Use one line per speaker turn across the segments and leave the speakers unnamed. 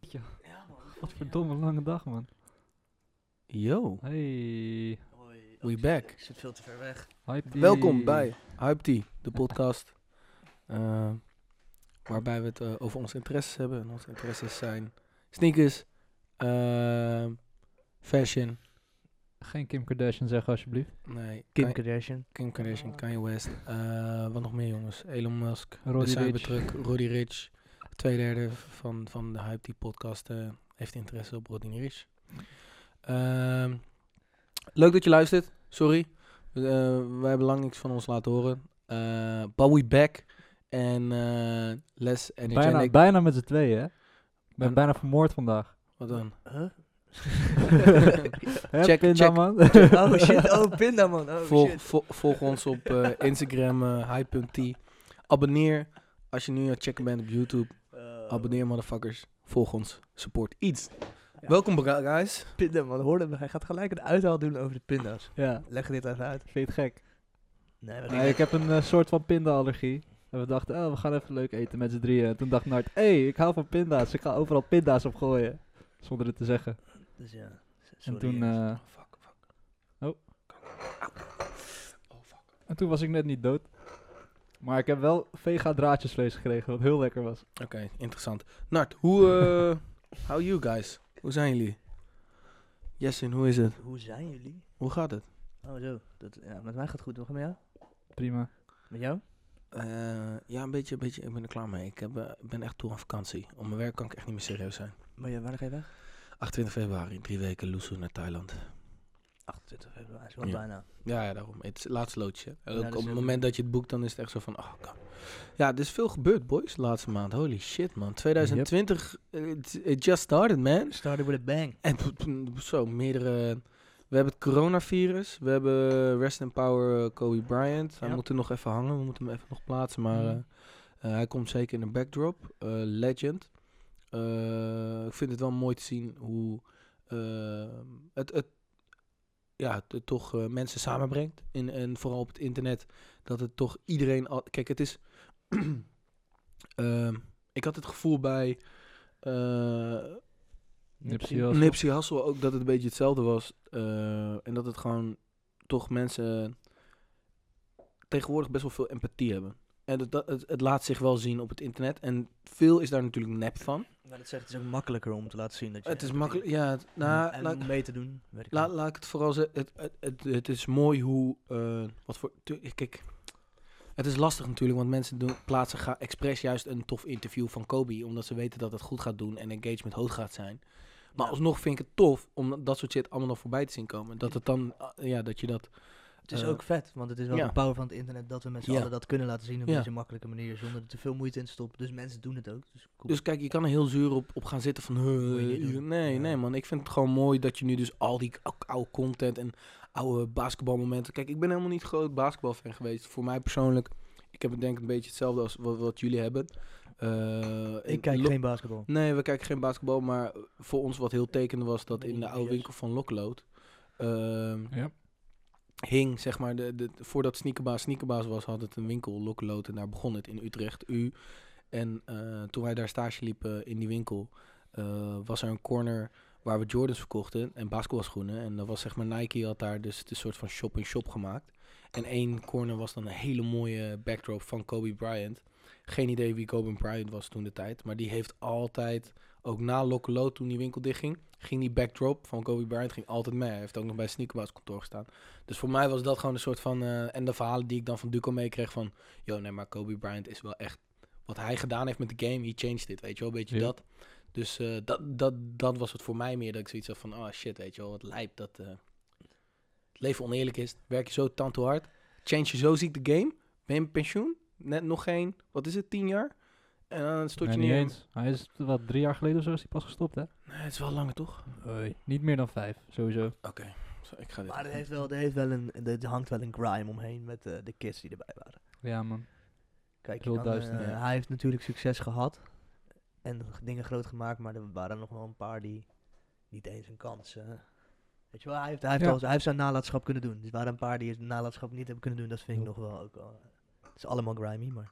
shit, joh.
Ja, man.
Wat verdomme lange dag, man.
Yo,
Hey,
Hoi.
we back.
Ik zit veel te ver weg.
hype
Welkom bij Hype Tea, de podcast. eh, waarbij we het eh, over onze interesses hebben. En onze interesses zijn sneakers, eh, fashion,
Geen Kim Kardashian zeggen, alsjeblieft.
nee,
Kim
Kan-
Kardashian.
Kim Kardashian, Kanye West. eh, wat nog meer jongens? Elon Musk,
Roddy
de
Ricch.
Cybertruck, Roddy Rich. Twee derde van, van de Hype Tea podcast eh, heeft interesse op Roddy Rich. Ehm, leuk dat je luistert. Sorry. Eh we hebben lang niks van ons laten horen. Eh but we back. En eh, less energetic.
Bijna, bijna met z'n tweeën, hè? Ik ben
En-
bijna vermoord vandaag.
Wat dan?
Huh?
Oh, Hè,
Check,
Pinda,
check.
man.
Oh shit, oh pinda man. Oh
volg,
shit.
vo- volg ons op eh, Instagram, eh, hype.t. Abonneer als je nu aan het checken bent op YouTube.
Eh,
Abonneer, motherfuckers. Volg ons. Support iets.
Ja.
Welkom, bega- guys.
Pinda man, hoorde me. Hij gaat gelijk een uithaal doen over de pinda's.
ja,
Leg dit even uit.
vind je het gek?
Nee, we
Nee, ik heb een eh, soort van pinda-allergie. En we dachten, oh, we gaan even leuk eten met z'n drieën. En toen dacht Nart, hé, hey, ik hou van pinda's. Ik ga overal pinda's op gooien. Zonder het te zeggen.
Dus ja. s-
en toen... eh,
jongens.
Fuck, fuck.
Oh.
Oh, fuck.
En toen was ik net niet dood. Maar ik heb wel vega draadjesvlees gekregen, wat heel lekker was.
Oké, interessant. Nart, hoe... eh, how you guys? Hoe zijn jullie? Jessin, hoe is het?
Hoe zijn jullie?
Hoe gaat het?
Oh zo. Dat, ja, met mij gaat het goed. Hoe gaat het met jou?
Prima.
Met jou?
Eh, ja, een beetje, een beetje. Ik ben er klaar mee. Ik heb, eh, ik ben echt toe aan vakantie. Om mijn werk kan ik echt niet meer serieus zijn.
Maar jij, waar ga je weg?
28 februari, drie weken Loesoe naar Thailand.
28 februari, is wel
Ja.
bijna.
Ja, ja daarom. Het is het laatste loodje. En
Ja,
ook
dat is
op het
ook-
moment dat je het boekt, dan is het echt zo van... Oh, God. Ja, er is veel gebeurd, boys, de laatste maand. Holy shit, man. 2020, it, it just started, man.
Started with a bang.
En p- p- zo, meerdere... We hebben het coronavirus. We hebben Rest in Power eh, Kobe Bryant. Hij
Ja.
moet er nog even hangen. We moeten hem even nog plaatsen. Maar
Mhm.
eh, eh, hij komt zeker in de backdrop. Eh, legend. Eh, ik vind het wel mooi te zien hoe eh, het, het, ja, het, het toch eh, mensen samenbrengt. In, en vooral op het internet. Dat het toch iedereen... al- Kijk, het is... Ehm, ik had het gevoel bij... eh,
Nipsey Hussle.
Nipsey Hussle ook dat het een beetje hetzelfde was. eh, en dat het gewoon toch mensen tegenwoordig best wel veel empathie hebben. En dat, dat, het, het laat zich wel zien op het internet. En veel is daar natuurlijk nep van.
Maar dat zegt, het is ook makkelijker om te laten zien dat je...
Het is makkelijk. Ja, het- nou,
Mm. en
laat-
om mee te doen, weet ik
La-
niet.
laat ik het vooral zeggen. Het, het, het, het is mooi hoe. eh, wat voor. tu- Kijk. Het is lastig natuurlijk, want mensen doen, plaatsen ga, expres juist een tof interview van Kobe. Omdat ze weten dat het goed gaat doen en engagement hoog gaat zijn. Maar
Ja.
alsnog vind ik het tof om dat soort shit allemaal nog voorbij te zien komen. Dat het dan. ah, Ja, dat je dat.
Het is
Eh,
ook vet, want het is wel
ja.
de power van het internet dat we met z'n
Ja.
allen dat kunnen laten zien op
Ja.
deze makkelijke manier zonder er te veel moeite in te stoppen. Dus mensen doen het ook. Dus cool.
Dus kijk, je kan er heel zuur op, op gaan zitten van...
Moet je
"Huh,
niet
hier."
doen.
nee,
Ja.
nee man. Ik vind het gewoon mooi dat je nu dus al die ou- oude content en oude basketbalmomenten... Kijk, ik ben helemaal niet groot basketbalfan geweest. Voor mij persoonlijk, ik heb het denk ik een beetje hetzelfde als wat, wat jullie hebben. Eh, en
ik kijk
Lo-
geen basketbal.
Nee, we kijken geen basketbal, maar voor ons wat heel tekend was dat
Ben
in
ik
de
niet
oude
serieus.
winkel van Lokloot... ehm,
Ja.
hing, zeg maar, de, de, voordat Sneakerbaas Sneakerbaas was, had het een winkel, Lokkeloot, en daar begon het in Utrecht, U. En eh, toen wij daar stage liepen in die winkel, eh, was er een corner waar we Jordans verkochten en basketbalschoenen. En dat was zeg maar, Nike had daar dus een soort van shop-in-shop gemaakt. En één corner was dan een hele mooie backdrop van Kobe Bryant. Geen idee wie Kobe Bryant was toen de tijd, maar die heeft altijd, ook na Lokkeloot toen die winkel dichtging, ging die backdrop van Kobe Bryant ging altijd mee. Hij heeft ook nog bij Sneakerbaas kantoor gestaan. Dus voor mij was dat gewoon een soort van. eh, en de verhalen die ik dan van Duco meekreeg van. Yo, nee, maar Kobe Bryant is wel echt. Wat hij gedaan heeft met de game, he changed it. Weet je wel, een beetje
Ja.
dat. Dus eh, dat, dat, dat was het voor mij meer. Dat ik zoiets had van. Oh shit, weet je wel, wat lijp dat. eh, het leven oneerlijk is. Werk je zo tanto hard. Change je zo ziek de game. Ben je met pensioen? Net nog geen. Wat is het, tien jaar? En dan stort
Nee,
je
niet
neer.
eens. Hij is wat drie jaar geleden of zo is hij pas gestopt, hè?
Nee, het is wel langer toch?
Niet meer dan vijf, sowieso.
Oké, zo, ik ga dit.
Maar er, heeft wel, er, heeft wel een, er hangt wel een grime omheen met eh, de kids die erbij waren.
Ja, man.
Kijk, je
Heel
kan,
duister,
eh,
ja.
hij heeft natuurlijk succes gehad en g- dingen groot gemaakt, maar er waren nog wel een paar die niet eens een kans. eh, weet je wel, hij heeft, hij, heeft
Ja.
al, hij heeft zijn nalatenschap kunnen doen. Dus er waren een paar die het nalatenschap niet hebben kunnen doen, dat vind ik nog wel ook al. Het is allemaal grimy, maar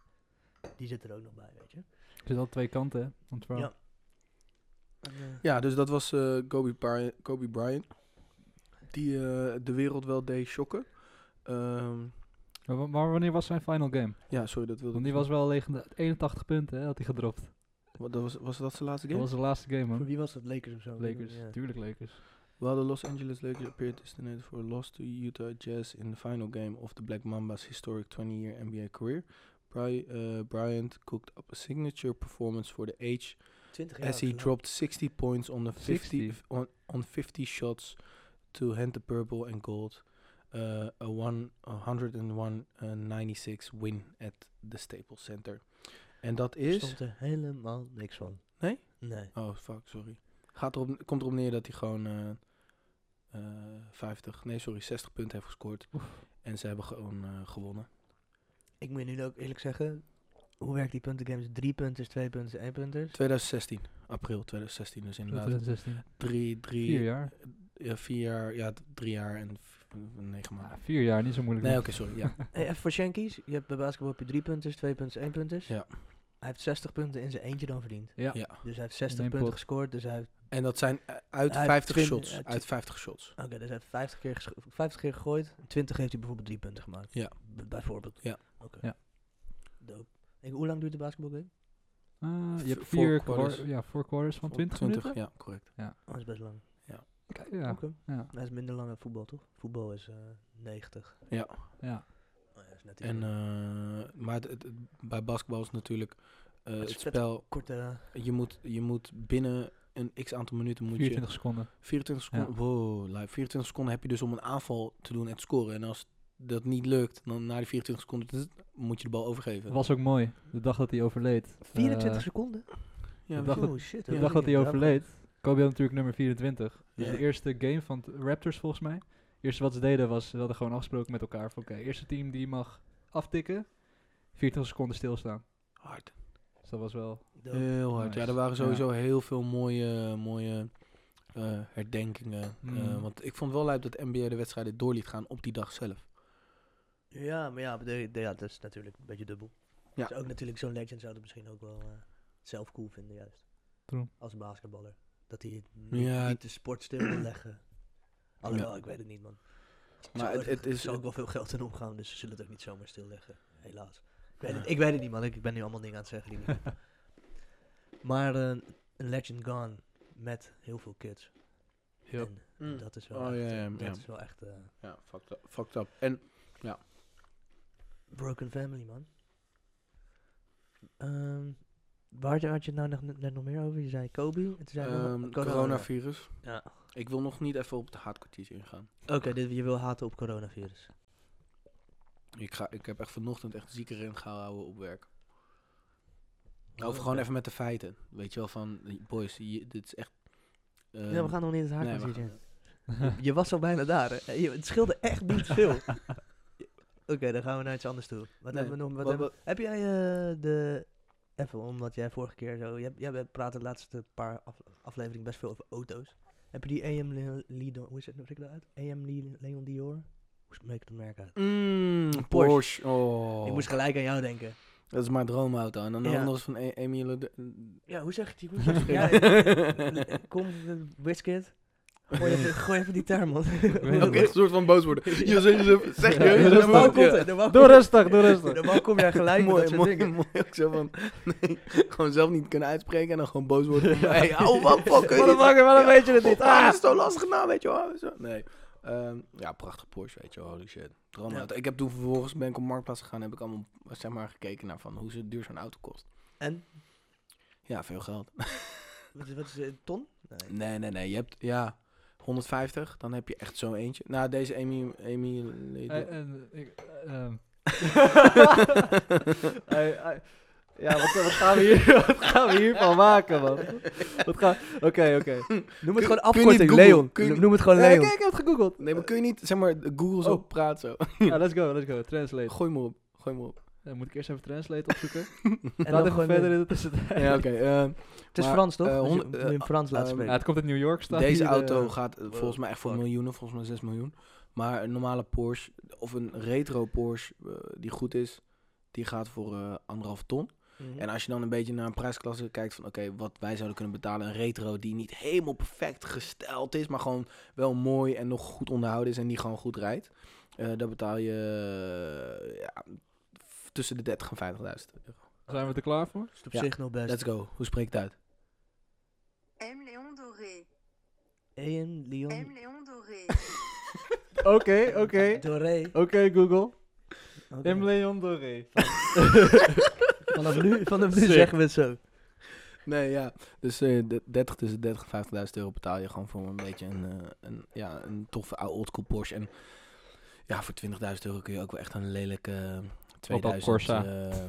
die zit er ook nog bij, weet je.
Er zitten al twee kanten, hè? van het verhaal.
Ja. En, eh,
Ja, dus dat was eh, Kobe, Bry- Kobe Bryant. Die eh, de wereld wel deed shocken. Ehm,
Maar, wa- maar wanneer was zijn final game?
ja, sorry, dat wilde
Want die
ik-
was wel legende. 81 punten hè, had hij gedropt.
Wat, dat was, was dat zijn laatste
Dat
game?
was zijn laatste game,
Voor
man.
wie was dat? Lakers of zo?
Lakers,
Ja.
tuurlijk Lakers.
While the Los Angeles Lakers appeared designated for a loss to Utah Jazz in the final game of the Black Mamba's historic 20-year NBA career, Bry- eh, Bryant cooked up a signature performance for the age
20 jaar.
as he
geleden.
dropped 60 points on the 50
60?
f- on, on 50 shots to hand the purple and gold uh, a one- a 101 uh, 96 win at the Staples Center. En dat
Er
is
stond er helemaal niks van.
Nee?
Nee.
Oh, fuck, sorry. Gaat erop, komt erop neer dat hij gewoon eh, eh, 50, nee, sorry, 60 punten heeft gescoord. En ze hebben gewoon eh, gewonnen.
Ik moet je nu ook eerlijk zeggen, hoe werkt die puntengames? Drie punters, twee punters, één punters.
2016, april 2016, dus inderdaad.
2016.
Drie, drie,
Vier jaar.
ja, vier jaar, ja, d- drie jaar en v- negen
Ah,
maanden.
vier jaar, niet zo moeilijk.
Nee, oké,
man.
sorry, ja.
Hey, even voor Shankies, je hebt bij basketbal heb je drie punters, twee punters, één punters.
Ja.
Hij heeft 60 punten in zijn eentje dan verdiend.
Ja.
Ja.
Dus hij heeft 60
één
punten
pot.
gescoord, dus hij heeft,
En dat zijn eh, uit
Uit
50
20
shots.
uit-
Uit 50 shots.
oké, dus hij heeft 50 keer, gescho- 50 keer gegooid. 20 heeft hij bijvoorbeeld drie punten gemaakt.
Ja.
B- bijvoorbeeld.
Ja.
Oké.
Ja.
Dope. Ik, hoe lang duurt de basketbalgame?
Ah, je hebt
Vier
vier
quarters.
kwar- ja, vier quarters van 20, minuten.
Ja, correct.
Oh, dat is best lang.
Oké, ja.
Oké.
ja,
Dat is minder lang dan voetbal, toch? Voetbal is eh, 90.
Ja.
ja.
Oh, ja, dat is net iets
En,
minder.
eh, maar het- het- bij basketbal is natuurlijk eh,
Het
het,
is vet
spel...
korte...
Eh,
Je moet, je moet binnen een x aantal minuten... Moet je
24 seconden.
24 seconden. Wow, live. 24 seconden heb je dus om een aanval te doen en te scoren. En als dat niet lukt, dan na die 24 seconden tss, moet je de bal overgeven.
Dat was ook mooi. De dag dat hij overleed.
24
Eh,
seconden?
Ja,
Ik dacht
oh, shit.
De dag dat hij overleed. Kobe had natuurlijk nummer 24. Dus
Ja.
de eerste game van de Raptors volgens mij. Het eerste wat ze deden was, ze hadden gewoon afgesproken met elkaar. Van oké, eerste team die mag aftikken. 24 seconden stilstaan.
hard.
Dus dat was wel...
Heel hard.
Nice.
Ja, er waren sowieso heel veel mooie, mooie eh, herdenkingen.
Mm.
Eh, want ik vond wel leuk dat NBA de wedstrijden door liet gaan op die dag zelf.
Ja, maar ja, de, de- ja, dat is natuurlijk een beetje dubbel.
Ja.
Dus ook natuurlijk zo'n legend zou dat misschien ook wel eh, zelf cool vinden, juist.
True.
Als basketballer. Dat hij het niet,
Ja.
niet de sport stil wil leggen. Alhoewel, ik weet het niet, man.
Maar het, het
er
is...
zal ook wel veel geld in omgaan, dus ze zullen het ook niet zomaar stilleggen. Helaas. Ik weet, het, ik weet het niet, man. Ik, ik ben nu allemaal dingen aan het zeggen. Die ik niet heb. maar eh, een legend gone met heel veel kids.
Yep.
En
Mm.
dat is wel
Oh,
echt...
ja,
eh,
ja,
dat
ja.
is wel echt... eh,
Ja, fucked up. Fucked up. En
Broken Family, man. Ehm, waar had je het nou nog, net nog meer over? Je zei Kobe. En toen zei je nog-
ehm,
oh,
coronavirus.
Ja.
Ik wil nog niet even op het haatkwartiertje ingaan.
Oké, dit, je wil haten op coronavirus.
Ik, ga, ik heb echt vanochtend echt ziek erin gehouden op werk.
Oh,
Of gewoon even met de feiten. Weet je wel, van boys, je- dit is echt... eh,
Ja, Ehm, we gaan nog niet in het
nee,
haakje
we
zitten. Je, je was al bijna daar. Hè? Je- het scheelde echt niet veel. Oké, dan gaan we naar iets anders toe. Wat
Nee,
hebben we nog? Wat
wa-
hebben, heb jij eh, de... Even, omdat jij vorige keer zo... Jij, jij praatte de laatste paar af- afleveringen best veel over auto's. Heb je die AM Leon... Leon- hoe is het, hoe spreek ik dat uit? AM Le- Leon Dior? Hoe spreek ik het merk uit?
Mm, Porsche.
Porsche.
Oh.
Ik moest gelijk aan jou denken.
Dat is mijn droomauto. En dan
Ja.
de andere is van E- Emile... De...
Ja, hoe zeg je die? Hoe zeg je ja, eh, Kom, eh, Whiskit. Gooi even, gooi even die term, man.
weet het
Oké,
wel.
een soort van boos worden. Je zegt je zeg
Ja,
je.
rustig.
Normaal komt
Ja.
het, normaal
Doe
komt-
rustig, doe rustig.
Normaal kom jij gelijk met dat
Mooi,
soort
mooi,
dingen.
mooi. Ook zo van, nee, gewoon zelf niet kunnen uitspreken en dan gewoon boos worden. hey, ouwe, wat fuck.
Motherfucker, waarom weet je het niet?
Ah,
Ah!
dat is zo lastig naam, weet je wel. Zo. Nee. Ehm, ja, prachtig Porsche, weet je wel. Holy shit. Droomauto. Ik heb toen vervolgens, ben ik op Marktplaats gegaan, heb ik allemaal, zeg maar, gekeken naar van hoe ze duur zo'n auto kost.
En?
Ja, veel geld.
Wat is, wat is het, ton? Nee.
Nee, nee, nee. Je hebt, ja, 150. Dan heb je echt zo'n eentje. Nou, deze Amy... Amy
Eh, en ik- eh, ehm. Hey, hey. Eh, Ja, wat, wat, gaan we hier, wat gaan we hiervan maken, man? Wat gaan- Oké, oké.
Noem
kun je
het gewoon
niet
afkorting,
googlen?
Leon.
Kun je niet-
Noem het gewoon
Nee,
Leon.
kijk, ik heb het gegoogeld.
Nee, maar kun je niet, zeg maar, Google zo
Oh.
praat zo.
Ja, let's go, let's go. Translate.
Gooi me op. Gooi me op.
Dan Eh, moet ik eerst even translate opzoeken.
En
Laat
dan
even
gewoon eh,
verder
verder.
in de tussentijd.
Ja, oké. ehm,
Het is
maar,
Frans, toch?
eh,
Dus je
honderd-
moet je
eh,
hem Frans laten
ehm,
Ja,
spreken.
het komt uit New York, staat
Deze
hier, eh,
auto gaat eh,
wow,
volgens mij echt voor
fuck.
miljoenen, volgens mij 6 miljoen. Maar een normale Porsche of een retro Porsche eh, die goed is, die gaat voor eh, anderhalf ton.
Mhm.
En als je dan een beetje naar een prijsklasse kijkt van oké, wat wij zouden kunnen betalen, een retro die niet helemaal perfect gesteld is, maar gewoon wel mooi en nog goed onderhouden is en die gewoon goed rijdt, eh dan betaal je eh, ja, f- tussen de 30 en 50.000 euro.
Zijn we er klaar voor?
is het op
Ja.
zich nog best.
Let's go. Hoe spreek ik het uit?
M. Léon Doré.
AM
M.
Leon
Léon Doré.
Oké, oké.
Doré.
Oké, Google.
Oké.
M. Leon Doré.
Vanaf nu, vanaf nu
Sick.
zeggen we het zo.
Nee, ja. Dus eh, de 30, tussen 30 en 50.000 euro betaal je gewoon voor een beetje een, eh, een, ja, een toffe oude oldschool Porsche. En ja, voor 20.000 euro kun je ook wel echt een lelijke eh, 2000
Corsa.
eh,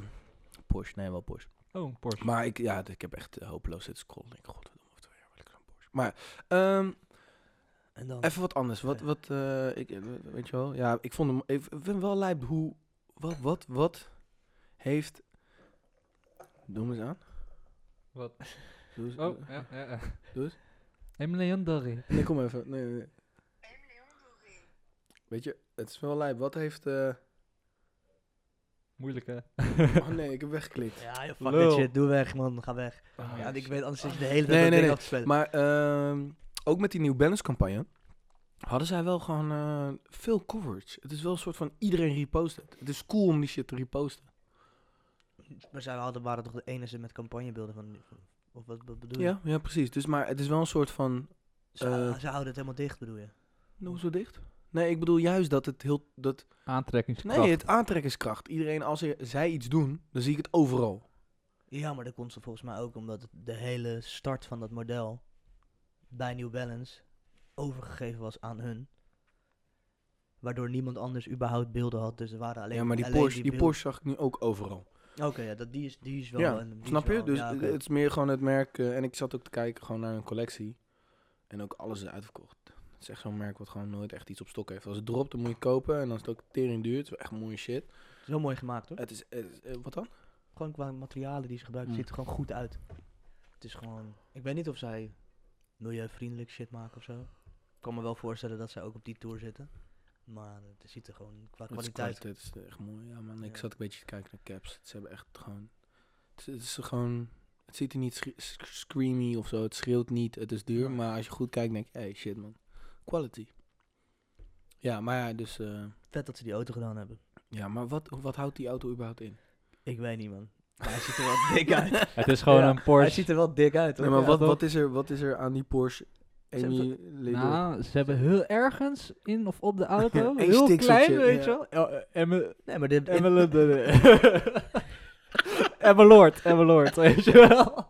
Porsche. Nee, wel Porsche.
Oh, een Porsche.
Maar ik, ja, ik heb echt eh, hopeloos zitten scrollen. Ik godverdomme, over twee jaar wil ik zo'n Porsche. Maar ehm,
En dan.
even wat anders. Wat, wat, eh, ik, eh, weet je wel? Ja, ik vond hem, ik vind hem wel lijp hoe, wat, wat, wat heeft, doe hem eens aan.
Wat?
Doe eens-
Oh, ja, ja, ja.
Doe eens.
M. Leon Doré.
Nee, kom even. Nee, nee, nee.
M. Léon Doré.
Weet je, het is wel lijp. Wat heeft... eh,
Moeilijk, hè?
Oh nee, ik heb weggeklikt.
Ja, joh, fuck
Lul.
dit shit. Doe weg, man. Ga weg.
Oh,
Ja,
ja,
ik
shit.
weet anders is de
Nee,
hele tijd dat
nee,
ding
nee.
af te spelen.
Maar ehm, ook met die New Balance campagne hadden zij wel gewoon eh, veel coverage. Het is wel een soort van iedereen repost het. Het is cool om die shit te reposten.
Maar zij hadden, waren toch de enige met campagnebeelden van... van- Of wat, wat bedoel je?
Ja, ja, precies. Dus, maar het is wel een soort van...
Ze,
eh,
ze houden het helemaal dicht, bedoel je?
Nou, zo dicht? Nee, ik bedoel juist dat het heel... Dat, nee,
Aantrekkingskracht.
het aantrekkingskracht. Iedereen, als er- zij iets doen, dan zie ik het overal.
Ja, maar dat komt ze volgens mij ook omdat het- de hele start van dat model bij New Balance overgegeven was aan hun. Waardoor niemand anders überhaupt beelden had, dus er waren alleen
ja, maar die
alleen
Porsche, die,
beelden.
Porsche zag ik nu ook overal.
Oké, ja, dat, die, is, die is wel...
Ja,
een- die is
Snap je?
wel-
Dus
ja, oké.
het is meer gewoon het merk. eh, en ik zat ook te kijken gewoon naar hun collectie. En ook alles is uitverkocht. Het is echt zo'n merk wat gewoon nooit echt iets op stok heeft. Als het dropt, dan moet je het kopen. En dan is het ook tering duur. Het is wel echt mooie shit.
Het is wel mooi gemaakt, hoor.
Het is, het is- eh, wat dan?
Gewoon qua materialen die ze gebruiken,
Mm.
ziet er gewoon goed uit. Het is gewoon... Ik weet niet of zij milieuvriendelijk shit maken of zo. Ik kan me wel voorstellen dat zij ook op die tour zitten. Maar het ziet er gewoon qua
Het is
kwaliteit...
kwaliteit, Het is echt mooi. Ja, man. Ik
Ja.
zat een beetje te kijken naar caps. Ze hebben echt gewoon... Het, is- het is gewoon... Het ziet er niet schree- sc- screamy of zo. Het schreeuwt niet. Het is duur. Maar als je goed kijkt, denk je... Hey, shit, man. Quality. Ja, maar ja, dus... eh,
Vet dat ze die auto gedaan hebben.
ja, maar wat, wat houdt die auto überhaupt in?
Ik weet niet, man. Maar hij ziet er wel dik uit.
Het is gewoon
Ja,
een
Hij
Porsche.
ziet er wel dik uit, hoor.
Nee, maar
Ja,
wat,
toch?
wat, is er, wat is er aan die Porsche
hebben
Amy Lidl?
Nou, ze hebben heel ergens in of op de auto,
Eén
heel
stikseltje,
klein, weet je
ja.
wel. Ja, eh, Emme-
Nee, maar dit...
Emme Lord, nee, nee. Emme Lord, Emme Lord, weet je wel.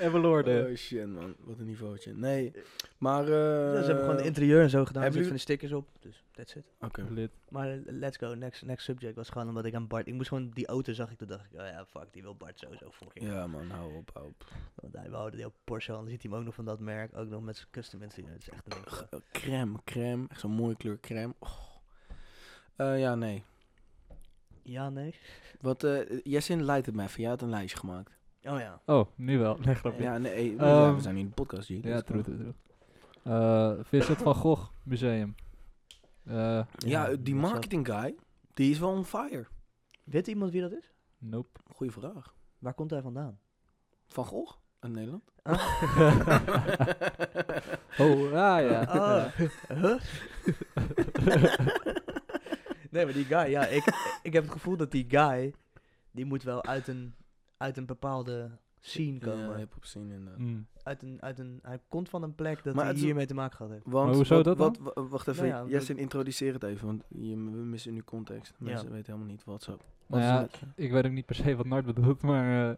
Emme Lord, hè.
Oh shit man, wat een niveautje. Nee, maar... eh
Ja, ze hebben gewoon het interieur en zo gedaan. Er
hebben
zitten van de stickers op. Dus that's it.
Oké.
Lid.
Maar eh, let's go. Next, next subject was gewoon omdat ik aan Bart... Ik moest gewoon die auto zag ik. Toen dacht ik, oh ja, fuck. Die wil Bart sowieso fucking.
Ja man, hou op, hou op.
Want hij wou die op Porsche. En dan ziet hij hem ook nog van dat merk. Ook nog met zijn custom interieur. Dat is echt een ding.
Eh, Crème, crème. Echt zo'n mooie kleur crème. Oh. Eh, ja, nee.
Ja, nee.
Wat, eh Jessin leidt het mij even. Jij had een lijstje gemaakt.
Oh ja.
Oh, nu wel. Nee, grapje. Ja,
Ja, nee. eh,
Ehm,
ja, we zijn nu in de podcast, G. dus-
true, true, true. Eh, Vincent van Gogh Museum. Eh,
Ja, eh, die
dat is wel-
marketing guy, die is wel on fire.
Weet iemand wie dat is?
nope.
Goeie vraag.
Waar komt hij vandaan?
Van Gogh? Uit Nederland?
Oh, ja, ja.
Oh. Huh? nee, maar die guy, ja, ik, ik heb het gevoel dat die guy, die moet wel uit een, uit een bepaalde scene komen.
Ja, hip-hop scene inderdaad.
Mm.
uit een, uit een, hij komt van een plek dat
Maar
hij
het is-
hiermee te maken gehad heeft.
Want
Maar hoezo
wat,
dat
wat, wa- wacht even,
Nou ja,
Jessin, introduceer het even, want je, we missen nu context. Mensen weten helemaal niet wat zo. Wat
Nou
is
ja,
het?
ik weet ook niet per se wat Nart bedoelt, maar eh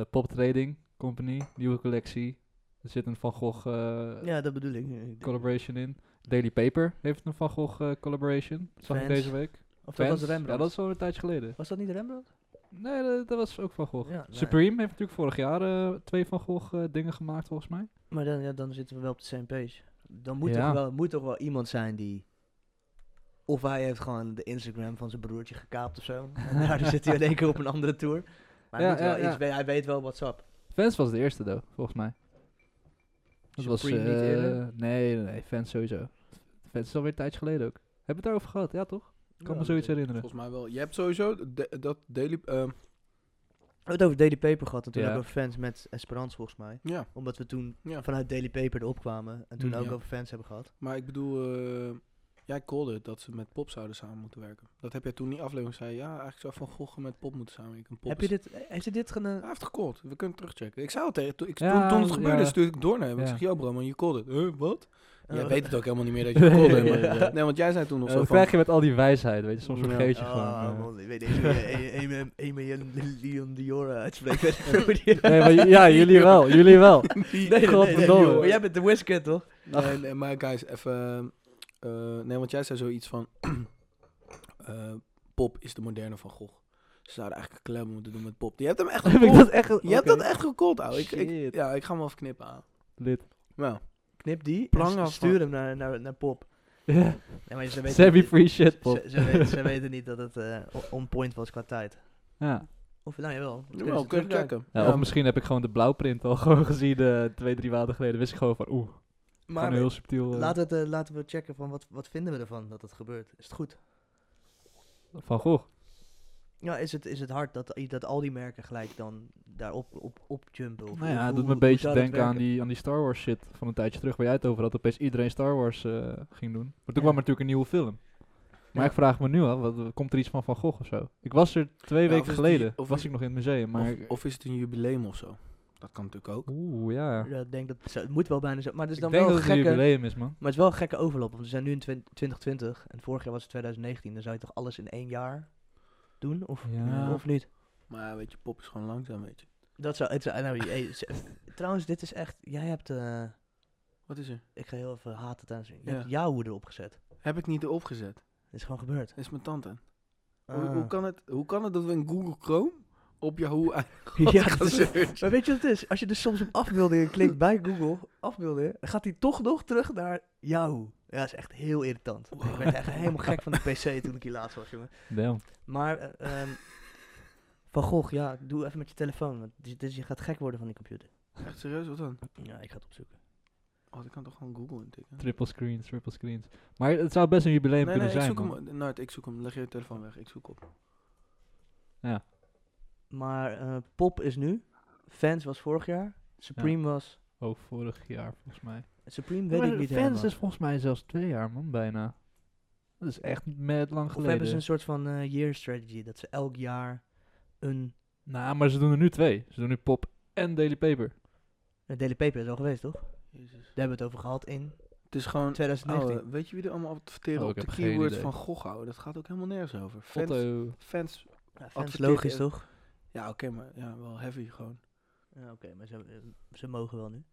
eh, Pop Trading Company, nieuwe collectie. Er zit een Van Gogh eh,
Ja, dat bedoel ik. Ik-
collaboration in. Daily Paper heeft een Van Gogh eh, collaboration. Zag ik
Vans.
deze week.
Of dat
Vans.
was Rembrandt.
Ja, dat is al een tijdje geleden.
Was dat niet Rembrandt?
Nee, dat, dat was ook Van Gogh.
Ja, nee.
Supreme heeft natuurlijk vorig jaar eh, twee Van Gogh eh, dingen gemaakt, volgens mij.
Maar dan, ja, dan zitten we wel op de same page. Dan moet,
Ja.
toch wel, moet toch wel iemand zijn die... Of hij heeft gewoon de Instagram van zijn broertje gekaapt of zo. En daardoor zit hij in één keer op een andere tour. Maar hij,
Ja,
moet wel
ja,
iets we- hij weet wel what's up.
Fans was de eerste, though, volgens mij. Dat was,
Supreme niet
eh,
eerder?
nee, nee, nee, Fans sowieso. Fans is alweer een tijdje geleden ook. Hebben we het daarover gehad? Ja, toch? Ik kan me zoiets herinneren.
Volgens mij wel. Je hebt sowieso de- dat daily... eh,
We hebben het over Daily Paper gehad en toen
Ja.
ook over fans met Esperance volgens mij.
ja,
Omdat we toen
ja.
vanuit Daily Paper erop kwamen en toen
Mm,
ook
ja.
over fans hebben gehad.
Maar ik bedoel, eh, jij callde het dat ze met pop zouden samen moeten werken. Dat heb jij toen in die aflevering zei. je, Ja, eigenlijk zou Van Gogh met pop moeten samenwerken. Pop
Heb
is-
je dit, heeft hij dit gedaan?
Hij heeft gecalld. We kunnen het terugchecken. Ik zei al tegen... Toen, ik,
Ja,
toen, toen het gebeurde
ja.
stuurde ik door naar hem. Ik
Ja.
zeg, yo bro, man, je called het. Huh, wat?
Oh.
jij weet het ook helemaal niet meer dat je
Nee.
called hem.
Ja.
maar- Nee, want jij zei toen nog
Eh,
zo
dat
van...
krijg je met al die wijsheid, weet je. Soms
Ja.
vergeet je gewoon.
Oh,
eh.
man, ik weet deze een- een- een- een miljoen Leon Dior uitspreken. Nee,
eh. Nee, maar, ja, jullie wel. Jullie wel.
Die-
nee,
Godverdomme.
joh, maar jij bent de Wizkid, toch?
Nee, nee, maar guys, even... eh, nee, want jij zei zoiets van... eh, pop is de moderne Van Gogh. Ze zouden eigenlijk een collab moeten doen met pop. Je hebt hem echt
Heb ik
gecallt.
dat echt...
Je hebt
Oké.
dat echt gecallt, ouwe. Ik, ik,
Shit.
ja, ik ga hem wel even knippen aan.
Lid.
Nou,
Knip die
Plang
en
af
s- stuur hem naar, naar, naar Pop.
Ja.
Nee, maar ze weten
Semi
niet-
free shit pop.
Ze, ze, weten, ze weten niet dat het eh, o- on point was qua tijd.
Ja.
Of, nou jawel.
we kunnen terugkijken.
Ja, Of misschien heb ik gewoon de blauwprint al gewoon gezien eh, twee, drie maanden geleden. Wist ik gewoon van oeh,
Maar
gewoon heel subtiel eh,
laten, we het, eh, laten we checken van wat, wat vinden we ervan dat het gebeurt. Is het goed?
van goh.
Ja, is het, is het hard dat, i- dat al die merken gelijk dan daarop op, op jumpen? Of
Nou
hoe-
ja, het
hoe-
doet me een
hoe
beetje
zou dat
denken aan
werken?
die, aan die Star Wars shit van een tijdje terug waar jij het over had. Opeens iedereen Star Wars eh, ging doen. Maar toen
Ja.
kwam er natuurlijk een nieuwe film. Maar
Ja.
ik vraag me nu af, wat, komt er iets van Van Gogh of zo? Ik was er twee
Ja, of
weken
is die-
geleden,
of
was
is-
ik nog in het museum, maar...
Of, of is het een jubileum of zo? Dat kan natuurlijk ook.
Oeh, ja.
Ja, ik denk dat, zo, het moet wel bijna zo. Maar het is
eh, Ik
dan
denk
wel
dat
een
het een
gekke...
jubileum is, man.
Maar het is wel een gekke overlap, want we zijn nu in 20 2020 en vorig jaar was het 2019. Dan zou je toch alles in één jaar doen, of,
Ja.
of niet?
Maar ja, weet je, pop is gewoon langzaam, weet je.
Dat zou, het zou- nou, je- je- trouwens, dit is echt, jij hebt, eh,
Wat is er?
ik ga heel even haten tijdens, je
Ja.
hebt jouw hoeder opgezet.
Heb ik niet erop gezet.
Dat is gewoon gebeurd.
Dat is mijn tante. Hoe,
Ah.
hoe, kan het, hoe kan het dat we in Google Chrome op Yahoo
Ja,
ja, gaan
dat is-
searchen?
Maar weet je wat het is? Als je dus soms op afbeeldingen klikt bij Google, afbeeldingen, dan gaat hij toch nog terug naar Yahoo. Ja, dat is echt heel irritant. Ik werd echt helemaal gek van de pc toen ik hier laatst was, jongen.
Damn.
Maar, eh, ehm, Van Gogh, ja, doe even met je telefoon, want dit, dit- je gaat gek worden van die computer.
Echt serieus, wat dan?
Ja, ik ga het opzoeken.
Oh, ik kan toch gewoon Google intikken?
Triple screens, triple screens. Maar het zou best een jubileum
Nee, nee,
kunnen
ik
zijn,
zoek
man.
hem. Nart, ik zoek hem. Leg je je telefoon weg. Ik zoek op.
Maar eh, Pop is nu, Fans was vorig jaar, Supreme was...
Ook Oh, vorig jaar, volgens mij.
Supreme weet ik niet
Fans
helemaal.
is volgens mij zelfs twee jaar, man, bijna. Dat is echt met lang
Of
geleden.
hebben ze een soort van eh, year strategy, dat ze elk jaar een...
Nou, maar ze doen er nu twee. Ze doen nu Pop en Daily Paper.
een Daily Paper is al geweest, toch? Daar
Jezus.
hebben we het over gehad in
Het is gewoon...
2019.
eh,
Ouwe, weet je wie er allemaal adverteren
Oh,
op
ik
de
heb geen
keywords
idee.
van Gogh houden? Dat gaat ook helemaal nergens over. Fans,
Foto.
fans
Ja, fans
adverteren-
eh,
logisch, toch?
ja oké, maar ja, wel heavy gewoon.
Ja, oké, maar ze, eh, ze mogen wel nu.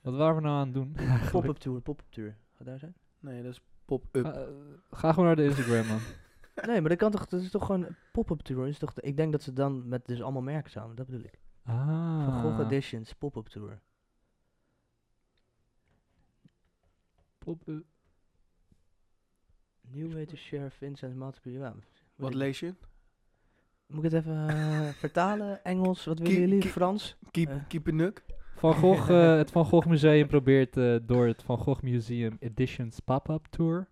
Wat waren we nou aan het doen?
Pop-up tour, pop-up tour. Gaat daar zijn?
Nee, dat is pop-up.
Ah, eh, ga gewoon naar de Instagram, man.
Nee, maar dat kan toch, dat is toch gewoon pop-up tour. Is toch, ik denk dat ze dan met dus allemaal merken samen, dat bedoel ik.
Ah.
Van Gogh Editions, pop-up tour.
Pop, eh,
New way to share Vincent Maatspie. Ja, moet
Wat
ik-
lees je?
Moet ik het even eh, vertalen? Engels, wat willen
Kie-
jullie?
kie-
Frans?
Keep,
Eh.
keep a nuk.
Van Gogh, eh, het Van Gogh Museum probeert eh, door het Van Gogh Museum Editions Pop-Up Tour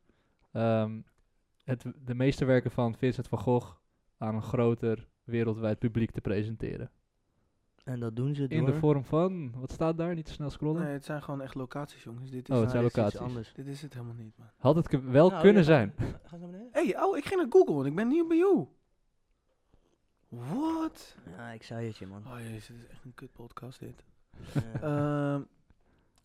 ehm, het, de meeste werken van Vincent van Gogh aan een groter wereldwijd publiek te presenteren.
En dat doen ze door.
In de vorm van, wat staat daar? Niet te snel scrollen.
Nee, het zijn gewoon echt locaties, jongens. Dit is,
Oh,
Nou,
het zijn
dit is iets
locaties.
anders.
dit is het helemaal niet, man.
Had het ke- wel
Nou,
kunnen
ja,
zijn.
Ga ga naar beneden.
hey, oh, ik ging naar Google, want ik ben niet bij jou. What?
Ja, ik zei het je, man.
Oh jezus, dit is echt een kut podcast dit.
Oh.
Eh,
Ehm,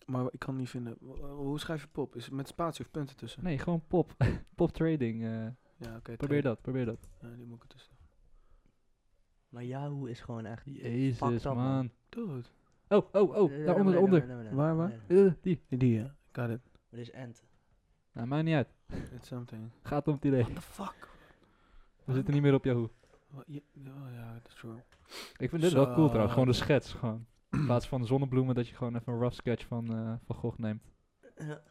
maar ik kan hem niet vinden. Wa- wa- Hoe schrijf je pop? Is het met spatie of punten tussen?
Nee, gewoon pop. pop trading. eh,
Ja, oké.
probeer
twee.
dat, probeer dat.
Ja, die moet ik ertussen.
maar Yahoo is gewoon echt...
Jezus,
up, man.
man.
Dude.
Oh, oh, oh. daaronder,
Eh, naar beneden,
onder.
naar beneden,
Waar,
naar
waar?
beneden.
Eh, die.
Die, ja. Got it.
Dit is Ent.
Nou, maakt niet uit.
It's something.
Gaat om het idee.
What the fuck?
We zitten niet meer op Yahoo.
Wa- je- Oh ja, dat is true.
Ik vind dit wel cool
Zo.
trouwens. Gewoon de schets. Gewoon. In plaats van de zonnebloemen dat je gewoon even een rough sketch van, eh, van Gogh neemt.
Ja.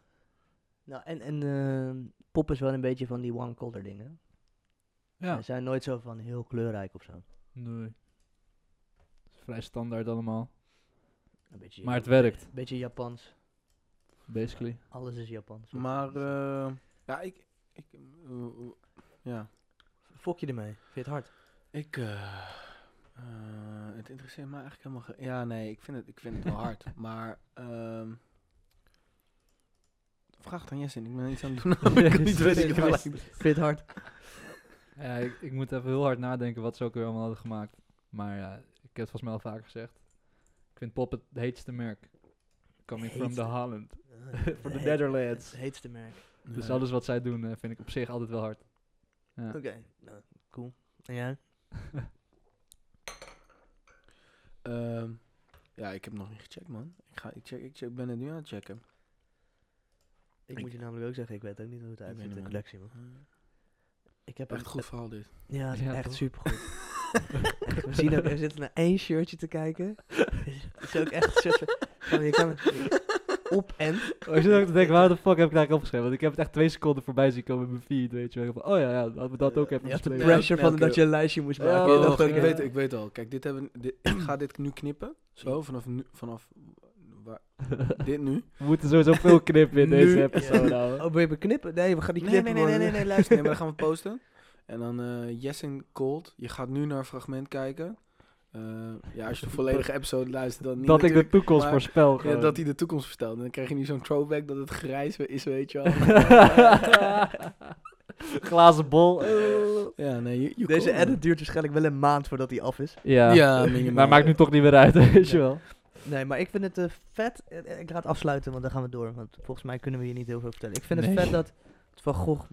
Nou, en, en eh, pop is wel een beetje van die one color dingen.
Ja.
Ze zijn nooit zo van heel kleurrijk of zo.
Nee. Het is Vrij standaard allemaal.
Een beetje,
Maar het werkt.
beetje Japans.
Basically.
Alles is Japans.
ehm,
Maar, eh, ja, ik... ik eh, Ja.
Fok je ermee? Vind je het hard?
Ik, eh, eh, het interesseert me eigenlijk helemaal... ge- ja, nee, ik vind het, ik vind het wel hard. Maar, ehm, vraag het aan Jesse. Ik ben iets aan het doen.
Ja,
ik kan niet
Jesse,
weten. Ik
Jesse,
gelijk.
Vind je het hard?
Ja, ik, ik moet even heel hard nadenken wat ze ook weer allemaal hadden gemaakt. Maar ja, ik heb het volgens mij al vaker gezegd. Ik vind pop het heetste merk. Coming from the
Heetste.
Holland. For the
Eh, Nee,
Netherlands.
Het heetste merk.
Dus
Nee.
alles wat zij doen eh, vind ik op zich altijd wel hard. Ja.
Oké, nou, cool. En jij?
Ehm, ja, ik heb nog niet gecheckt, man. Ik, ga, ik, check, ik check, ben het nu aan het checken.
Ik,
Ik-
moet je namelijk ook zeggen, ik weet ook niet hoe het
weet
uitziet in
niet,
de
man.
collectie, man. Ik heb
Echt eh,
een-
goed verhaal dit.
Ja, het is
Ja,
echt
toch?
supergoed. Echt, We zien ook, er zit naar één shirtje te kijken. Het is ook echt een soort van- van, je kan het op en...
Oh, ik zit ook te denken, waar de fuck heb ik daar opgeschreven? Want ik heb het echt twee seconden voorbij zien komen in mijn feed, weet je wel. Van, Oh ja, ja, laten we dat ook even
Je had de
bespreken.
pressure
Nee,
van
oké.
dat je een lijstje moest
Oh,
maken.
je
Oh,
dacht
ik,
ook, ja.
weet, ik weet al. Kijk, dit hebben, we- dit, ik ga dit nu knippen. Zo, vanaf nu. Vanaf waar, dit nu.
We moeten sowieso veel knippen in
Nu-
deze episode,
Ja.
ouwe.
Oh, wil je me knippen? Nee, we gaan die
Nee, nee,
knippen,
nee, nee, nee,
man.
nee, luister. Nee, maar dan gaan we posten. En dan eh Jessen Cold. Je gaat nu naar een fragment kijken. Eh, ja, als je de volledige episode luistert, dan niet.
Dat ik de
natuurlijk,
toekomst
maar-
voorspel.
ja,
gewoon.
dat hij de toekomst vertelt. En dan krijg je nu zo'n throwback dat het grijs weer is, weet je wel.
Glazen bol.
ja, nee, you, you
Deze
cool, man.
edit duurt waarschijnlijk wel een maand voordat die af is.
Ja,
Ja, minimaal.
maar maakt nu toch niet meer uit, weet je wel.
Nee, maar ik vind het eh, vet. Eh, eh, Ik ga het afsluiten, want dan gaan we door. Want volgens mij kunnen we hier niet heel veel vertellen. Ik vind
Nee.
het vet dat het Van Gogh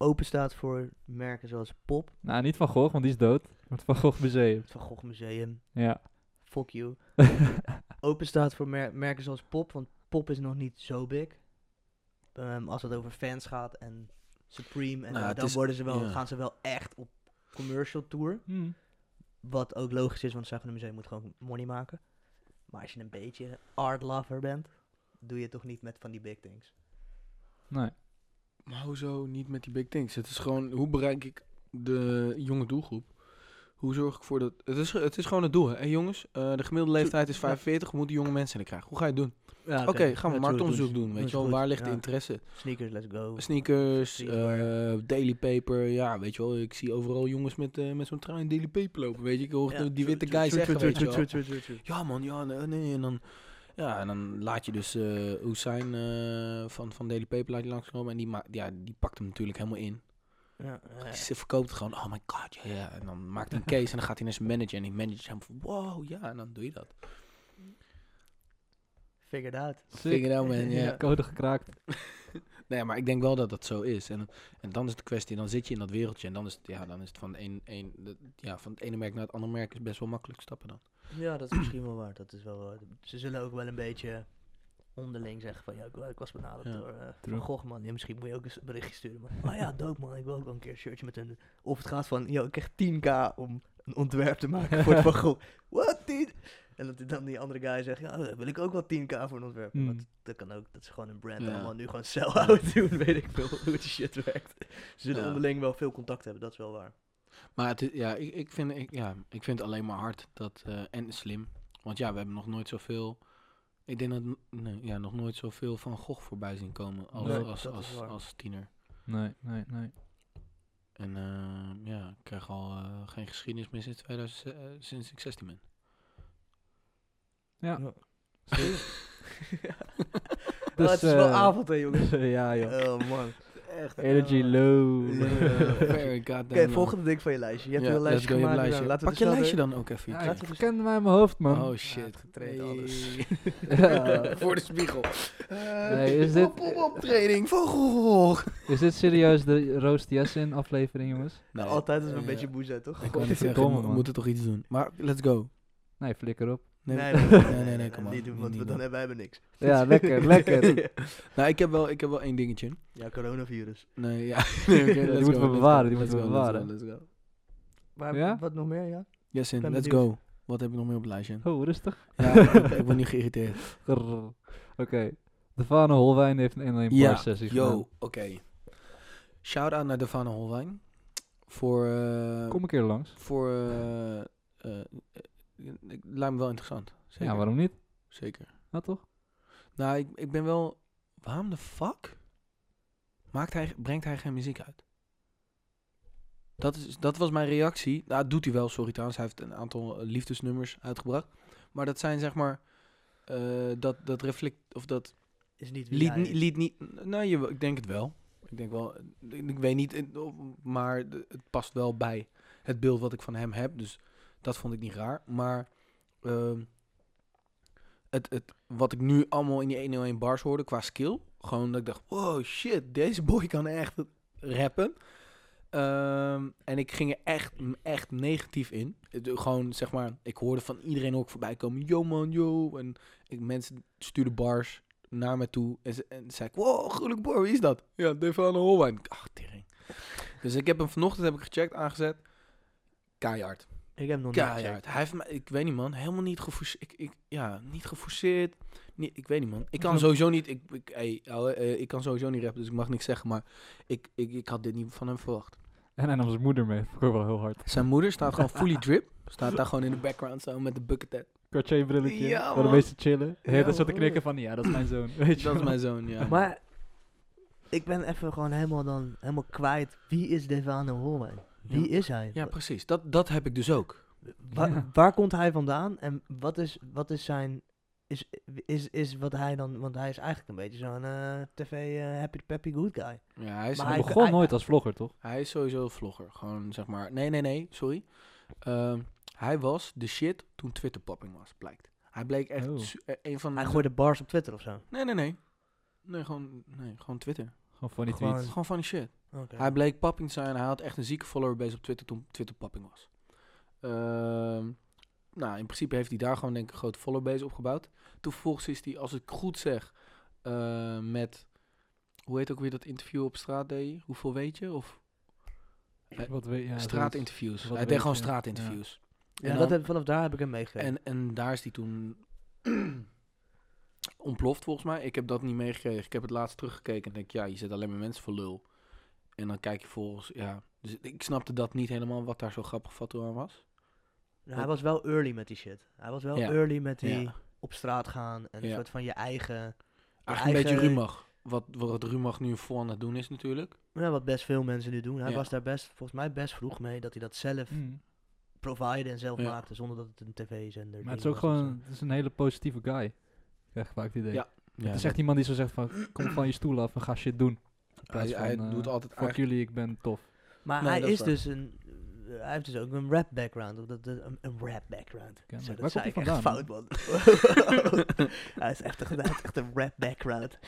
open staat voor merken zoals Pop,
Nou, niet Van Gogh, want die is dood. Maar het Van Gogh Museum.
het Van Gogh Museum,
Ja.
fuck you. open staat voor mer- merken zoals Pop, want Pop is nog niet zo big. Ehm, als het over fans gaat en Supreme,
Nou,
en dan-
het
dan
is-
worden ze wel,
ja.
gaan ze wel echt op commercial tour.
Hmm,
Wat ook logisch is, want het Zuigelenmuseum Museum moet gewoon money maken. Maar als je een beetje art lover bent, doe je het toch niet met van die big things.
Nee.
Maar hoezo niet met die big things? Het is gewoon, hoe bereik ik de jonge doelgroep? Hoe zorg ik ervoor dat... Het is, het is gewoon het doel, hè. Hey, jongens, eh, de gemiddelde leeftijd is 45, we moeten jonge mensen in krijgen. Hoe ga je het doen?
Ja,
Oké, gaan we marktonderzoek doen, weet je wel. Waar ligt de interesse?
Sneakers, let's go.
Sneakers,
Streetwear.
eh, daily paper, ja, weet je wel. Ik zie overal jongens met, eh, met zo'n trui en daily paper lopen, weet je. Ik hoor
Ja,
die- die
true,
witte
true,
guy
true,
zeggen,
true,
weet je
true,
wel.
true, true, true, true.
Ja man, ja, nee, nee, en dan... Ja, en dan laat je dus eh Hussein eh, van, van Daily Paper laat je langskomen. En die, ma- ja, die pakt hem natuurlijk helemaal in.
Ja, eh, ja, ja.
Ze verkoopt gewoon, oh my god, ja, ja. En dan maakt hij een case en dan gaat hij naar zijn manager. En die manager zegt van, wow, ja, en dan doe je dat.
Figured out.
Figure it out, man, ja.
Code gekraakt.
Nee, maar ik denk wel dat dat zo is. En, en dan is de kwestie, dan zit je in dat wereldje. En dan is het, ja, dan is het van, een, een, de- ja, van het ene merk naar het andere merk is best wel makkelijk stappen dan.
Ja, dat is misschien wel waar. Dat is wel waar. Ze zullen ook wel een beetje onderling zeggen van, ja, ik, ik was benaderd
Ja.
door eh
True.
Van Gogh, man. Ja, misschien moet je ook eens een berichtje sturen, man. Oh ja, dope, man. Ik wil ook wel een keer een shirtje met een... Of het gaat van, yo, ik krijg 10k om een ontwerp te maken voor het Van Gogh. Wat? 10? En dat dan die andere guy zegt, ja, dan wil ik ook wel 10k voor een ontwerp.
Mm.
Want dat kan ook, dat is gewoon een brand.
Hmm. Ja.
Allemaal nu gewoon sell-out doen, weet ik veel hoe die shit werkt. Ze zullen
Ja.
onderling wel veel contact hebben, dat is wel waar.
Maar het, is- ja, ik, ik, vind, ik, ja, ik vind het alleen maar hard dat, eh, en slim. Want ja, we hebben nog nooit zoveel... Ik denk dat nee, ja, nog nooit zoveel van Gogh voorbij zien komen als,
Nee,
als,
dat is
als,
waar.
als tiener.
Nee, nee, nee.
En eh, ja, ik krijg al eh, geen geschiedenis meer sinds, 2000, eh, sinds ik 16 ben.
Ja.
Ja.
Dus,
Oh, het is wel
eh,
avond, hè, jongens.
ja, joh.
Eh,
Oh, man. eh.
Echt.
Energy low.
Very goddamn.
Oké, volgende ding van je lijstje. Je hebt
Ja,
wel een
let's
lijstje
go, je hebt
gemaakt.
een lijstje.
nou, laten we
Pak je
het
lijstje dan ook even.
Ja,
hier.
ik ken hem uit mijn hoofd, man.
oh
Ja,
shit.
het getraind alles.
Ja.
Voor de spiegel. Eh,
Nee, is dit-
Op, op, op, training van Gogh.
Is dit serieus de Roast Jessen aflevering, jongens?
Nee,
Altijd als we een
eh,
beetje moe zijn, toch?
Ik kan
Godverdomme,
niet zeggen, we
man.
moeten toch iets doen. Maar let's go.
Nee, flikker op.
Nee,
nee,
nee, nee, nee, kom maar.
Niet doen, want we- dan hebben wij hebben niks.
Ja, lekker, lekker.
Nou, ik heb wel, ik heb wel één dingetje.
Ja, coronavirus.
Nee, ja. Nee, oké,
Die
let's
moeten we
let's
bewaren, die
let's
moeten we
go, let's go,
bewaren.
let's go.
Maar
Ja?
wat nog meer, ja?
Yes,
ben
let's
benieuwd.
go. Wat heb ik nog meer op het lijstje?
Oh, rustig.
Ja, ik, word- ik word nu geïrriteerd.
Grrr. Oké. De Vane Holwijn heeft een 1-1
Ja,
bar sessie gedaan.
oké. Shout-out naar Devane Holwijn. Voor... eh,
Kom een keer langs.
Voor... eh, eh, eh, ik- lijkt me wel interessant. Zeker.
Ja, waarom niet?
Zeker.
Nou, toch?
Nou, ik, ik ben wel... Waarom de fuck maakt hij, brengt hij geen muziek uit? Dat, is, dat was mijn reactie. Nou, dat doet hij wel, sorry trouwens. Hij heeft een aantal eh, liefdesnummers uitgebracht. Maar dat zijn zeg maar... eh, dat, dat reflect... Of dat
Is niet wie
liet,
hij
ni-
is.
liet niet... Nou, je, ik denk het wel. Ik denk wel... Ik, ik weet niet, eh, of- maar de- het past wel bij het beeld wat ik van hem heb. Dus dat vond ik niet raar. Maar ehm, het, het, wat ik nu allemaal in die 101 bars hoorde qua skill... Gewoon dat ik dacht, wow, shit, deze boy kan echt rappen. Ehm, en ik ging er echt, echt negatief in. Het- Gewoon, zeg maar, ik hoorde van iedereen ook voorbij komen. Yo man, yo. En ik, mensen stuurden bars naar me toe. En, ze, en zei ik, wow, gruwelijk boy, wie is dat? Ja, Devane Holwijn. Ach, tering. Dus ik heb hem vanochtend heb ik gecheckt, aangezet. Keihard.
Ik heb nog niet
Keihard. Hij heeft me, ik weet niet man, helemaal niet geforceerd. Ik, ik, ja, niet geforceerd. Nee, ik weet niet man. Ik kan
Zo-
sowieso niet, ik, ik, hey, ouwe, eh, ik kan sowieso niet rappen, dus ik mag niks zeggen. Maar ik, ik, ik had dit niet van hem verwacht.
En hij nam zijn moeder mee. Vond ik wel heel hard.
Zijn moeder staat gewoon fully drip. Staat daar gewoon in de background zo met de bucket hat.
Cartier brilletje.
Ja,
Ja, de
man.
meeste chillen.
Ja,
Ja, dat zat te
man.
knikken van, ja, dat is mijn zoon. Weet je
Dat is
wel.
mijn zoon, ja.
Maar ik ben even gewoon helemaal dan helemaal kwijt. Wie is Devane Holwijn? Wie is hij?
ja, precies. Dat, dat heb ik dus ook.
Wa-
Ja.
Waar komt hij vandaan en wat is, wat is zijn. Is, is, is wat hij dan. Want hij is eigenlijk een beetje zo'n eh, tv eh, happy peppy good guy.
Ja, hij is,
Maar
Hij
hij-
begon nooit als vlogger, toch?
hij is sowieso een vlogger. Gewoon zeg maar... Nee, nee, nee, sorry. Ehm, hij was de shit toen Twitter popping was, blijkt. Hij bleek echt
Oh.
su- eh, een van de...
Hij gooide bars op Twitter of zo.
Nee, nee, nee. Nee, gewoon, nee, gewoon Twitter.
Gewoon funny
Gewoon-
tweets.
Gewoon funny shit.
Oké.
Hij bleek papping te zijn. Hij had echt een zieke followerbase op Twitter toen Twitter papping was. Ehm, nou, in principe heeft hij daar gewoon denk ik een grote followerbase opgebouwd. Toen vervolgens is hij, als ik goed zeg, eh, met... Hoe heet ook weer dat interview op straat deed? je? Hoeveel weet je? Of
Wat weet ja, zoiets.
straatinterviews.
Wat
Hij deed
weet
gewoon
je?
straatinterviews.
ja,
en
dat
dan-
heb, vanaf daar heb ik hem meegekregen.
En, en daar is hij toen ontploft volgens mij. Ik heb dat niet meegekregen. Ik heb het laatst teruggekeken en denk, ja, je zet alleen maar mensen voor lul. En dan kijk je volgens, ja. Dus ik snapte dat niet helemaal wat daar zo grappig van toe aan was.
Nou, hij was wel early met die shit. Hij was wel
Ja.
early met die
Ja.
op straat gaan en een
Ja.
soort van je eigen.
Eigenlijk een beetje
eigen-
Rumach. Wat, wat Rumach nu voor aan het doen is natuurlijk.
Ja, wat best veel mensen nu doen. Hij
Ja.
was daar best, volgens mij best vroeg mee dat hij dat zelf
Mm.
provided en zelf
Ja.
maakte zonder dat het een tv-zender
Maar het is
ding
ook
was of zo.
gewoon, het is een hele positieve guy. Ik krijg vaak het idee.
Ja, Ja,
het is echt iemand die zo zegt van, kom van je stoel af en ga shit doen. In
hij,
plaats van,
hij
eh,
doet
Fuck
altijd eigenlijk-
jullie, ik ben tof.
Maar
Nee,
hij
dat is
is
waar.
dus een. eh, hij heeft dus ook een rap background. Of dat, dat- een, een rap background.
Kijk,
Zo,
waar komt
dat zei
hij
ik echt
vandaan?
fout, man. hij, is echt een, hij heeft echt een rap background.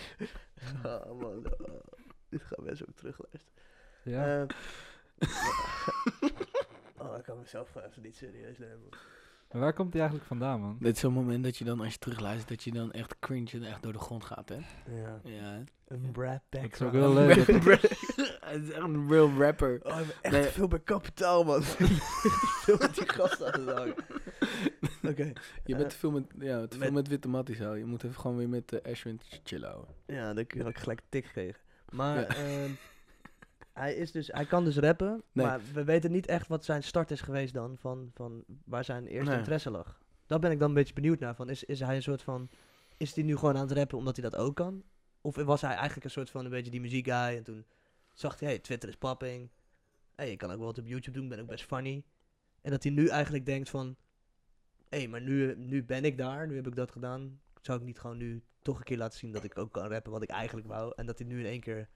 Oh, man. oh. dit gaan mensen ook terugluisteren.
Ja.
Eh, oh, ik kan mezelf gewoon even niet serieus nemen.
Maar waar komt hij eigenlijk vandaan, man?
Dit is zo'n moment dat je dan, als je terugluistert, dat je dan echt cringe en echt door de grond gaat, hè?
Ja,
Ja.
een rap background.
ook heel leuk. dat-
Hij is echt een real rapper.
Oh, ik ben echt
Nee.
veel meer kapitaal, man. veel met die gasten aan het hangen. Oké.
Je bent te veel met, ja, te veel
met-
Eh, met witte matties houden. Je moet even gewoon weer met eh, Ashwin ch- chillen houden.
Ja, dan had ik gelijk tik gekregen. Maar
Ja.
ehm, hij, is dus, hij kan dus rappen,
Nee.
maar we weten niet echt wat zijn start is geweest dan, van, van waar zijn eerste
Nee.
interesse lag. Daar ben ik dan een beetje benieuwd naar, van is, is hij een soort van, is hij nu gewoon aan het rappen omdat hij dat ook kan? Of was hij eigenlijk een soort van een beetje die muziekguy en toen zag hij, hey, Twitter is popping, hey, ik kan ook wel wat op YouTube doen, ik ben ook best funny. En dat hij nu eigenlijk denkt van, hé, hey, maar nu, nu ben ik daar, nu heb ik dat gedaan. Zou ik niet gewoon nu toch een keer laten zien dat ik ook kan rappen wat ik eigenlijk wou. En dat hij nu in één keer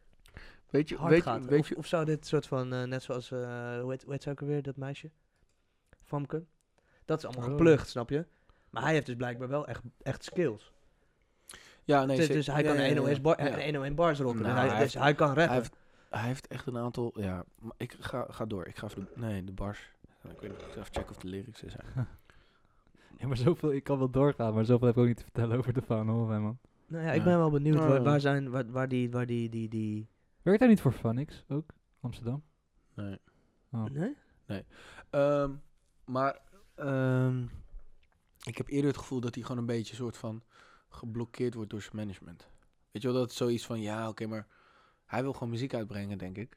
Weet je,
hard
weet,
gaat.
je, weet
of,
je,
of zou dit soort van, eh, net zoals, eh, hoe, heet, hoe heet ze ook alweer, dat meisje? Famke. Dat is allemaal
Oh.
geplukt, snap je? Maar hij heeft dus blijkbaar wel echt, echt skills.
ja, nee,
dus,
zeker.
dus hij
Ja,
kan
ja, ja,
een 101 bar,
ja.
een 101 bars rocken.
Nou,
dus hij,
hij
dus hij kan
Hij
rappen.
heeft, hij heeft echt een aantal, ja, maar ik ga, ga door. Ik ga even, de- nee, de bars. Ik weet niet, ik ga even checken of de lyrics er zijn.
Ja, maar zoveel, ik kan wel doorgaan, maar zoveel heb ik ook niet te vertellen over de Van Holwijn, man.
nou ja, ik
Ja. Oh.
ben wel benieuwd
Ja,
waar,
ja.
waar zijn, waar, waar die, waar die, die, die...
Werkt hij niet voor Phonics ook? Amsterdam?
Nee.
Oh.
Nee?
Ehm, maar ehm, ik heb eerder het gevoel dat hij gewoon een beetje soort van geblokkeerd wordt door zijn management. Weet je wel, dat is zoiets van, ja, oké, maar hij wil gewoon muziek uitbrengen, denk ik.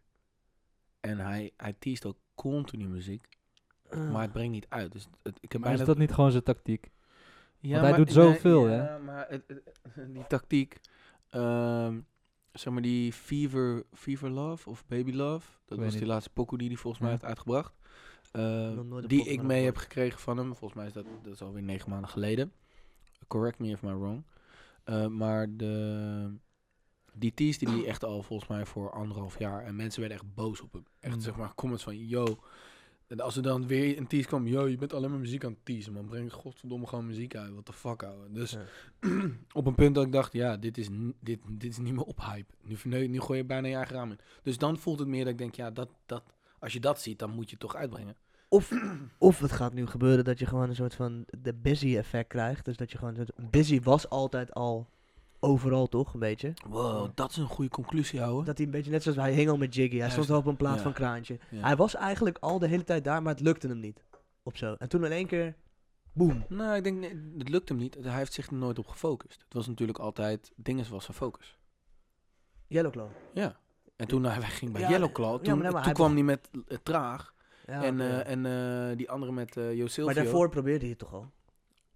En hij, hij teest ook continu muziek,
Eh,
maar het brengt niet uit. Dus het, ik heb
Maar is
bijna-
dat niet gewoon zijn tactiek?
Ja,
Want hij doet zoveel,
ja,
hè?
maar het- het- die tactiek. ehm, zeg maar die Fever, Fever Love of Baby Love. Dat
Weet
was die
niet.
laatste pokoe die hij volgens mij
Ja.
heeft uitgebracht. Eh,
Nog nooit een
die
pokoe
ik
van
mee
hem
heb
gehoord.
gekregen van hem. Volgens mij is dat, dat is alweer negen maanden geleden. Correct me if I'm wrong. Eh, maar de, die teaste die echt al volgens mij voor anderhalf jaar. En mensen werden echt boos op hem. Echt
Mm.
zeg maar comments van, yo. En als er dan weer een tease kwam, yo, je bent alleen maar muziek aan het teasen, man. Breng godverdomme gewoon muziek uit. Wat de fuck, ouwe. Dus
Ja.
op een punt dat ik dacht, ja, dit is, n- dit, dit is niet meer ophype. Nu, verneu- nu gooi je bijna je eigen raam in. Dus dan voelt het meer dat ik denk, ja, dat, dat, als je dat ziet, dan moet je het toch uitbrengen.
Of, of het gaat nu gebeuren dat je gewoon een soort van de busy effect krijgt. Dus dat je gewoon... een soort- Busy was altijd al overal toch, een beetje.
Wow, dat is een goede conclusie, ouwe.
Dat hij een beetje net zoals hij hing al met Jiggy. Hij
Juist.
stond al op een plaat
Ja.
van Kraantje.
Ja.
Hij was eigenlijk al de hele tijd daar, maar het lukte hem niet. Op zo. En toen in één keer, boom.
Nou, ik denk, nee, het lukt hem niet. Hij heeft zich er nooit op gefocust. Het was natuurlijk altijd, dingen was zijn focus.
Yellow Claw.
Ja. En toen hij wegging bij
Ja,
Yellow Claw,
ja,
toen,
maar nee, maar
toen
hij
kwam hij met eh, Traag
Ja,
en,
oké.
eh, en eh, die andere met eh Jo Silvio.
maar daarvoor probeerde hij het toch al.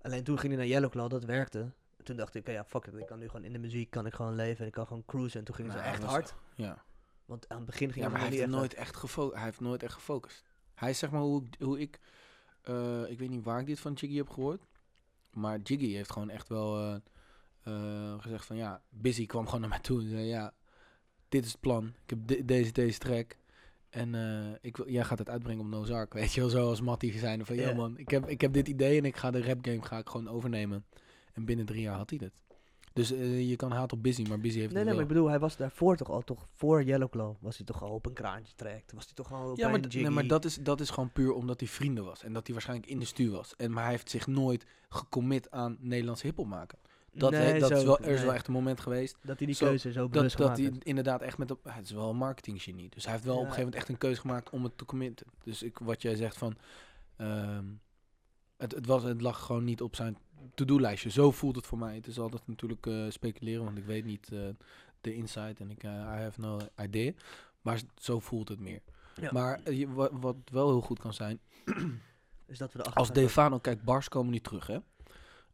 Alleen toen ging hij naar Yellow Claw, dat werkte. Toen dacht ik, oké, ja, fuck it. Ik kan nu gewoon in de muziek, kan ik gewoon leven en ik kan gewoon cruisen. En toen ging
Nou,
ze echt
was-
hard.
Ja.
Want aan het begin ging
Ja, maar hij
nog
heeft,
niet echt
nooit echt gefo- hij heeft nooit echt gefocust. Hij is zeg maar hoe, ik- hoe ik... eh, ik weet niet waar ik dit van Jiggy heb gehoord. Maar Jiggy heeft gewoon echt wel eh, eh, gezegd van... Ja, Busy kwam gewoon naar mij toe en zei... Ja, dit is het plan. Ik heb de- deze, deze track. En eh, ik wil, jij gaat het uitbrengen op Nozark. Weet je wel, zoals Matty zijn. Van, ja
Ja.
man, ik heb, ik heb dit idee en ik ga de rap game ga ik gewoon overnemen. En binnen drie jaar had hij dit. Dus eh, je kan haat op Busy, maar Busy heeft
Nee,
het
nee, maar
wel.
ik bedoel, hij was daarvoor toch al, toch voor Yellow Claw, was hij toch al op een kraantje trekt. Was hij toch al op
Ja, maar,
een
d-
jiggy.
nee, maar dat, is, dat is gewoon puur omdat hij vrienden was. En dat hij waarschijnlijk in de stuur was. En, maar hij heeft zich nooit gecommit aan Nederlands hiphop maken. Dat, he-
Nee,
dat is
zo-
wel, er is wel
nee.
echt een moment geweest.
Dat hij die
zo-
keuze zo
Dat,
bewust
dat
gemaakt
hij
heeft.
inderdaad echt met... Op, het is wel een marketinggenie. Dus hij heeft wel op
Ja.
een gegeven moment echt een keuze gemaakt om het te committen. Dus ik, wat jij zegt van... ehm, het, het, was, het lag gewoon niet op zijn to-do-lijstje. Zo voelt het voor mij. Het is altijd natuurlijk eh, speculeren, want ik weet niet eh, de insight. En ik, eh, I have no idea. Maar zo voelt het meer.
Ja.
Maar eh, je- wa- wat wel heel goed kan zijn,
Dus dat we erachter
als
gaan
Defano, kijk, bars komen niet terug, hè?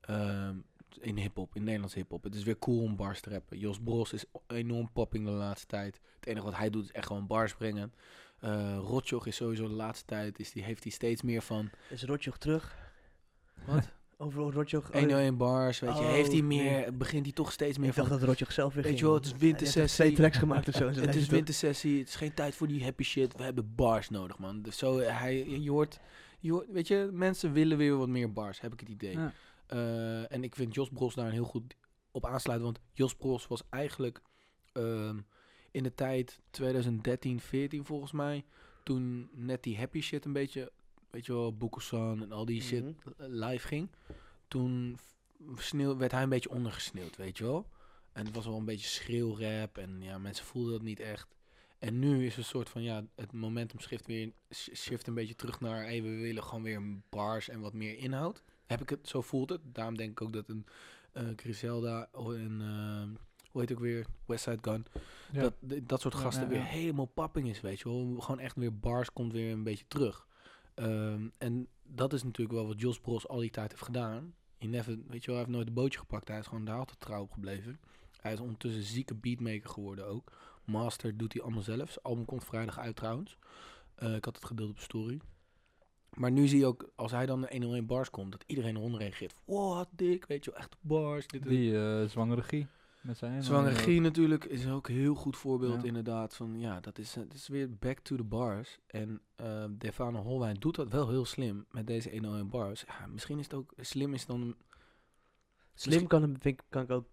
Ehm, in hip-hop, in Nederlands hip-hop. Het is weer cool om bars te rappen. Jos Bros is o- enorm popping de laatste tijd. Het enige wat hij doet is echt gewoon bars brengen. Eh Rotjoch is sowieso de laatste tijd, is die, heeft hij steeds meer van
komen. Is Rotjoch terug?
Wat?
Over Rotjoch. oh,
101 bars, weet je.
Oh,
heeft hij
nee.
meer, begint hij toch steeds meer
ik dacht
van.
dat Rotjoch zelf weer
Weet
ging.
je wel, het is
Hij heeft echt twee
wintersessie.
tracks gemaakt of zo. Dus in zijn
Het is
leven, toch?
wintersessie, het is geen tijd voor die happy shit. We hebben bars nodig, man. Dus zo, eh, hij, je, hoort, je hoort- weet je, mensen willen weer wat meer bars, heb ik het idee.
Ja.
Eh, en ik vind Jos Bros daar een heel goed op aansluiten, want Jos Bros was eigenlijk ehm, in de tijd 2013, 14 volgens mij, toen net die happy shit een beetje, weet je wel, Boekelsan en al die shit
Mhm.
live ging, toen v- sneeuw, werd hij een beetje ondergesneeuwd, weet je wel. En het was wel een beetje schreeuwrap en ja, mensen voelden dat niet echt. En nu is het soort van, ja, het momentum shift weer sh- shift een beetje terug naar, hey, we willen gewoon weer bars en wat meer inhoud. Heb ik het, zo voelt het. Daarom denk ik ook dat een eh, Griselda of een, eh, hoe heet het ook weer, Westside Gun,
Ja.
dat, d- dat soort
Ja,
gasten
ja,
weer
ja.
helemaal papping is, weet je wel. Gewoon echt weer bars komt weer een beetje terug. Ehm, en dat is natuurlijk wel wat Jos Bros al die tijd heeft gedaan. Hij, never, weet je wel, hij heeft nooit de bootje gepakt. Hij is gewoon daar altijd trouw op gebleven. Hij is ondertussen zieke beatmaker geworden ook. Master doet hij allemaal zelf. Zijn album komt vrijdag uit trouwens. Eh, ik had het gedeeld op story. Maar nu zie je ook, als hij dan naar 101 bars komt, dat iedereen eronder reageert. Wat dik, weet je wel, echt bars. Dit, en
Die eh, zwangere Guy. Met zijn
Zwangere Guy natuurlijk is ook een heel goed voorbeeld
Ja.
inderdaad. Van, eh, ja, dat is, eh, dat is weer back to the bars. En eh Defano Holwijn doet dat wel heel slim met deze 101 bars. Ja, misschien is het ook slim is dan...
Slim kan hem, vind ik, kan ik ook...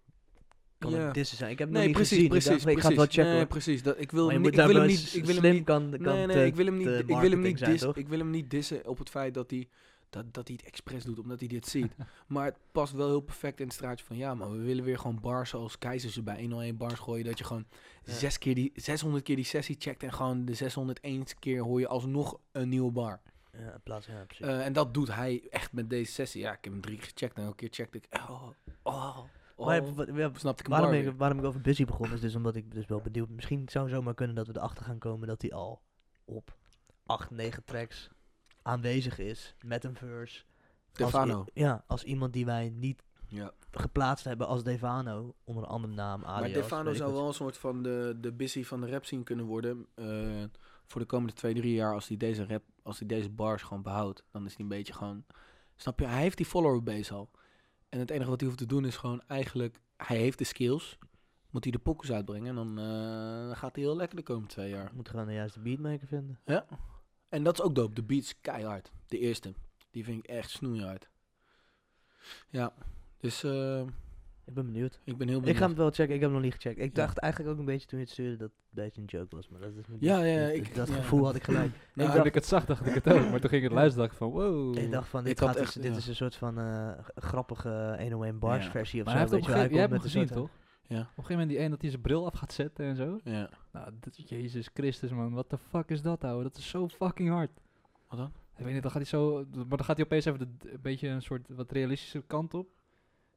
Kan
Ja.
hem dissen zijn. Ik heb hem
Nee,
nog niet
precies,
gezien.
precies,
Ik, dacht, nee, ik ga het wel
precies.
checken.
Nee,
hoor.
precies. Dat, ik wil
Maar je
hem
moet
niet... Ik wil hem niet...
daar wel
Ik wil hem
Slim kan, kan
Nee, nee,
te-
ik wil hem niet,
te
ik wil hem
eh, marketing
niet,
zijn,
dis-
toch?
ik wil hem niet dissen op het feit dat hij, dat, dat hij het expres doet, omdat hij dit ziet. maar het past wel heel perfect in het straatje van, ja maar we willen weer gewoon bars zoals Keizer ze bij 101 bars gooien, dat je gewoon
Ja.
zes keer die, 600 keer die sessie checkt en gewoon de 601 keer hoor je alsnog een nieuwe bar.
Ja, in plaats ja, precies.
Eh, en dat doet hij echt met deze sessie. Ja, ik heb hem drie keer gecheckt en elke keer checkte ik, oh, oh, oh.
Maar wat- ja,
Snapte ik hem
waarom,
bar
ik,
weer.
waarom ik over Busy begon is dus omdat ik dus wel benieuwd... Misschien zou zomaar kunnen dat we erachter gaan komen dat hij al op 8, 9 tracks aanwezig is met een verse. Als
Stefano.
i- ja, als iemand die wij niet
Ja.
geplaatst hebben als Devano onder een andere naam. Adios,
Maar Defano
weet ik
zou
wat.
wel een soort van de, de busy van de rap scene kunnen worden. eh, voor de komende twee, drie jaar, als hij deze rap, als hij deze bars gewoon behoudt, dan is hij een beetje gewoon. Snap je, hij heeft die follower base al. En het enige wat hij hoeft te doen is gewoon eigenlijk, hij heeft de skills. Moet hij de pokkers uitbrengen en dan eh, gaat hij heel lekker de komende twee jaar.
Moet gewoon de juiste beatmaker vinden.
En dat is ook dope. De beats keihard. De eerste. Die vind ik echt snoeihard. Ja. Dus eh,
Ik ben benieuwd.
ik ben heel benieuwd.
Ik ga hem wel checken, ik heb hem nog niet gecheckt. Ik
Ja.
dacht eigenlijk ook een beetje toen je het stuurde dat het een beetje een joke was. Maar dat is
Ja, ja, ja,
dat,
ik-
dat
ja.
gevoel had ik gelijk.
Nou,
ik
toen
dacht-
ik het zag, dacht ik het ook. Maar toen ging ik het luisteren, dacht ik van wow.
Ik dacht van, dit,
Ik had
gaat
echt-
iets- dit
ja.
is een soort van eh, g- grappige 101 bars
Ja.
versie of
maar hij
zo.
heeft op
weet
een
je wel.
gegeven, jij hebt hem
komt
gezien,
met een soort-
toch?
Ja.
Op een gegeven moment die een dat hij zijn bril af gaat zetten en zo.
Ja.
Nou, dit- jezus Christus man, wat de fuck is dat ouwe? Dat is zo fucking hard.
Wat dan?
Ik weet niet, dan gaat hij zo... Maar dan gaat hij opeens even de- de- een beetje een soort wat realistische kant op.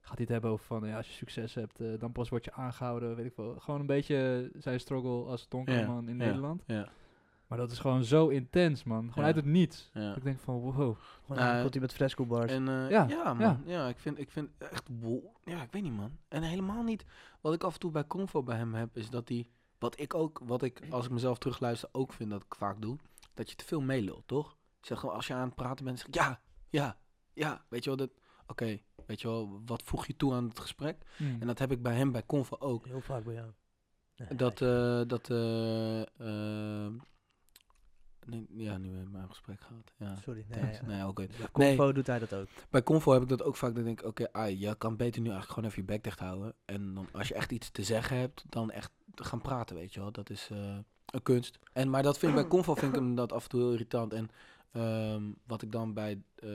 Gaat hij het hebben over van, ja, als je succes hebt, eh, dan pas word je aangehouden, weet ik veel. Gewoon een beetje eh, zijn struggle als donkere
Ja,
man in
ja.
Nederland.
Ja.
Maar dat is gewoon zo intens, man. Gewoon
Ja.
uit het niets.
Ja.
Ik denk van, wow.
Gewoon aan,
Eh,
komt hij met fresco bars.
En, eh,
Ja,
ja, man. Ja, ik, vind, ik vind echt... wo- Ja, ik weet niet, man. En helemaal niet... Wat ik af en toe bij Convo bij hem heb, is dat hij... Wat ik ook, wat ik als ik mezelf terugluister ook vind dat ik vaak doe, dat je te veel meelult, toch? Ik Zeg gewoon, als je aan het praten bent, zeg ik, ja, ja, ja. Weet je wel, dat... Oké, weet je wel, wat voeg je toe aan het gesprek?
Hm.
En dat heb ik bij hem bij Convo ook.
Heel vaak bij jou. Nee,
Dat,
nee.
eh, dat, eh, eh, nee, ja, nu hebben we mijn gesprek gehad. Ja,
Sorry, nee.
thanks.
ja.
eh, nee, oké.
Bij
Nee.
Convo doet hij dat ook.
Bij Convo heb ik dat ook vaak. Dan denk ik, oké, ah, je kan beter nu eigenlijk gewoon even je bek dicht houden. En dan, als je echt iets te zeggen hebt, dan echt te gaan praten, weet je wel. Dat is eh, een kunst. En, maar dat vind ik bij Convo vind ik hem dat af en toe heel irritant. En ehm, wat ik dan bij, eh,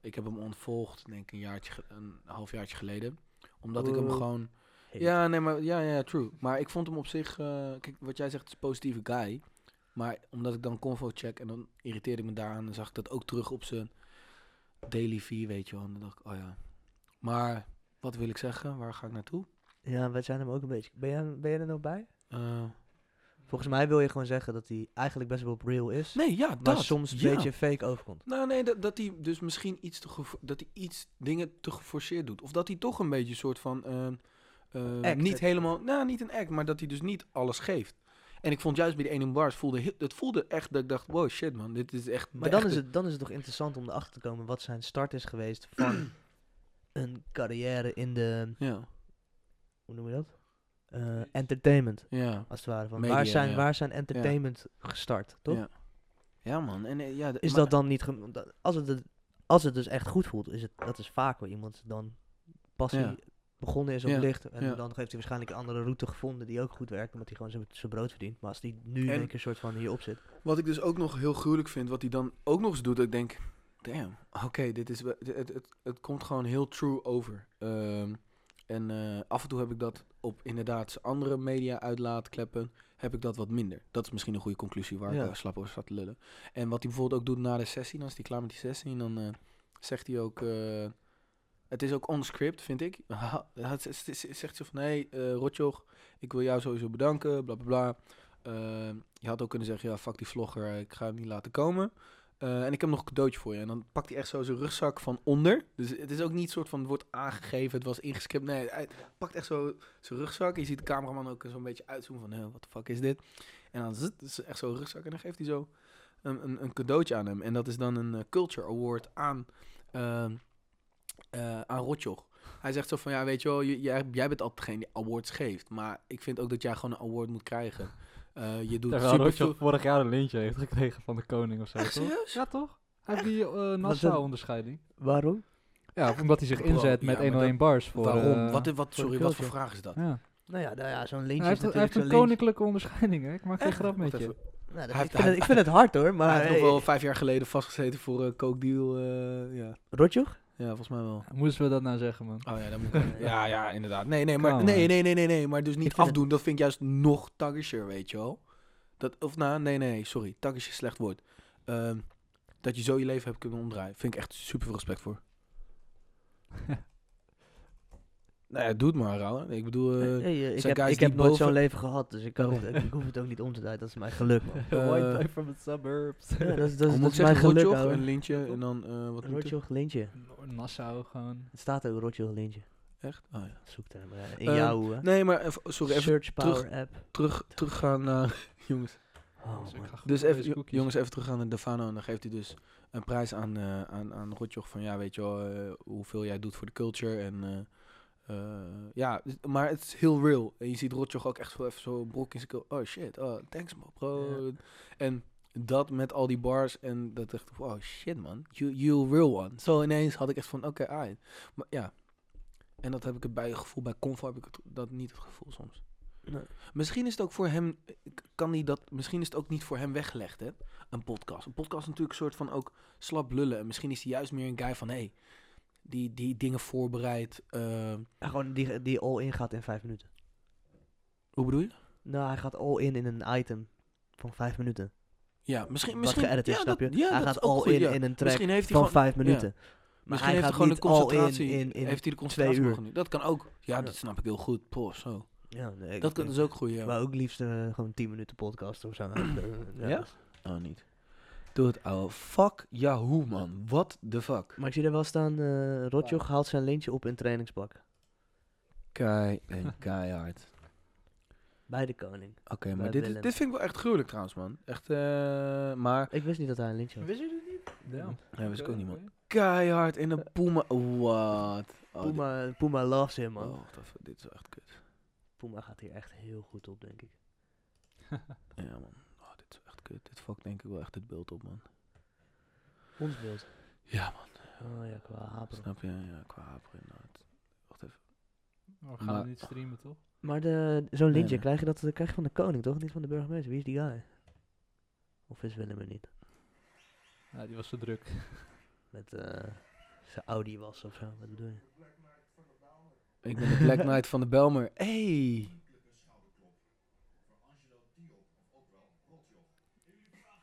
ik heb hem ontvolgd, denk ik een jaartje, ge- een halfjaartje geleden. Omdat ik hem
Oeh.
gewoon
Hey.
ja, nee, maar ja, ja, true. Maar ik vond hem op zich, eh, kijk, wat jij zegt is een positieve guy. Maar omdat ik dan Convo check en dan irriteerde ik me daaraan, dan zag ik dat ook terug op zijn daily fee, weet je wel. En dan dacht ik, oh ja. Maar wat wil ik zeggen? Waar ga ik naartoe?
Ja, wij zijn hem ook een beetje... Ben jij, ben jij er nog bij?
Eh,
Volgens mij wil je gewoon zeggen dat hij eigenlijk best wel real is.
nee, ja,
maar
dat.
soms een
ja.
beetje fake overkomt.
Nou, nee, dat, dat hij dus misschien iets te gevo- dat hij iets dingen te geforceerd doet. Of dat hij toch een beetje een soort van. ehm, ehm,
Act.
niet helemaal. Nou, niet een act, maar dat hij dus niet alles geeft. En ik vond juist bij de 1 bars voelde heel- het voelde echt dat ik dacht: wow, shit man, dit is echt.
Maar
de
dan is,
echte-
het, dan is het toch interessant om erachter te komen wat zijn start is geweest van een carrière in de,
Ja,
hoe noem je dat? Eh, entertainment,
ja.
als het ware. Van
Media,
waar, zijn,
ja.
waar zijn entertainment gestart, toch?
Ja. Ja, man. En, eh, ja, de-
Is
maar-
dat dan niet, gem- da- als het, het- als het dus echt goed voelt, is het, dat is vaak waar iemand dan passie
Ja.
begonnen is op
Ja,
licht. En
ja.
dan heeft hij waarschijnlijk een andere route gevonden die ook goed werkt, omdat hij gewoon zijn- zijn brood verdient. Maar als hij nu in
En-
een keer soort van hierop zit.
Wat ik dus ook nog heel gruwelijk vind, wat hij dan ook nog eens doet, dat ik denk, damn, oké, dit is, we- dit- het, het, het komt gewoon heel true over. Ehm, en eh, af en toe heb ik dat op inderdaad z'n andere media uitlaatkleppen, heb ik dat wat minder. Dat is misschien een goede conclusie waar
Ja.
ik eh, slap over zat te lullen. En wat hij bijvoorbeeld ook doet na de sessie, dan is hij klaar met die sessie en dan eh, zegt hij ook... eh, het is ook onscript, vind ik. Hij z- z- z- zegt zo van, hé, hey, eh, Rotjoch, ik wil jou sowieso bedanken, bla bla bla. Ehm, je had ook kunnen zeggen, ja, fuck die vlogger, eh, ik ga hem niet laten komen. Eh, en ik heb nog een cadeautje voor je. En dan pakt hij echt zo zijn rugzak van onder. Dus het is ook niet soort van, het wordt aangegeven, het was ingeskipt. Nee, hij pakt echt zo zijn rugzak. Je ziet de cameraman ook zo'n beetje uitzoomen van, wat de fuck is dit? En dan zit is echt zo'n rugzak en dan geeft hij zo een, een, een cadeautje aan hem. En dat is dan een eh, Culture Award aan, ehm eh, aan Rotjoch. Hij zegt zo van, ja, weet je wel, j- jij, jij bent altijd degene die awards geeft. Maar ik vind ook dat jij gewoon een award moet krijgen. Eh, je doet
Terwijl
super
Rotjoch
veel-
vorig jaar een lintje heeft gekregen van de koning of zo,
Echt
toch?
serieus?
Ja, toch? Hij heeft die eh, Nassau-onderscheiding.
Waarom?
Ja, omdat hij zich
Bro,
inzet met
ja, maar
101 bars voor...
Waarom?
eh,
Wat, wat,
de
sorry, wat voor
culture.
vraag is dat?
ja.
Nou ja, nou ja zo'n
Hij
lintje
heeft,
is
hij
natuurlijk
heeft een
zo'n lintje.
koninklijke onderscheiding, hè? Ik maak geen grap met
Wacht
je.
even.
Nou, dat-
Hij
ik,
heeft-
vind het, ik vind het hard hoor, maar...
Hij heeft nog
eh,
wel vijf jaar geleden vastgezeten voor een coke deal. eh, ja.
Rotjoch?
ja, volgens mij wel.
Moesten we dat nou zeggen, man?
Oh ja, dat moet ik- ja, ja, inderdaad. Nee, nee, maar,
Come
nee,
on.
nee, nee, nee, nee, maar dus niet
vind
afdoen. Dat vind ik juist nog taggischer, weet je wel. Dat, of nou, nee, nee, sorry. Taggisch is slecht woord. Ehm, dat je zo je leven hebt kunnen omdraaien. Vind ik echt super veel respect voor. Nou ja, doe het maar, ouwe. Ik bedoel, eh,
Hey, eh, ik
zijn
heb,
guys
ik
die
heb nooit
boven-
zo'n leven gehad, dus ik, kan het- ik hoef het ook niet om te draaien. Dat is mijn geluk, man.
White
eh,
guy from the suburbs.
Ja, dat is, dat is,
hoe
dat
moet
is
ik
mijn
zeggen?
geluk,
Rotjoch,
ouwe.
een lintje en dan eh, wat moet er-
Rotjoch Lintje.
Nassau gewoon.
Het staat ook Rotjoch Lintje.
Echt? Oh, ja.
Zoekterm, ja. In
Ehm,
jouw eh,
Nee, maar even, sorry, even
search power
terug-
app.
terug, teruggaan naar... jongens,
Oh,
ik
man.
ga goed
dus
met
even,
deze
jo-
cookies.
jongens, even teruggaan naar Davano. En dan geeft hij dus een prijs aan, eh aan, aan Rotjoch van... Ja, weet je wel, eh, hoeveel jij doet voor de culture. En eh, eh, ja, dus- maar het is heel real. En je ziet Rotjoch ook echt zo even zo brok in zijn keel. Oh shit, oh, thanks man, bro. En dat met al die bars. En dat echt, oh shit man, you, you real one. Zo ineens had ik echt van, oké, ah, maar ja. En dat heb ik het bij het gevoel, bij Convo heb ik het, dat niet het gevoel soms.
Nee.
Misschien is het ook voor hem, k- kan hij dat, misschien is het ook niet voor hem weggelegd, hè? Een podcast. Een podcast is natuurlijk een soort van ook slap lullen. En misschien is hij juist meer een guy van, hé, hey, die, die dingen voorbereidt. eh,
Ja, Gewoon die, die all-in gaat in vijf minuten.
hoe bedoel je?
Nou, hij gaat all-in in een item van vijf minuten.
Ja, misschien...
Wat
misschien
geëdit is,
ja,
snap je?
dat- ja,
hij
dat
gaat
is ook goed,
all-in
ja.
in een track
Misschien heeft hij
van
gewoon...
vijf minuten. Maar
Misschien
hij
heeft
gaat
hij gewoon de
niet all-in
concentratie.
in... in
heeft hij de concentratie
uur.
nog niet? Dat kan ook. Ja,
Ja.
dat snap ik heel goed. Poh, zo.
ja, nee, ik-
Dat kan
ik-
dus ook goed, ja.
Maar ook liefst eh, gewoon 10 minuten podcast of zo. ja.
Ja? Oh, niet. Doe het, ouwe. Fuck Yahoo, man. What the fuck?
Maar ik zie daar wel staan, eh Rotjoch haalt zijn lintje op in trainingspak.
Kei en keihard.
Bij de koning.
Oké,
Bij
maar dit, is-
Willem.
dit vind ik wel echt gruwelijk trouwens, man. Echt, eh... Maar...
Ik wist niet dat hij een lintje had.
Wist je dit niet? Ja.
Nee, wist ik ook niet, man.
Oké.
Keihard in een Puma... What? Oh, dit-
Puma, Puma loves him, man.
Oh, wacht even, dit is wel echt kut.
Puma gaat hier echt heel goed op, denk ik.
Ja, man. Oh, dit is wel echt kut. Dit fuck denk ik wel echt het beeld op, man.
Ons beeld.
Ja, man.
Oh ja, qua hapen.
Snap je? Ja, qua haper inderdaad. Wacht even.
Maar we gaan
Maar-
het niet streamen, toch?
Maar de, zo'n
Nee,
lintje,
nee.
Krijg, je dat, krijg je van de koning, toch? Niet van de burgemeester. Wie is die guy? Of is Willem er niet?
Ja, die was zo druk.
Met eh, zijn Audi was of zo, wat bedoel je?
Ik ben de Black Knight van de Belmer. Hey!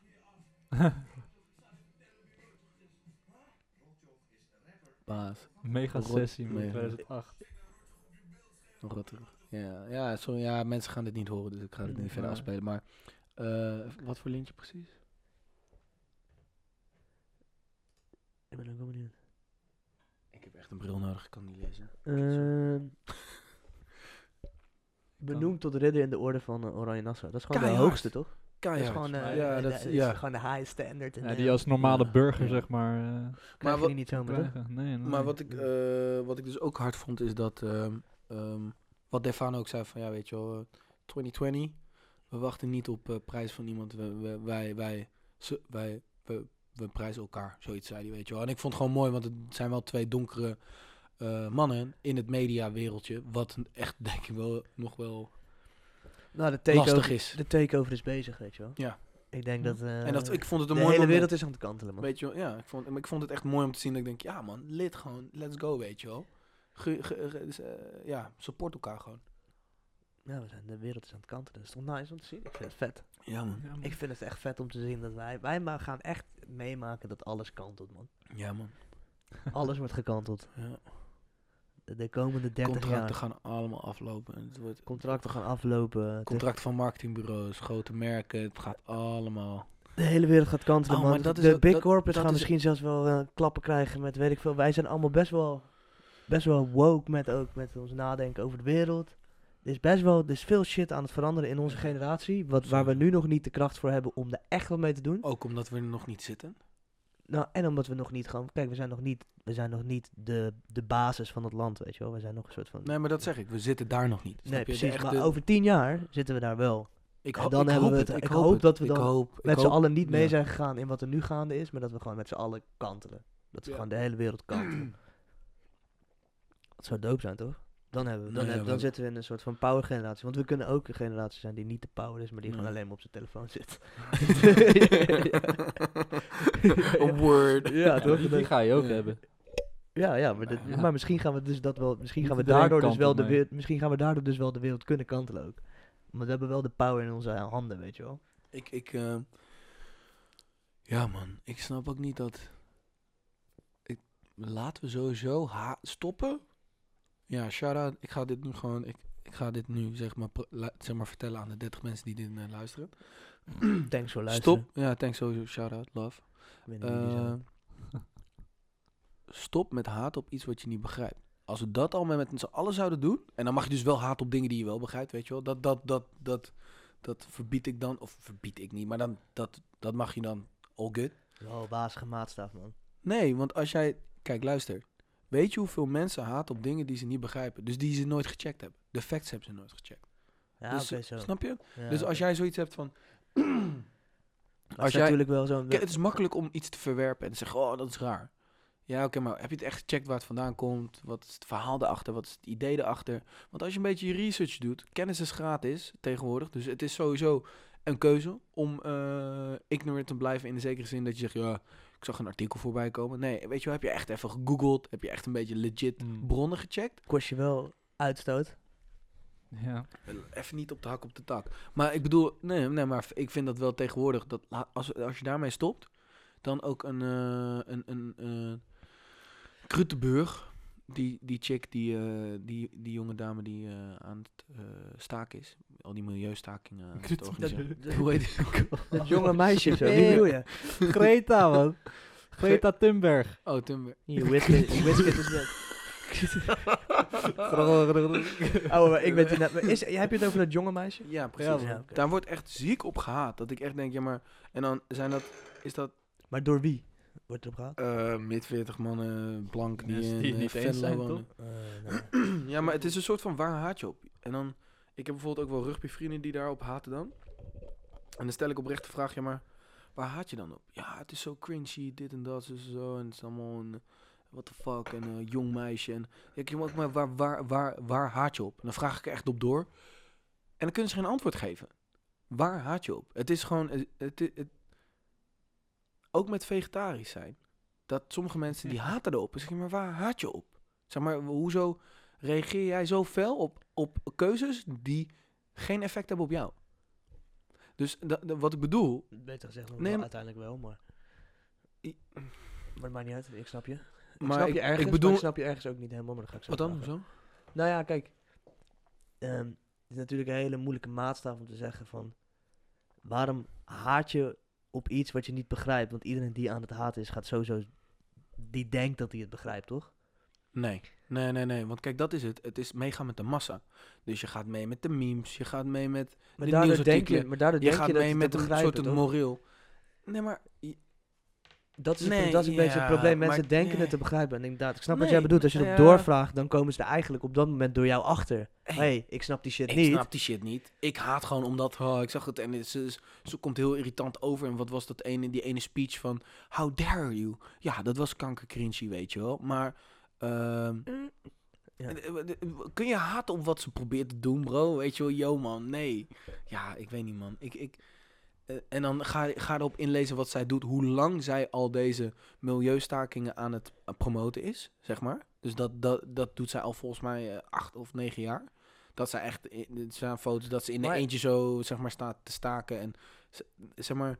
Baas,
Mega
Rot-
sessie, man.
nee, nee.
2008.
nog wat terug. Ja, ja, sorry, ja, mensen gaan dit niet horen, dus ik ga het niet verder
Maar-
afspelen. Maar eh, wat voor lintje precies?
Ik ben ook wel benieuwd.
Ik heb echt een bril nodig, ik kan niet lezen.
Ehm, benoemd tot ridder in de orde van eh, Oranje Nassau. Dat is gewoon de
Keihard.
hoogste, toch?
Kan
dat is gewoon, eh,
ja,
de-
dat
de-
is,
is
ja.
gewoon de high standard. En,
Ja,
eh,
die als normale
ja.
burger,
Ja.
zeg maar. eh,
krijg je
wat-
die niet zomaar. hè?
krijgen. Nee, nee.
Maar wat ik, eh, wat ik dus ook hard vond, is dat ehm, ehm, wat Defano ook zei van ja, weet je wel, eh, 2020, we wachten niet op eh, prijs van iemand. We, we- wij, wij, ze- wij, we, we prijzen elkaar. Zoiets zei hij, weet je wel. En ik vond het gewoon mooi, want het zijn wel twee donkere eh, mannen in het mediawereldje. Wat echt denk ik wel nog wel
Nou, de
lastig
takeover,
is.
de takeover is bezig, weet je wel.
Ja.
Ik denk dat eh,
en dat, ik vond het
de
een
hele
mooi moment.
wereld is aan het kantelen, man.
Weet je wel, ja, ik vond, maar ik vond het echt mooi om te zien. Dat ik denk, ja man, lid gewoon, let's go, weet je wel. Ge- ge- ge- dus, eh, ja, support elkaar gewoon.
Ja, we zijn, de wereld is aan het kantelen. Dat is toch nice om te zien? Ik vind het vet.
Ja man.
Ja, man.
Ik vind het echt vet om te zien dat wij... Wij ma- gaan echt meemaken dat alles kantelt, man.
Ja man.
Alles wordt gekanteld.
Ja.
De, de komende 30
Contracten
jaar.
gaan allemaal aflopen. en Het wordt
Contracten gaan aflopen. De-
contracten van marketingbureaus, grote merken, het gaat allemaal.
De hele wereld gaat kantelen,
Oh,
man.
maar dat is
de
ook-
big
dat-
corporates
dat
gaan
is-
misschien zelfs wel eh, klappen krijgen met weet ik veel. Wij zijn allemaal best wel, best wel woke met, ook, met ons nadenken over de wereld. Er is best wel er is veel shit aan het veranderen in onze generatie. Wat, waar we nu nog niet de kracht voor hebben om er echt wat mee te doen.
Ook omdat we er nog niet zitten.
Nou, en omdat we nog niet gaan. Kijk, we zijn nog niet, we zijn nog niet de, de basis van het land, weet je wel. We zijn nog een soort van.
Nee, maar dat zeg ik. We zitten daar nog niet.
Nee,
Snap je? De
precies.
echte-
Maar over tien jaar zitten we daar wel.
ik
en
ho-
dan
ik
hebben
hoop
we
het,
het-
Ik
ik
hoop
hoop
het,
dat we
ik
dan
hoop, ik
met z'n
hoop-
allen niet mee
ja.
zijn gegaan in wat er nu gaande is, maar dat we gewoon met z'n allen kantelen. Dat we
Ja.
gewoon de hele wereld kantelen. dat zou dope zijn, toch? Dan, hebben we, dan,
Nou ja,
heb-
we hebben-
dan zitten we in een soort van power generatie. Want we kunnen ook een generatie zijn die niet de power is, maar die
Ja.
gewoon alleen maar op zijn telefoon zit.
Een word.
ja, toch?
die, die ga je ook
Ja.
hebben.
Ja, ja, maar, dit-
Ja.
maar misschien gaan we dus dat wel. Misschien
Niet
gaan we
iedereen
daardoor dus wel
kantelt
de
mee.
wereld. Misschien gaan we daardoor dus wel de wereld kunnen kantelen ook. Maar we hebben wel de power in onze handen, weet je wel.
Ik, ik, eh, ja man, ik snap ook niet dat. Ik, laten we sowieso ha- stoppen. Ja, shout-out. Ik ga dit nu gewoon... Ik, ik ga dit nu zeg maar, pro- lu- zeg maar vertellen aan de 30 mensen die dit eh, luisteren.
Thanks voor luisteren.
Stop. Ja, thanks sowieso. Shout-out. Love.
Winnen jullie zo.
Eh, stop met haat op iets wat je niet begrijpt. Als we dat allemaal met z'n allen zouden doen, en dan mag je dus wel haat op dingen die je wel begrijpt, weet je wel. Dat, dat, dat, dat, dat verbied ik dan, of verbied ik niet, maar dan, dat, dat mag je dan all good.
Wel wazige maatstaf, Oh, man.
Nee, want als jij, kijk, luister. Weet je hoeveel mensen haat op dingen die ze niet begrijpen? Dus die ze nooit gecheckt hebben. De facts hebben ze nooit gecheckt.
Ja,
dus,
oké, zo.
Snap je?
Ja,
dus
oké.
als jij zoiets hebt van...
Maar
als
het is
jij-
natuurlijk wel zo'n...
Kijk, het is makkelijk om iets te verwerpen en te zeggen, oh, dat is raar. Ja, oké, maar heb je het echt gecheckt waar het vandaan komt? Wat is het verhaal daarachter? Wat is het idee daarachter? Want als je een beetje je research doet, kennis is gratis tegenwoordig. Dus het is sowieso een keuze om eh, ignorant te blijven in de zekere zin dat je zegt, ja, ik zag een artikel voorbij komen. Nee, weet je wel, heb je echt even gegoogeld? Heb je echt een beetje legit
Mm.
bronnen gecheckt?
Kost je wel uitstoot.
Ja.
Even niet op de hak op de tak. Maar ik bedoel, nee, nee maar ik vind dat wel tegenwoordig. Dat la- als, als je daarmee stopt, dan ook een. eh een, een eh Krutenburg, die, die chick, die, eh, die, die jonge dame die eh, aan het eh staken is. Al die milieustakingen aan het organiseren. Hoe heet die?
Dat jonge meisje zo.
Nee.
Wie bedoel je?
Greta, man. Greta Thunberg.
Oh, Timber.
Je whisket, je whisket is net. Oh, maar ik ben toen net... maar Is, heb je het over dat jonge meisje?
Ja,
Ja,
precies.
man.
oké.
Daar wordt echt ziek op gehaat. Dat ik echt denk, ja, maar. En dan zijn dat. Is dat
Maar door wie wordt erop gehaald?
eh mid 40 mannen, blank, die,
Mensen
in,
die het
eh,
niet eens
Venlo
zijn,
wonen.
toch?
Eh, nou,
Ja, maar het is een soort van waar haat je op? En dan, ik heb bijvoorbeeld ook wel rugbyvrienden die daarop haten dan. En dan stel ik oprecht de vraag, ja, maar waar haat je dan op? Ja, het is zo cringy, dit en dat, zo, zo, zo, en het is allemaal een, what the fuck, en een jong meisje. En ja, ik denk ook, maar waar, waar, waar, waar haat je op? En dan vraag ik er echt op door. En dan kunnen ze geen antwoord geven. Waar haat je op? Het is gewoon, het, het, het- ook met vegetarisch zijn, dat sommige mensen die haten erop. Dan zeg je, maar waar haat je op? Zeg maar, hoezo reageer jij zo fel op, op keuzes die geen effect hebben op jou? Dus da- da- wat ik bedoel,
Beter gezegd,
Nee,
nee,
maar-
uiteindelijk wel, maar...
I-
Maar het maakt niet uit, ik snap je. Ik
maar
snap
ik,
je ergens,
ik
maar
bedoel,
ik snap je ergens ook niet helemaal, maar dan ga ik zo
wat dan?
vragen.
Hoezo?
Nou ja, kijk. ehm, het is natuurlijk een hele moeilijke maatstaf om te zeggen van... Waarom haat je op iets wat je niet begrijpt? Want iedereen die aan het haten is, gaat sowieso... Die denkt dat hij het begrijpt, toch?
Nee. Nee, nee, nee. Want kijk, dat is het. Het is meegaan met de massa. Dus je gaat mee met de memes. Je gaat mee met...
Maar
De
daardoor denk je,
nieuwsartikelen.
maar daardoor
Je
denk
gaat
je dat
mee
je
met
het
een
begrijpt,
soort
toch?
moreel. Nee, maar... je-
Dat is, het
Nee,
pro- dat is een beetje het
ja,
probleem.
maar-
Mensen denken
nee.
het te begrijpen. En inderdaad, ik snap wat
Nee,
jij bedoelt. Als je
ja.
het doorvraagt, dan komen ze er eigenlijk op dat moment door jou achter. Hé, hey, ik snap die shit
Ik
niet.
snap die shit niet. Ik haat gewoon omdat... Oh, ik zag het en het- ze, ze komt heel irritant over. En wat was dat ene, die ene speech van... How dare you? Ja, dat was kankercringy, weet je wel. Maar... ehm,
Ja.
eh, eh, eh, Kun je haten op wat ze probeert te doen, bro? Weet je wel, yo man, nee. Ja, ik weet niet, man. Ik, ik, eh, en dan ga, ga erop inlezen wat zij doet. Hoe lang zij al deze milieustakingen aan het eh, promoten is, zeg maar. Dus dat, dat, dat doet zij al volgens mij eh, acht of negen jaar. Dat zij echt, eh, er zijn foto's dat ze in de
Maar-
eentje zo, zeg maar, staat te staken. En z- zeg maar,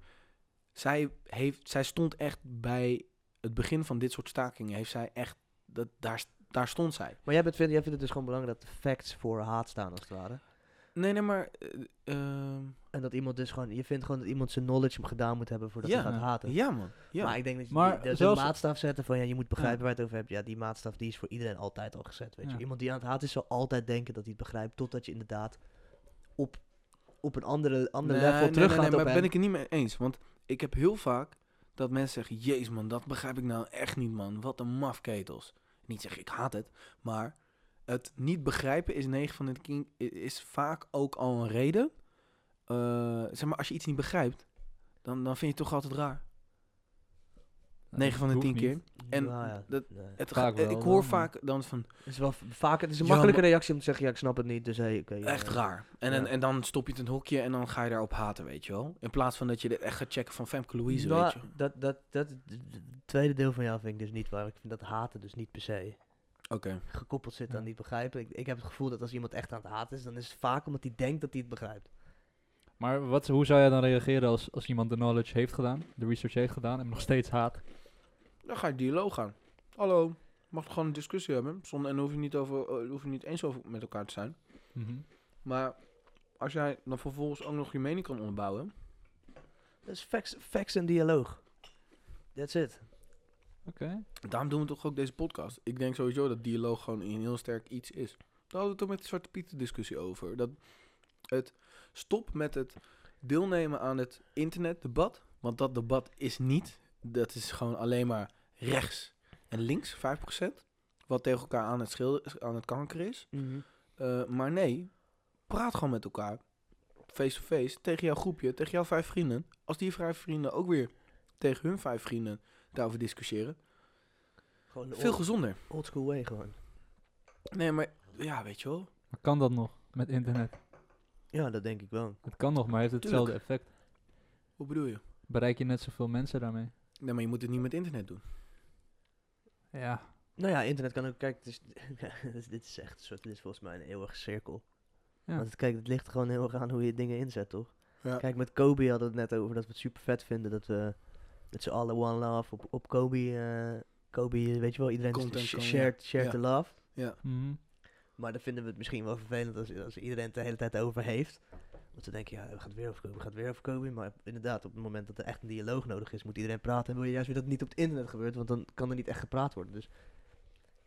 zij, heeft, zij stond echt bij het begin van dit soort stakingen. Heeft zij echt, dat, daar, daar stond zij.
Maar jij, bent, vind, jij vindt het dus gewoon belangrijk dat de facts voor haat staan, als het ware.
Nee, nee, maar. eh, ehm,
En dat iemand dus gewoon... Je vindt gewoon dat iemand zijn knowledge gedaan moet hebben voordat
Ja.
hij gaat haten.
ja, man. Ja.
Maar ik denk dat je
Maar
die- dat je
zelfs-
een maatstaf zetten van... Ja, je moet begrijpen waar je het over hebt. Ja, die maatstaf die is voor iedereen altijd al gezet, weet
Ja.
je. Iemand die aan het haten is, zal altijd denken dat hij het begrijpt. Totdat je inderdaad op, op een andere, ander
Nee,
level
nee,
teruggaat
nee, nee,
op
maar
hem.
ben ik het niet mee eens. Want ik heb heel vaak dat mensen zeggen: Jezus, man, dat begrijp ik nou echt niet, man. Wat een mafketels. Niet zeggen, ik haat het. Maar het niet begrijpen is 9 van de king is vaak ook al een reden. Eh, zeg maar, als je iets niet begrijpt, dan, dan vind je het toch altijd
Nou,
raar.
Nou,
9 van de 10 keer. En
Nou ja,
dat-
nee.
Het
Vaak
gaat, eh,
wel,
ik hoor
dan,
vaak dan van
Het is wel v- vaak, het is een
Ja,
makkelijke reactie om te zeggen, ja, ik snap het niet, dus hey, oké. ja,
Echt
ja.
raar. En, en,
Ja.
en dan stop je het in het hokje en dan ga je daarop haten, weet je wel. In plaats van dat je dit echt gaat checken van Femke Louise,
Nou,
weet je. wel.
dat, dat, dat, het tweede deel van jou vind ik dus niet waar. Ik vind dat haten dus niet per se
Oké.
gekoppeld zit aan
Ja.
niet begrijpen. Ik, ik heb het gevoel dat als iemand echt aan het haten is, dan is het vaak omdat hij denkt dat hij het begrijpt.
Maar wat, hoe zou jij dan reageren als, als iemand de knowledge heeft gedaan, de research heeft gedaan en nog steeds haat?
Dan ga je dialoog aan. Hallo. mag gewoon een discussie hebben. Zonder, en hoef je, niet over, eh, hoef je niet eens over met elkaar te zijn.
Mhm.
Maar als jij dan vervolgens ook nog je mening kan onderbouwen.
Dat is facts, facts en dialoog. That's it.
Oké.
Daarom doen we toch ook deze podcast. Ik denk sowieso dat dialoog gewoon een heel sterk iets is. Daar hadden we het ook met de Zwarte Pieten discussie over. Dat het stop met het deelnemen aan het internetdebat. Want dat debat is niet, dat is gewoon alleen maar rechts en links, 5%. Wat tegen elkaar aan het, schilder, aan het kanker is.
Mhm.
Eh, maar nee, praat gewoon met elkaar. Face-to-face, tegen jouw groepje, tegen jouw vijf vrienden. Als die vijf vrienden ook weer tegen hun vijf vrienden daarover discussiëren.
Gewoon de
Veel
old,
gezonder.
old school way gewoon.
Nee, maar ja, weet je wel.
Maar kan dat nog met internet?
Ja, dat denk ik wel.
Het kan nog, maar heeft hetzelfde effect.
Hoe bedoel je?
Bereik je net zoveel mensen daarmee?
Nee, maar je moet het niet met internet doen.
Ja.
Nou ja, internet kan ook... Kijk, het is, dit is- dit is echt een soort... Dit is volgens mij een eeuwige cirkel.
Ja.
Want het, kijk, het ligt gewoon heel erg aan hoe je dingen inzet, toch?
Ja.
Kijk, met Kobe hadden we het net over dat we het super vet vinden dat we met z'n allen one love op, op Kobe... eh, Kobe, weet je wel, iedereen
Content
sh-
kan, ja.
shared, shared
Ja.
the love.
Mhm.
Maar dan vinden we het misschien wel vervelend als, als iedereen het de hele tijd over heeft. Want ze denken, ja, we gaan het weer over Kobe, we gaan het weer over Kobe. Maar inderdaad, op het moment dat er echt een dialoog nodig is, moet iedereen praten. En wil je juist weer dat het niet op het internet gebeurt, want dan kan er niet echt gepraat worden. Dus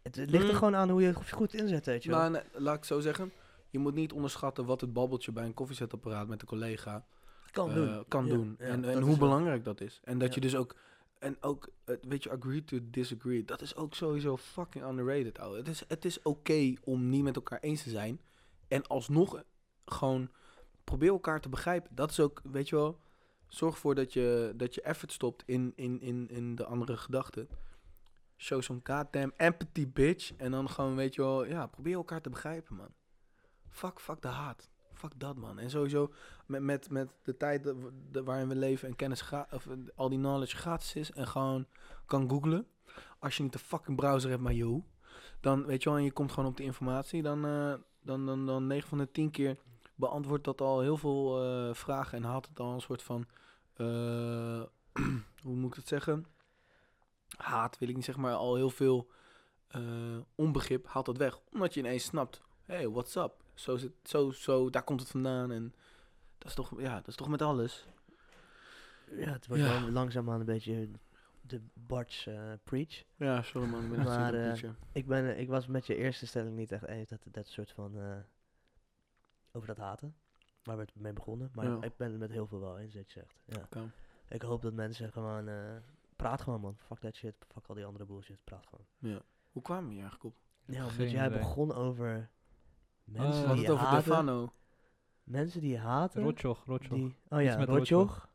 het, het ligt er
Mm.
gewoon aan hoe je het goed inzet, weet je wel.
Maar nee, laat ik het zo zeggen. Je moet niet onderschatten wat het babbeltje bij een koffiezetapparaat met een collega
kan
eh,
doen.
kan
Ja,
doen.
ja,
en en
dat
hoe
is wel-
belangrijk dat is. En dat
Ja.
je dus ook. En ook, eh, weet je, agree to disagree. Dat is ook sowieso fucking underrated, ouwe. Het is, het is oké om niet met elkaar eens te zijn. En alsnog eh, gewoon probeer elkaar te begrijpen. Dat is ook, weet je wel, zorg ervoor dat je, dat je effort stopt in, in, in, in de andere gedachten. Show some goddamn empathy, bitch. En dan gewoon, weet je wel, ja, probeer elkaar te begrijpen, man. Fuck, fuck de haat. Fuck dat, man. En sowieso, met, met, met de tijd dat we- de- waarin we leven en kennis gra- of eh, al die knowledge gratis is en gewoon kan googlen. Als je niet de fucking browser hebt, maar yo. Dan weet je wel, en je komt gewoon op de informatie. Dan, eh, dan, dan, dan 9 van de 10 keer beantwoordt dat al heel veel eh, vragen en haalt het al een soort van. eh, hoe moet ik het zeggen? Haat wil ik niet zeggen, maar al heel veel eh, onbegrip haalt dat weg. Omdat je ineens snapt: hey, what's up? Zo, zit, zo, zo, daar komt het vandaan. En dat is toch, ja, dat is toch met alles.
Ja, het wordt
Ja.
wel langzaamaan een beetje de Bart's eh, preach.
Ja, sorry man, ik
ben echt Maar, zo'n eh, beetje. Ik, ben, eh, ik was met je eerste stelling niet echt eens dat, dat soort van... eh, over dat haten, waar we het mee begonnen. Maar
Ja.
ik ben het met heel veel wel eens, wat je zegt. Ja. Ik hoop dat mensen gewoon... eh, praat gewoon, man. Fuck that shit. Fuck al die andere bullshit. Praat gewoon.
Hoe kwamen we hier eigenlijk op?
Ja,
Geen
omdat jij
idee.
begon over... Mensen
we
Oh. We
hadden
hadden
die
het over Oh,
haten.
Defano.
Mensen die haten.
Rotjoch, rotjoch.
Die, oh ja,
met
Rotjoch.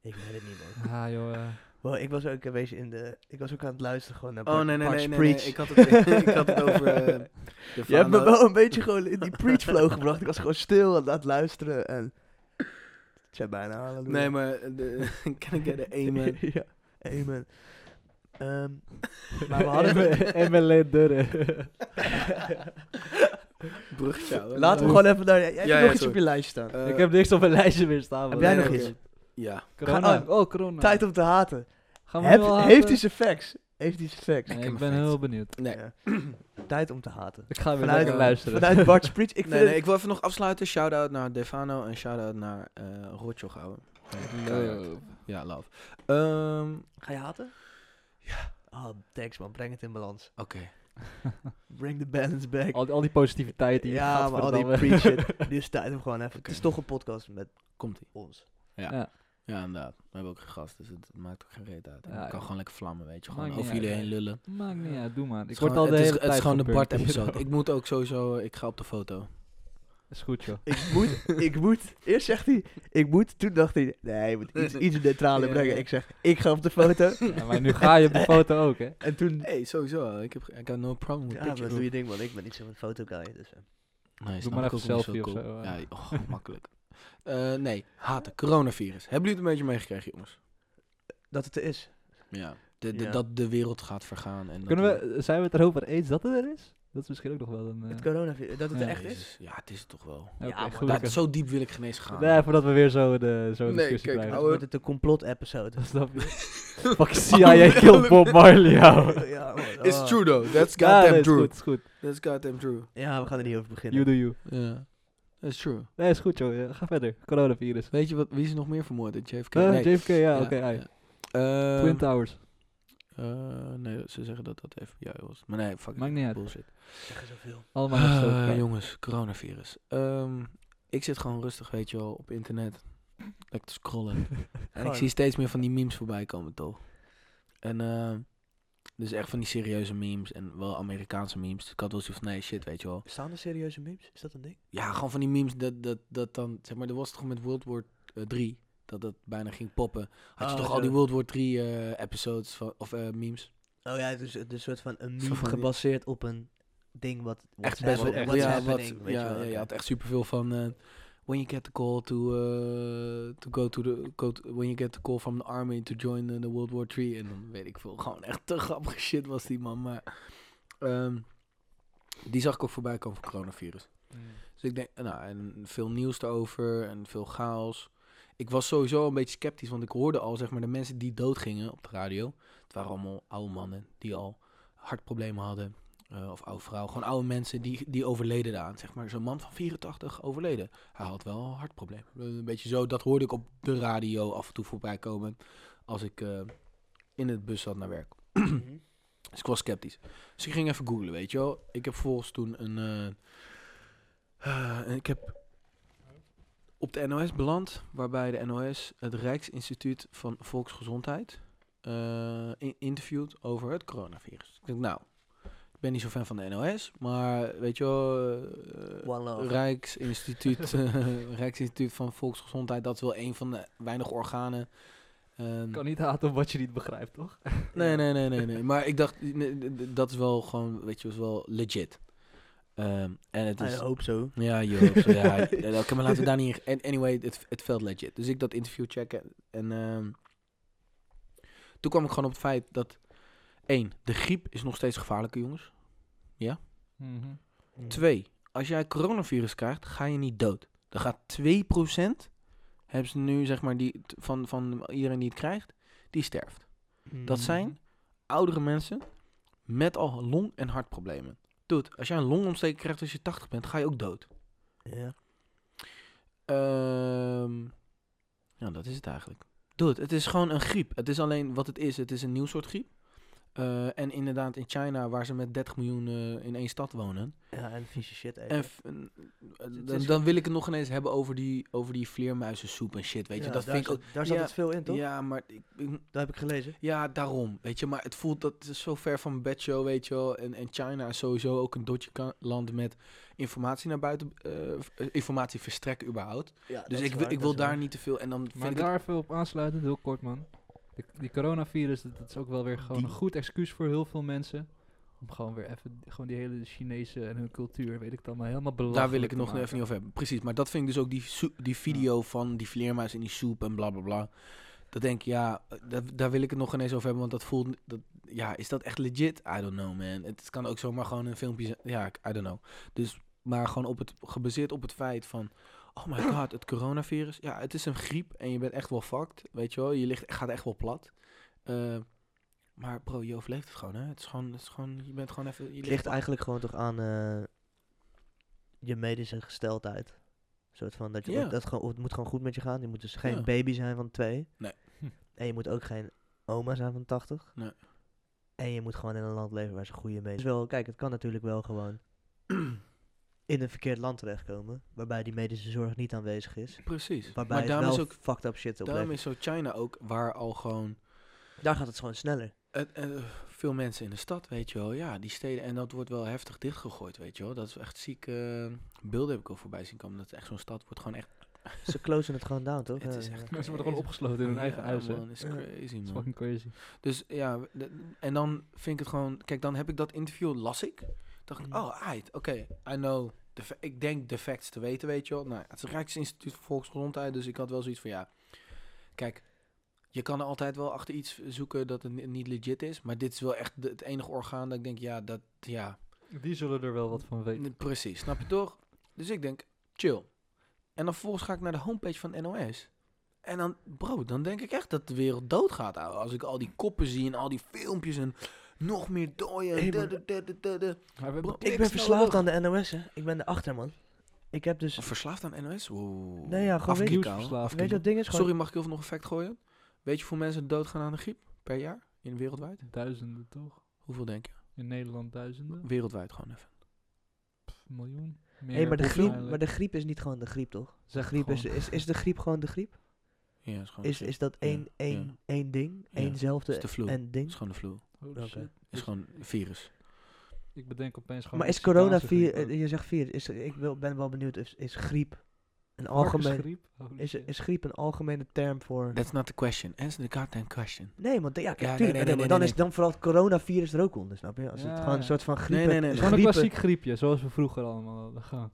Ik weet het niet, man.
Ah joh, eh,
Wow, ik was ook een beetje in de... Ik was ook aan het luisteren gewoon naar
Oh nee, nee,
Bart's
nee, nee, nee,
Preach.
Ik, had het, ik had het over eh, Defano.
Je hebt me wel een beetje gewoon in die preach flow gebracht. Ik was gewoon stil en aan het luisteren en... Het zijn bijna halleluja.
Nee, maar eh, de, can I get an amen?
ja, amen. Ehm, maar we hadden...
MLE Durre.
Bruggetje. ouwe.
Laten we gewoon even naar... Jij hebt
Ja,
nog
ja,
iets op
sorry.
je lijst staan.
Eh,
Ik heb niks op mijn lijstje meer staan.
Heb
man.
jij
nee,
nog
nee,
iets?
Ja.
Corona.
Ga-
oh, corona.
Tijd om te haten.
Gaan we
Hef-
nu al
heeft
haten?
hij zijn facts? Heeft hij zijn facts?
Nee,
Ik heb
ik
mijn
ben
feest.
heel benieuwd.
Nee.
Ja. Tijd om te haten.
Ik ga weer
Vanuit-
lekker luisteren.
Vanuit Bart's Preach. Ik vind
nee, nee,
het-
ik wil even nog afsluiten. Shout-out naar Defano en shout-out naar eh Rotjoch, ouwe. eh,
Love.
Ja, love. Ehm,
Ga je haten? Ja. Oh, thanks man. Breng het in balans.
Oké.
Bring the balance back.
Al, die- al die positiviteit die
ja, maar al die
gadverdamme.
preach shit. Nu is het tijd om gewoon even... Het is toch een podcast met
komt ie.
ons.
Ja, inderdaad. We hebben ook een gast, dus het maakt ook geen reet uit. En
Ja,
ik kan
ja.
gewoon lekker vlammen, weet je.
Maakt
Gewoon
niet
over
uit,
jullie
ja.
heen lullen.
Maakt niet uit, doe maar. Ik
Het
word
is
al
gewoon-
de
het
hele
is,
tijd
Het is gewoon de
gepurpt.
Bart-episode. ik moet ook sowieso... Ik ga op de foto.
Is goed joh.
Ik moet, ik moet. Eerst zegt hij, ik moet. Toen dacht hij, nee, je moet iets, iets neutraler
Ja,
brengen.
ja.
Ik zeg, ik ga op de foto.
Ja, maar nu ga je op de foto ook hè.
en toen...
Hey, sowieso. Ik heb I got no problem with
Ja, maar
pictures.
doe je ding man. Ik ben niet zo'n foto guy. Dus, eh.
Nee,
Doe maar
snap ik
even
ook, want het is
selfie of
wel cool.
zo, eh.
Ja, oh, makkelijk. Eh, nee, haten. Coronavirus. Hebben jullie het een beetje meegekregen, jongens?
dat het er is.
Ja. De, de,
Ja.
Dat de wereld gaat vergaan. En dat
Kunnen we, zijn we het erover eens dat het er is? Dat is misschien ook nog wel een... eh,
Het coronavirus, dat het
Ja.
er echt is?
Jezus, Ja, het is het toch wel.
oké,
Ja, maar
gelukkig.
Nou, zo diep wil ik geen eens gaan.
Nee, voordat we weer zo de zo
Nee,
discussie
kijk,
krijgen.
Dan
ouwe.
wordt het een complot-episode.
Dat snap je. Fuck CIA killed Bob Marley, ouwe.
ja, man,
It's
oh.
true though. That's
Ja,
goddamn
nee, is
true.
goed, is goed.
That's goddamn true.
Ja, we gaan er niet over beginnen.
You do you.
Ja, that's true.
Nee, is goed, joh. Ja, Ga verder. Coronavirus.
Weet je wat, wie is nog meer vermoord? JFK?
Eh,
nee.
JFK, ja, oké. ai.
ja.
Twin
Ehm,
Towers.
eh, nee, ze zeggen dat dat FBI was. Maar nee, fuck it,
Maakt niet uit.
Bullshit.
Zeggen zoveel.
Allemaal gestoken.
Ah,
elkaar.
jongens, coronavirus. Ehm, ik zit gewoon rustig, weet je wel, op internet. Lekker te scrollen. en ik
Gewoon.
zie steeds meer van die memes voorbij komen, toch? En ehm, dus echt van die serieuze memes en wel Amerikaanse memes. Dus ik had wel zoiets van, nee, shit, weet je wel.
Staan er serieuze memes? Is dat een ding?
Ja, gewoon van die memes dat, dat, dat dan, zeg maar, er was toch met World War 3, dat dat bijna ging poppen. Had je
Oh,
toch
zo.
al die World War 3 eh, episodes van, of eh, memes?
Oh ja, dus het is een soort van een
Zo
meme
van die-
gebaseerd op een ding wat...
echt
what's
best wel
happen-
echt,
echt.
what's
Ja, wat,
happening, weet je
ja,
wel,
ja, je
oké.
had echt superveel van. eh, when you get the call to, eh, to go to the go to- when you get the call from the army to join eh, the World War 3 en dan weet ik veel gewoon echt te grappige shit was die man maar ehm, die zag ik ook voorbij komen van coronavirus
Mm.
dus ik denk nou en veel nieuws erover en veel chaos ik was sowieso een beetje sceptisch want ik hoorde al zeg maar de mensen die doodgingen op de radio het waren allemaal oude mannen die al hartproblemen hadden eh, of oude vrouw, gewoon oude mensen die, die overleden daaraan. Zeg maar, zo'n man van 84 overleden. Hij had wel een hartprobleem. Eh, Een beetje zo, dat hoorde ik op de radio af en toe voorbij komen. Als ik eh, in het bus zat naar werk.
Mhm.
Dus ik was sceptisch. Dus ik ging even googlen, weet je wel. Ik heb volgens toen een... eh, eh, ik heb op de NOS beland, waarbij de NOS het Rijksinstituut van Volksgezondheid eh, in- interviewt over het coronavirus. Ik denk, nou, ik ben niet zo fan van de NOS, maar weet je wel, eh,
One love.
Rijksinstituut, eh, Rijksinstituut van Volksgezondheid, dat is wel een van de weinige organen. ehm,
kan niet haten op wat je niet begrijpt, toch?
Nee, nee, nee, nee, nee. Maar ik dacht, nee, d- d- dat is wel gewoon, weet je, is wel legit. Ehm, en het
Ah,
is.
ik hoop zo.
Ja, je hoopt zo, ja. eh, nou, Oké, maar laten we daar niet in. en- Anyway, het, het felt legit. Dus ik dat interview checken. En ehm, toen kwam ik gewoon op het feit dat. één, de griep is nog steeds gevaarlijker, jongens. Twee, als jij coronavirus krijgt, ga je niet dood. Dan gaat 2% hebben ze nu, zeg maar, die, t- van, van iedereen die het krijgt, die sterft. Dat
Mhm.
zijn oudere mensen met al long- en hartproblemen. Dude, als jij een longontsteking krijgt als je 80 bent, ga je ook dood.
Ja.
Ehm, ja, dat is het eigenlijk. Dude, het is gewoon een griep. Het is alleen wat het is. Het is een nieuw soort griep. Eh, en inderdaad in China, waar ze met 30 miljoen eh, in één stad wonen.
Ja, en vieze shit eten.
En f- en, eh,
Dus het
dan,
is-
dan wil ik het nog ineens hebben over die, over die vleermuizensoep en shit. Weet je,
Ja,
dat
daar
vind ik
zat-
ook...
Daar zat
ja,
het veel in, toch?
Ja, maar ik, ik-
Dat heb ik gelezen.
Ja, daarom. Weet je, maar het voelt dat is zo ver van mijn bedshow, weet je wel. En, en China is sowieso ook een dotje ka- land met informatie naar buiten, eh, v- eh, informatie verstrekken überhaupt.
Ja,
Dus ik, wil ik wil daar niet te veel. En dan
Maar
vind ik
daar even op aansluitend, heel kort man. De- die coronavirus, dat, dat is ook wel weer gewoon
Die-
een goed excuus voor heel veel mensen. Om gewoon weer even, gewoon die hele Chinese en hun cultuur, weet ik dan maar helemaal
het,
belangrijk.
daar wil ik het nog even niet over hebben. Precies, maar dat vind ik dus ook die, soe- die video van die vleermuis in die soep en bla bla bla. Dat denk ik, ja, eh, daar, daar wil ik het nog ineens over hebben, want dat voelt, dat, ja, is dat echt legit? I don't know, man. Het kan ook zomaar gewoon een filmpje zijn. Ja, ik- I don't know. Dus, maar gewoon op het, gebaseerd op het feit van, oh my god, het coronavirus. Ja, het is een griep en je bent echt wel fucked, weet je wel. Je ligt, gaat echt wel plat. Eh, maar bro, je overleeft het gewoon, hè. Het is gewoon, het is gewoon je bent gewoon even... Je
Het ligt
plat.
eigenlijk gewoon toch aan eh, je medische gesteldheid. Een soort van dat je
Ja.
dat, dat gewoon, het moet gewoon goed met je gaan. Je moet dus geen
Ja.
baby zijn van twee.
Nee.
Hm.
En je moet ook geen oma zijn van 80.
Nee.
En je moet gewoon in een land leven waar ze goede medische. Dus wel, kijk, het kan natuurlijk wel gewoon in een verkeerd land terechtkomen. Waarbij die medische zorg niet aanwezig is.
Precies.
Waarbij
maar
het
daarom
wel
is ook
fucked up shit
Daarom
oplevert.
is zo China ook, waar al gewoon
Daar gaat het gewoon sneller.
eh, eh, veel mensen in de stad, weet je wel. Ja, die steden, en dat wordt wel heftig dichtgegooid, weet je wel. Dat is echt ziek. eh, beelden heb ik al voorbij zien komen. Dat is echt zo'n stad wordt gewoon echt...
ze closen het gewoon down, toch? Eh,
Het is
Ja,
echt
ja.
Mensen worden gewoon opgesloten in hun eigen
Ja,
huis, hè.
man, is
Ja.
crazy,
Dat is
man.
fucking crazy.
Dus ja, w- de- en dan vind ik het gewoon... Kijk, dan heb ik dat interview, las ik. dacht ik,
Mhm.
oh, aight, oké, I know. De fa- ik denk de facts te weten, weet je wel. Nou, het is Rijksinstituut voor Volksgezondheid, dus ik had wel zoiets van, ja... Kijk, je kan altijd wel achter iets zoeken dat het ni- niet legit is. Maar dit is wel echt de- het enige orgaan dat ik denk, ja, dat, ja...
Die zullen er wel wat van weten.
Nee, Precies, snap je toch? Dus ik denk, chill. En dan vervolgens ga ik naar de homepage van NOS. En dan, bro, dan denk ik echt dat de wereld doodgaat, ouwe. Als ik al die koppen zie en al die filmpjes en nog meer dooien.
Hey,
da,
maar-
da, da, da, da, da.
Maar we hebben-
Bro,
Ik ben
niks
verslaafd
nodig.
aan de NOS, hè. Ik ben erachter, man. Ik heb dus...
Verslaafd aan NOS? Wow.
Nee, ja, gewoon
Afkikken,
nieuws
ouwe.
verslaafd.
Weet je wat het ding is? Gewoon,
Sorry, mag ik even nog een fact gooien? Weet je hoeveel mensen doodgaan aan de griep per jaar? In wereldwijd?
Duizenden toch?
Hoeveel denk je?
In Nederland duizenden?
Wereldwijd gewoon even.
Pff, miljoen? Meer
hey, maar, de griep,
waarschijnlijk.
maar de griep is niet gewoon de griep, toch?
Zeg
De griep is,
gewoon.
is, is de griep gewoon de griep?
Ja, is gewoon
Is,
de griep.
is dat één,
Oh, ja.
één, één ding?
Ja,
Eénzelfde
is de flu.
en
is
ding?
gewoon de flu.
Oh,
Oké.
shit.
Is gewoon een virus.
Ik bedenk opeens gewoon...
Maar is
Mexicaanse
coronavirus...
griep ook.
eh, Je zegt virus. Is, ik wil, ben wel benieuwd. Is, is griep een algemeen...
Varkensgriep? Holy
Is,
shit.
is griep een algemene term voor...
That's not the question. Answer the goddamn question.
Nee, want ja, kijk,
Ja, nee,
tuurlijk,
nee, nee,
maar dan-
nee,
dan
nee,
is dan vooral het coronavirus er ook onder, snap je? Als het
Ja,
gewoon een
ja.
soort van griep...
Nee, nee, nee, nee.
Gewoon een
griepen-
klassiek griepje, zoals we vroeger allemaal hadden. Gewoon.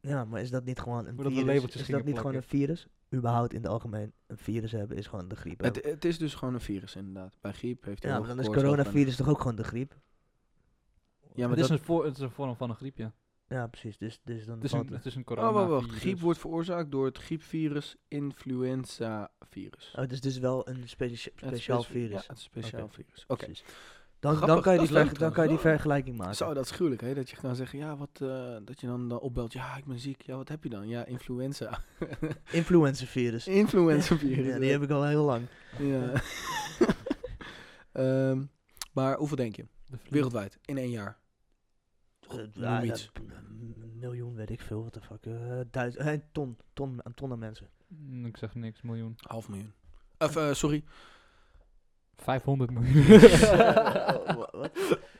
Ja, maar is dat niet gewoon een
Voordat we
virus?
labeltjes
Is
gingen
dat niet gewoon een
plakken.
virus? Überhaupt in het algemeen, een virus hebben is gewoon de griep. hè?
Het, het is dus gewoon een virus, inderdaad. Bij griep heeft hij
ja,
hoge
maar dan is
koorts, hoofdpijn.
coronavirus toch ook gewoon de griep?
Ja, maar
het, is
dat...
een voor, het is een vorm van een griepje.
Ja, precies. Dus, dus dan
Het is
valt
een,
het.
het is een
Oh, wacht, wacht.
coronavirus.
Griep wordt veroorzaakt door het griepvirus influenza-virus.
Oh, het is dus wel een specia-
Het is
speciaal
speci-
virus.
Ja, het is een speciaal
Oké.
virus. Oké.
Precies. Dan, dan,
Grappig,
kan je
dat
die
is leuk
verg- dan kan je die
trouwens.
vergelijking maken.
Zo, dat is gruwelijk, hè? Dat je kan zeggen, ja, wat... eh, dat je dan, dan opbelt, ja, ik ben ziek. Ja, wat heb je dan? Ja, influenza.
Influenza-virus.
Influenza-virus.
Ja, die heb ik al heel lang.
Ja. Ehm, maar hoeveel denk je?
De vlieg.
Wereldwijd, in één jaar.
Eh,
Noem
ja, dat-
iets.
een miljoen, weet ik veel. Wat de fuck. eh, duiz- eh, een ton. ton. Een ton aan mensen.
Mm, Ik zeg niks, miljoen.
Half miljoen. Of, eh, sorry.
500 miljoen.
Wa- wat?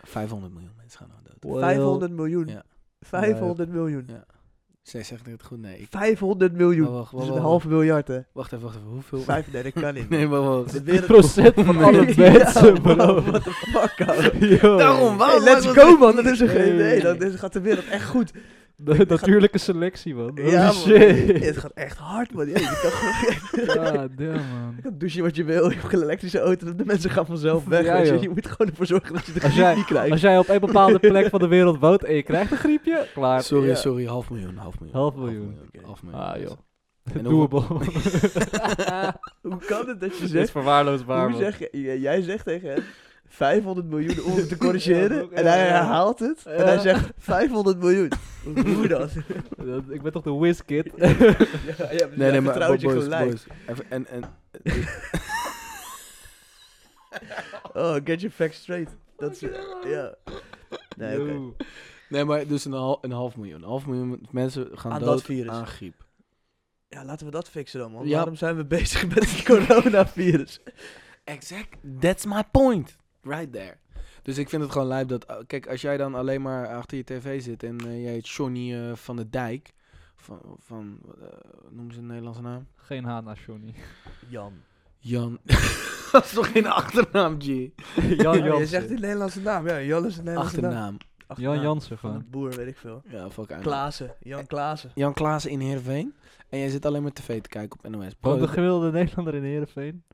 500 miljoen mensen gaan nou dood.
500 miljoen.
Ja.
500 miljoen.
Zij zegt het goed, nee. Ik,
500 miljoen.
Maar wacht,
dus
wacht,
een
wacht.
half miljard, hè.
wacht even, wacht even. Hoeveel?
Vijf, nee, dat kan niet.
nee, maar wacht.
De wereld-
procent van alle
Ja,
mensen,
man,
bro.
what the fuck, ouwe.
Yo.
Daarom,
Hey,
waarom?
let's
waarom-
go, man. Dat is een
Hey.
geen... Nee, dat is, gaat de wereld echt goed.
De natuurlijke selectie, man. Holy
man.
Oh, shit.
Het gaat echt hard, man. Ja, je kan gewoon...
Ja, damn, man.
Je kan douchen wat je wil, je hebt een elektrische auto, de mensen gaan vanzelf weg.
Ja,
weet je.
joh.
je moet gewoon ervoor zorgen dat je de
Als
griep
jij-
niet krijgt.
Als jij op een bepaalde plek van de wereld woont en je krijgt een griepje, klaar.
Sorry,
Ja.
sorry. Half miljoen, half miljoen.
Half miljoen.
Oké.
half miljoen.
Ah, joh.
En
Doable.
Hoe kan het dat je
Dit is
zegt,
verwaarloosbaar,
hoe
man.
zeg je, j- jij zegt tegen hem 500 miljoen om het te corrigeren
Ja,
en
ja.
hij herhaalt het en hij zegt 500 miljoen. Hoe dan?
Dat- Ik ben toch de whizkid?
Ja, ja,
Nee, nee, maar
vertrouwt
boys,
je gelijk.
boys. Even, en, en,
Oh, get your facts straight. Dat is, ja. Nee, oké.
Yo.
nee, maar dus een, hal, een half miljoen. Een half miljoen mensen gaan
Aan dat
dood
virus.
aan griep.
Ja, laten we dat fixen dan, man.
Ja.
Waarom zijn we bezig met het coronavirus?
Exact. That's my point. Right there. Dus ik vind het gewoon lijp dat... uh, Kijk, als jij dan alleen maar achter je tv zit en eh, jij heet Johnny eh, van de Dijk... Van, van eh, noem ze een Nederlandse naam?
Geen haan naar Johnny.
Jan.
Jan. dat is toch geen achternaam, G?
Jan
Oh, je zegt
Jansen.
die Nederlandse naam. Ja, Jan is een Nederlandse naam.
Achternaam.
Jan Jansen
Van
gewoon.
een boer, weet ik veel.
Ja, fuck eigenlijk.
Klaassen. Jan Klaassen.
Jan Klaassen in Heerenveen. En jij zit alleen maar tv te kijken op NOS. Bro,
Woont de gemiddelde Nederlander in Heerenveen?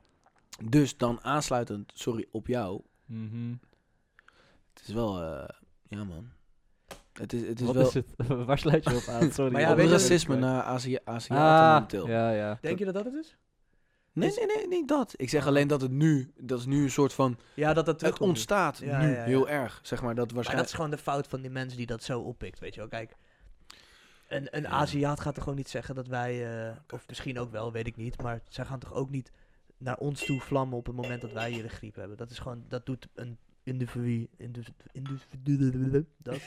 dus dan aansluitend, sorry, op jou.
Mhm.
Het is wel... eh, ja, man. Het is, het is
Wat
wel...
is het? Waar sluit je op aan? Sorry.
Maar ja,
hoor.
op
weet je-
racisme naar Azië, Aziaten
Ah,
momenteel.
ja, ja.
Denk je dat dat het is?
Nee,
Is- Ah.
nee, nee, niet dat. Ik zeg alleen dat het nu, dat is nu een soort van,
Ja, dat dat
het
terugkomt.
ontstaat
Ja,
nu
ja, ja.
heel erg, zeg maar, dat
Maar dat
waarschijnlijk...
is gewoon de fout van die mensen die dat zo oppikt, weet je wel. Kijk, een, een
Ja.
Aziat gaat toch gewoon niet zeggen dat wij, eh, of misschien ook wel, weet ik niet, maar zij gaan toch ook niet naar ons toe vlammen op het moment dat wij hier de griep hebben. Dat is gewoon, dat doet een individu, individu, individu dat,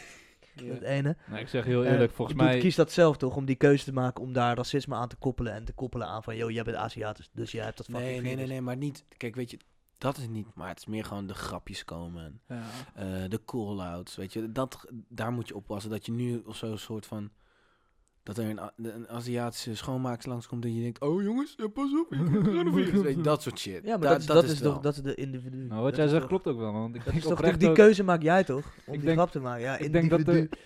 dat ene.
Nou, ik zeg heel eerlijk,
Eh,
volgens
je doet-
mij...
kiest dat zelf toch, om die keuze te maken om daar racisme aan te koppelen en te koppelen aan van, yo, jij bent Aziatisch, dus jij hebt dat fucking
Nee, nee, nee,
virus.
nee, maar niet, kijk, weet je, dat is niet, maar het is meer gewoon de grapjes komen,
Ja.
eh, de call-outs, weet je, dat, daar moet je oppassen, dat je nu of zo een soort van, dat er een, A- een Aziatische schoonmaakster langskomt en je denkt, oh jongens, eh, pas op, je krijgt een virus, weet je, dat soort shit.
Ja, maar
Da-
dat, is- dat, is
het wel.
toch, dat is de individu.
Nou, wat
Dat
jij
is
zegt
toch-
klopt ook wel, man. Want Ik
Dat
denk
is toch
oprecht
die
ook-
keuze maak jij toch? Om
Ik
die
denk-
grap te maken. Ja,
ik denk, dat er,
individu.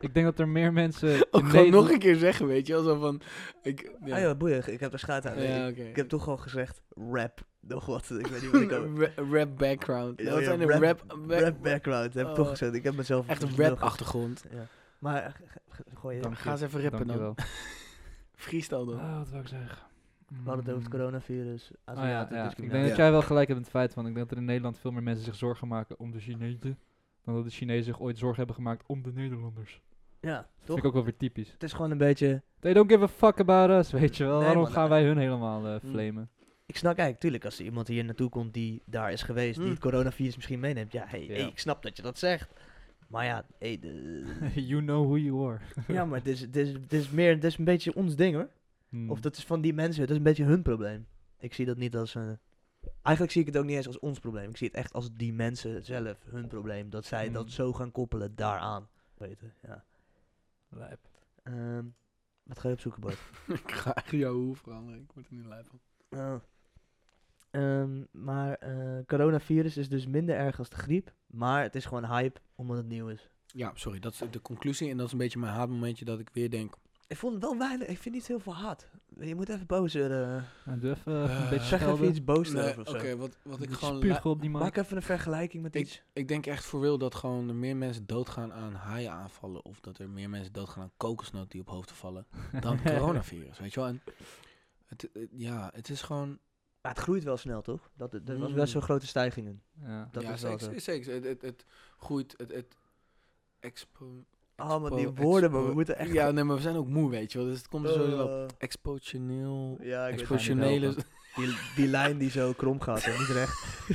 ik denk dat er meer
Oh,
mensen... in
Ook Oh, gewoon
Nederland-
nog een keer zeggen, weet je, alsof van, ik, ja,
Ah joh, Ah, boeien, ik heb er schaat aan.
Ja,
ik,
oké.
ik heb toch gewoon gezegd, rap Nog wat, ik weet niet wat ik ook...
Ra- rap background.
Ja,
Wat
ja,
zijn de
rap-
rap, ba-
Rap background, heb ik
Oh.
toch gezegd. Ik heb mezelf...
Echt een
mezelf
rap achtergrond.
gezet, Ja. Maar eh, g- g- g- gooi je...
Dank
Ga eens even rappen dan.
Dankjewel.
Freestyle dan.
Ah, wat wil ik zeggen?
We hadden het over het dus coronavirus,
Mm. Oh, ja,
Aziaten,
ja. Ik denk
discriminatie.
dat jij wel gelijk hebt in het feit, want ik denk dat er in Nederland veel meer mensen zich zorgen maken om de Chinezen dan dat de Chinezen zich ooit zorgen hebben gemaakt om de Nederlanders. Dat
Ja,
vind
toch?
ik ook wel weer typisch.
Het is gewoon een beetje...
They don't give a fuck about us, weet je wel.
Nee,
Waarom
man,
gaan
eh,
wij hun helemaal eh
hmm.
flamen?
Ik snap, kijk, tuurlijk, als er iemand hier naartoe komt die daar is geweest, die
Hmm.
het coronavirus misschien meeneemt. Ja, hey,
Mm. Ja.
hey, ik snap dat je dat zegt. Maar ja, hey, de-
you know who you are.
ja, maar het is, het, is, het is meer, het is een beetje ons ding hoor.
Hmm.
Mm.
Of dat is van die mensen, dat is een beetje hun probleem. Ik zie dat niet als een... Eigenlijk zie ik het ook niet eens als ons probleem. Ik zie het echt als die mensen zelf, hun probleem. Dat zij
Mm.
dat zo gaan koppelen daaraan. Weet je, ja.
Lijp.
Ehm, wat ga je opzoeken, Bart?
ik ga echt jouw hoe veranderen. Ik word er niet lui van.
Oh. Ehm, maar eh, coronavirus is dus minder erg als de griep. Maar het is gewoon hype, omdat het nieuw is.
Ja, sorry. Dat is de conclusie. En dat is een beetje mijn haatmomentje dat ik weer denk...
Ik vond het wel weinig. Ik vind niet heel veel haat. Je moet even boos worden.
En doe even eh, een
Eh,
beetje
zeg even
schelden.
iets boos
Nee,
erover
Oké,
of zo.
wat, wat
Een
ik
beetje
gewoon... la-
spugen op die man.
Maak even een vergelijking met
Ik-
iets.
Ik denk echt voor wil dat gewoon er meer mensen doodgaan aan haaienaanvallen. Of dat er meer mensen doodgaan aan kokosnoot die op hoofden vallen. Dan coronavirus, weet je wel. En het, het- ja, het is gewoon...
Maar het groeit wel snel, toch? Dat, er er was
Mm.
best wel grote stijgingen.
Ja.
Dat
ja,
is wel
zeker-
zo.
zeker. Het, het, het groeit, het... het expo-
Allemaal die
expo-
woorden, Oh, maar we
expo-
moeten echt...
Ja, nee, maar we zijn ook moe, weet je wel. Dus het komt er sowieso op.
Eh,
Expotioneel...
ja, ik weet het niet.
Expotionele...
Die, die lijn die zo krom gaat en niet recht.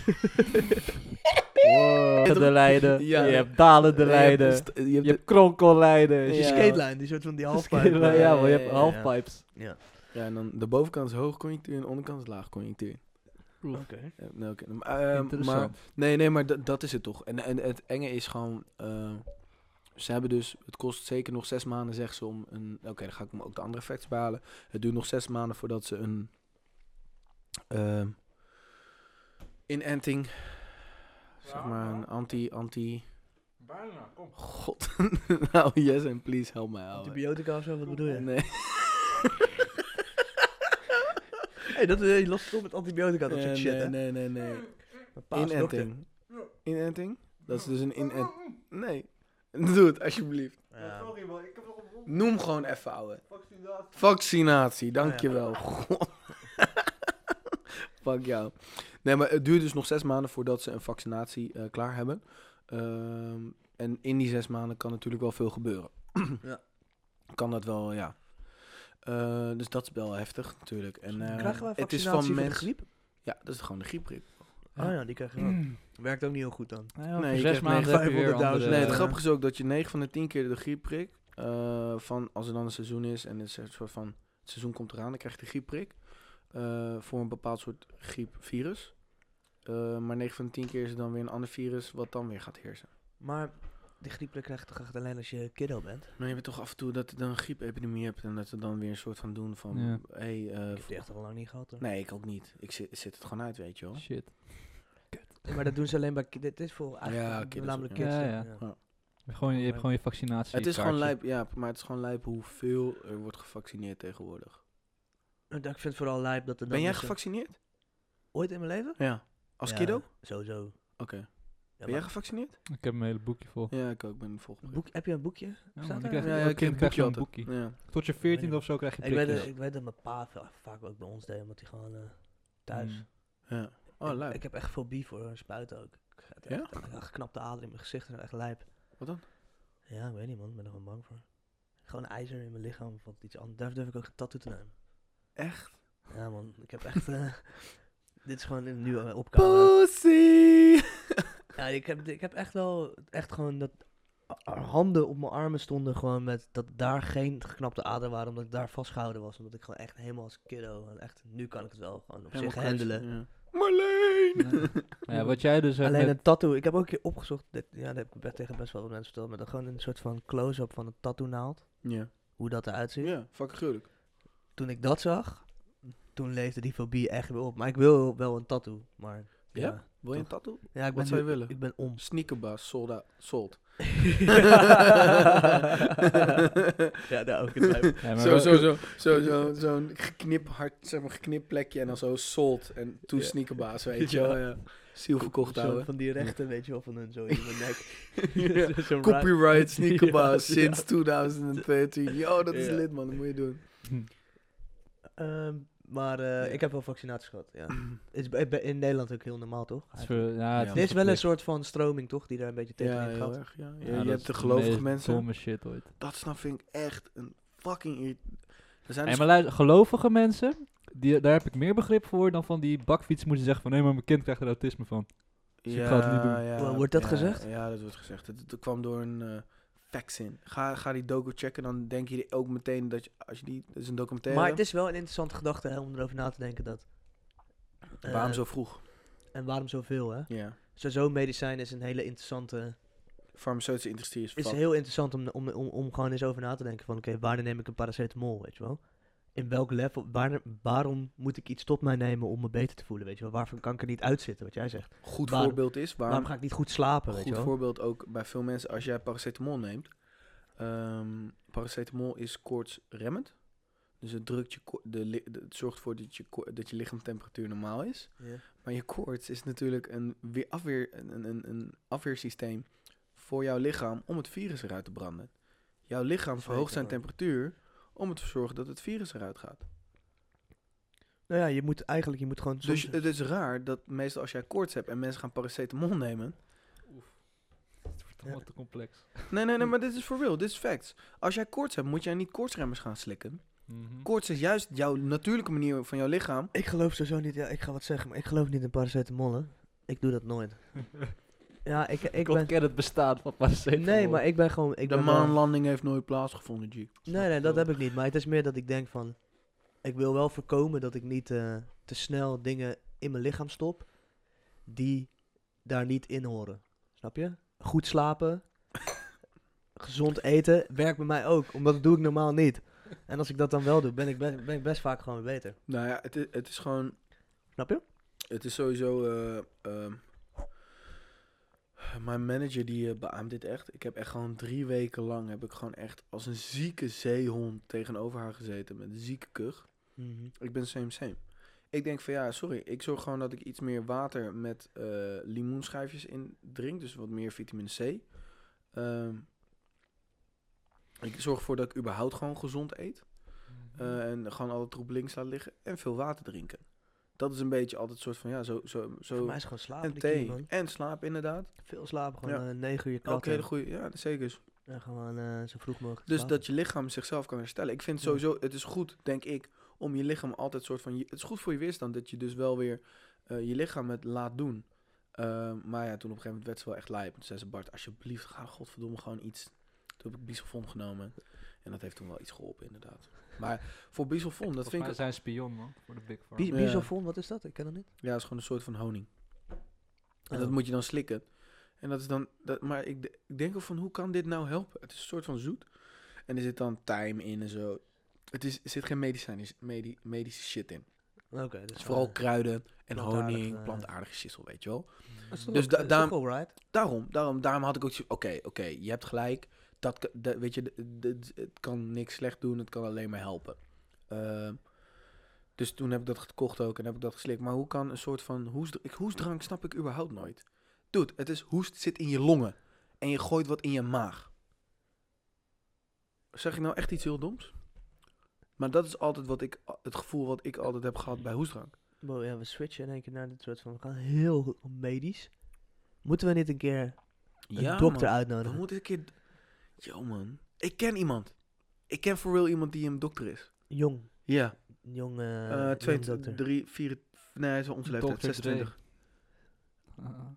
de lijden,
Ja.
je hebt dalende lijden,
Je hebt een st- je hebt
je hebt kronkellijden.
Dus
je
je
Ja.
skatelijn, die soort van die halfpijp.
skatelijn, Ja, maar je
Ja, Oh,
hebt
ja, ja.
halfpipes.
Ja.
Ja, en dan de bovenkant is hoogconjunctuur en de onderkant is laagconjunctuur.
Oké.
Eh, nee, oké. Maar, ehm, maar,
Interessant.
nee, nee, maar dat- dat is het toch. En, en het enge is gewoon... eh, ze hebben dus... Het kost zeker nog zes maanden, zeggen ze, om een... Oké, dan ga ik me ook de andere effects behalen. Het duurt nog zes maanden voordat ze een... ehm, inenting... Zeg maar een anti... anti
Bijna, kom.
God. nou, yes and please help mij houden.
Antibiotica of zo, wat bedoel je?
Nee.
Hey, dat eh, is los stop met antibiotica, dat
Eh,
soort shit,
nee,
hè?
nee, nee, nee.
Mijn pa is dokter.
Inenting. Inenting? Dat is dus een inent... Nee. Doe het, alsjeblieft.
Ja.
Sorry man, ik heb nog een wond.
Noem gewoon even, ouwe.
Vaccinatie.
Vaccinatie,
Ah,
dankjewel. God. Fuck jou. Nee, maar het duurt dus nog zes maanden voordat ze een vaccinatie eh, klaar hebben. Ehm, en in die zes maanden kan natuurlijk wel veel gebeuren.
Ja.
Kan dat wel, ja. Eh, dus dat is wel heftig, natuurlijk. En, eh,
Krijgen wij
het is
vaccinatie
van
van de
mensen.
griep?
Ja, dat is gewoon de grieprip.
Ja.
Oh ja, die krijgen we ook. Werkt ook niet heel goed dan.
Nee,
Nee,
over
je
zes
krijgt
maanden heb je weer
900.000.
andere...
Dus, nee, het
Eh,
grappige is ook dat je 9 van de 10 keer de griepprik, eh van als er dan een seizoen is en het is een soort van, het seizoen komt eraan, dan krijg je de griepprik eh, voor een bepaald soort griepvirus. Eh, maar 9 van de 10 keer is het dan weer een ander virus wat dan weer gaat heersen.
Maar de griep krijg je toch echt alleen als je kiddo bent?
Maar je hebt toch af en toe dat je dan een griepepidemie hebt en dat ze dan weer een soort van doen van,
Ja.
hey, eh,
Ik heb die echt al lang niet gehad hoor.
nee, ik ook niet. Ik zit, zit het gewoon uit, weet je wel.
Shit.
Maar dat doen ze alleen bij kids. Dit is voor
Ja,
eigenlijk
kids,
namelijk
ja.
kids.
Ja,
hè?
ja.
Ja.
Gewoon, je hebt gewoon je vaccinatie.
Het is gewoon lijp, ja, maar het is gewoon lijp hoeveel er wordt gevaccineerd tegenwoordig.
Ik vind het vooral lijp dat er dan
Ben jij
dus een-
gevaccineerd?
Ooit in mijn leven?
Ja. Als
Ja,
kiddo? Oké.
Sowieso. Ja,
Ben jij
maar-
gevaccineerd?
Ik heb een hele boekje vol.
Ja, ik ook. Ik ben
een
volgende.
boek, heb je een boekje?
Ja,
Staat
want
er?
ik krijg,
Ja, ja,
elk
ik heb
kind
een
krijgt
boekje
wel een
altijd.
boekje.
Ja.
Tot je veertiende of zo krijg je
Ik weet, dat,
prikjes.
ik weet dat mijn pa va- vaak ook bij ons deed, omdat hij gewoon eh, thuis.
Mm.
ja. Oh,
ik,
leuk.
ik heb echt fobie voor een spuit ook. Ik ga het
Ja?
echt- Een geknapte ader in mijn gezicht en echt lijp.
Wat dan?
Ja, ik weet niet man, ik ben er gewoon bang voor. Gewoon ijzer in mijn lichaam of wat iets anders. Daarvoor durf ik ook geen tattoo te nemen.
Echt?
Ja man, ik heb echt... eh, dit is gewoon een nieuwe opkouwen.
Pussy!
Ja, ik heb, ik heb echt wel, echt gewoon dat a- a- handen op mijn armen stonden gewoon met dat daar geen geknapte ader waren, omdat ik daar vastgehouden was. Omdat ik gewoon echt helemaal als kiddo, en echt, nu kan ik het wel gewoon op zich handelen.
Ja. Marleen!
Maar ja, wat jij dus hebt
Alleen
met-
een tattoo. Ik heb ook een keer opgezocht. Dit, ja, dat heb ik best- tegen best wel wat mensen verteld. Maar dan gewoon een soort van close-up van een tattoo naald.
Ja.
Hoe dat eruit ziet.
Ja, fucking gruwelijk.
Toen ik dat zag, toen leefde die fobie echt weer op. Maar ik wil wel een tattoo. Maar ja,
Ja? Wil je een
Toch?
tattoo?
Ja, ik ben
Wat zou je
nu-
willen?
Ik ben om.
Sneakerbaas, sold out. Sold.
ja, daar ook. het lijp.
Ja, maar
Zo,
wel-
zo, zo, zo, zo, zo'n geknip, hard, zeg maar, geknipt plekje en dan zo sold en toe
Ja.
sneakerbaas, weet je wel. Ja. Ziel verkocht
Zo'n
houden.
Van die rechten, weet je wel, van hun zo in mijn nek.
Ja.
Zo- zo'n ra-
Copyright sneakerbaas
Ja.
sinds 2013. Yo, dat is
Ja.
lid man, dat moet je doen.
Ehm, maar eh,
Ja. Mm.
ik heb wel vaccinaties gehad, ja. Is bij- bij- in Nederland ook heel normaal, toch?
het is ver- ja, het
Ja.
Er is wel een soort van stroming, toch? Die daar een beetje
Ja,
tegenin gaat.
heel erg. Ja.
Ja,
Eh, Je-
dat
je
is
hebt de
de
gelovige
meest
mensen.
Domme shit ooit.
Dat snap vind ik echt een fucking irrit- Er zijn
Nee,
dus-
maar luister, gelovige mensen, die, daar heb ik meer begrip voor dan van die bakfiets moeten zeggen van nee, maar mijn kind krijgt er autisme van. Dus ik ga het niet doen.
ja,
Wow, wordt dat
ja,
gezegd?
Ja, dat wordt gezegd. Het, het kwam door een eh vaccin. Ga, ga die docu checken, dan denk je ook meteen dat je, als je die, dat is een documentaire.
Maar het is wel een interessante gedachte hè, om erover na te denken dat. eh,
Waarom zo vroeg?
En waarom zoveel, hè?
Ja.
Sowieso medicijn is een hele interessante...
Farmaceutische industrie is
is
fucked.
heel interessant om, om, om, om gewoon eens over na te denken van... Oké, wanneer neem ik een paracetamol, weet je wel? In welk level... Waar, waarom moet ik iets tot mij nemen om me beter te voelen, weet je wel? Waarvoor kan ik er niet uitzitten, wat jij zegt?
goed
waarom-
voorbeeld is. Waarom,
Waarom ga ik niet goed slapen, weet je
goed
wel?
voorbeeld ook bij veel mensen als jij paracetamol neemt. Ehm, paracetamol is koortsremmend. Dus het drukt je ko- de, li- de- het zorgt ervoor dat je, ko- dat je lichaamtemperatuur normaal is.
Ja.
Maar je koorts is natuurlijk een, weer afweer, een, een, een afweersysteem voor jouw lichaam om het virus eruit te branden. Jouw lichaam
Zeker,
verhoogt zijn
man.
temperatuur om ervoor te zorgen dat het virus eruit gaat.
Nou ja, je moet eigenlijk... Je moet gewoon...
Dus
soms-
het is raar dat meestal als jij koorts hebt en mensen gaan paracetamol nemen,
Het wordt allemaal te complex.
Nee, nee, nee, maar dit is voor real. Dit is facts. Als jij koorts hebt, moet jij niet koortsremmers gaan slikken.
Mhm.
Koorts is juist jouw natuurlijke manier van jouw lichaam.
Ik geloof sowieso niet, ja, ik ga wat zeggen, maar ik geloof niet in paracetamol. hè. Ik doe dat nooit. ja, ik, ik ben.
ken het bestaan van paracetamol.
Nee, maar ik ben gewoon. Ik
de
ben wel-
maanlanding heeft nooit plaatsgevonden, G.
nee, nee, dat heb ik niet. Maar het is meer dat ik denk van. Ik wil wel voorkomen dat ik niet eh, te snel dingen in mijn lichaam stop die daar niet in horen. Snap je? Goed slapen, gezond eten werkt bij mij ook, omdat dat doe ik normaal niet. En als ik dat dan wel doe, ben ik, be- ben ik best vaak gewoon weer beter.
Nou ja, het is, het is gewoon...
Snap je?
Het is sowieso... eh, ehm, mijn manager die eh, beaamt dit echt. Ik heb echt gewoon drie weken lang... heb ik gewoon echt als een zieke zeehond tegenover haar gezeten. Met een zieke kuch. Ik ben same same. Ik denk van ja, sorry. Ik zorg gewoon dat ik iets meer water met eh, limoenschijfjes in drink. Dus wat meer vitamine C. Ehm, ik zorg ervoor dat ik überhaupt gewoon gezond eet. Eh, en gewoon alle troep links laat liggen. En veel water drinken. Dat is een beetje altijd soort van ja, zo. zo,
Voor
zo
mij is gewoon slapen.
en
de key,
thee.
man.
En slaap inderdaad.
Veel slapen, gewoon
Ja.
eh, 9 uur
Elke
kratten.
hele goede. Ja, zeker.
En gewoon eh, zo vroeg mogelijk.
Dus
slapen.
dat je lichaam zichzelf kan herstellen. Ik vind
Ja.
sowieso, het is goed, denk ik, om je lichaam altijd soort van. je- Het is goed voor je weerstand dat je dus wel weer eh, je lichaam het laat doen. Ehm, maar ja, toen op een gegeven moment werd ze wel echt lijp. Toen zei ze, Bart, alsjeblieft, ga godverdomme gewoon iets. Toen heb ik bisulfon genomen. En dat heeft toen wel iets geholpen, inderdaad. Maar voor bisulfon, dat vind ik...
zijn spion, man, voor de Big
Bi-
Pharma.
Ja.
Bisofon, wat is dat? Ik ken dat niet.
Ja, dat is gewoon een soort van honing. En
Oh.
dat moet je dan slikken. En dat is dan... Dat, maar ik, de- ik denk ook van, hoe kan dit nou helpen? Het is een soort van zoet. En er zit dan thyme in en zo. Het is, er zit geen medicijn, is- medi- medische shit in.
Oké, dus
Het is vooral kruiden en
plantaardig,
honing,
eh.
plantaardige shissel, weet je wel.
Dus
Dus da-
daarom...
daarom-
alright.
Daarom, daarom, daarom had ik ook zoiets oké, oké, je hebt gelijk. Dat, k- dat- weet je, d- d- het kan niks slecht doen, het kan alleen maar helpen. Ehm, dus toen heb ik dat gekocht ook en heb ik dat geslikt. Maar hoe kan een soort van hoest, ik, hoestdrank snap ik überhaupt nooit. Dude, het is hoest zit in je longen en je gooit wat in je maag. Zeg ik nou echt iets heel doms? Maar dat is altijd wat ik, het gevoel wat ik altijd heb gehad bij hoestdrank.
Wow, ja, we switchen in één keer naar dit soort van... We gaan heel medisch. Moeten we niet een keer een dokter
Dan
uitnodigen?
moet ik een keer... Yo man, ik ken iemand. Ik ken voor real iemand die een dokter is.
Jong.
Ja.
Jong, eh,
Eh
jong
twee,
dokter.
drie, vier... Nee, hij is wel onze leeftijd.
Dr. Dre.
26.
Ah,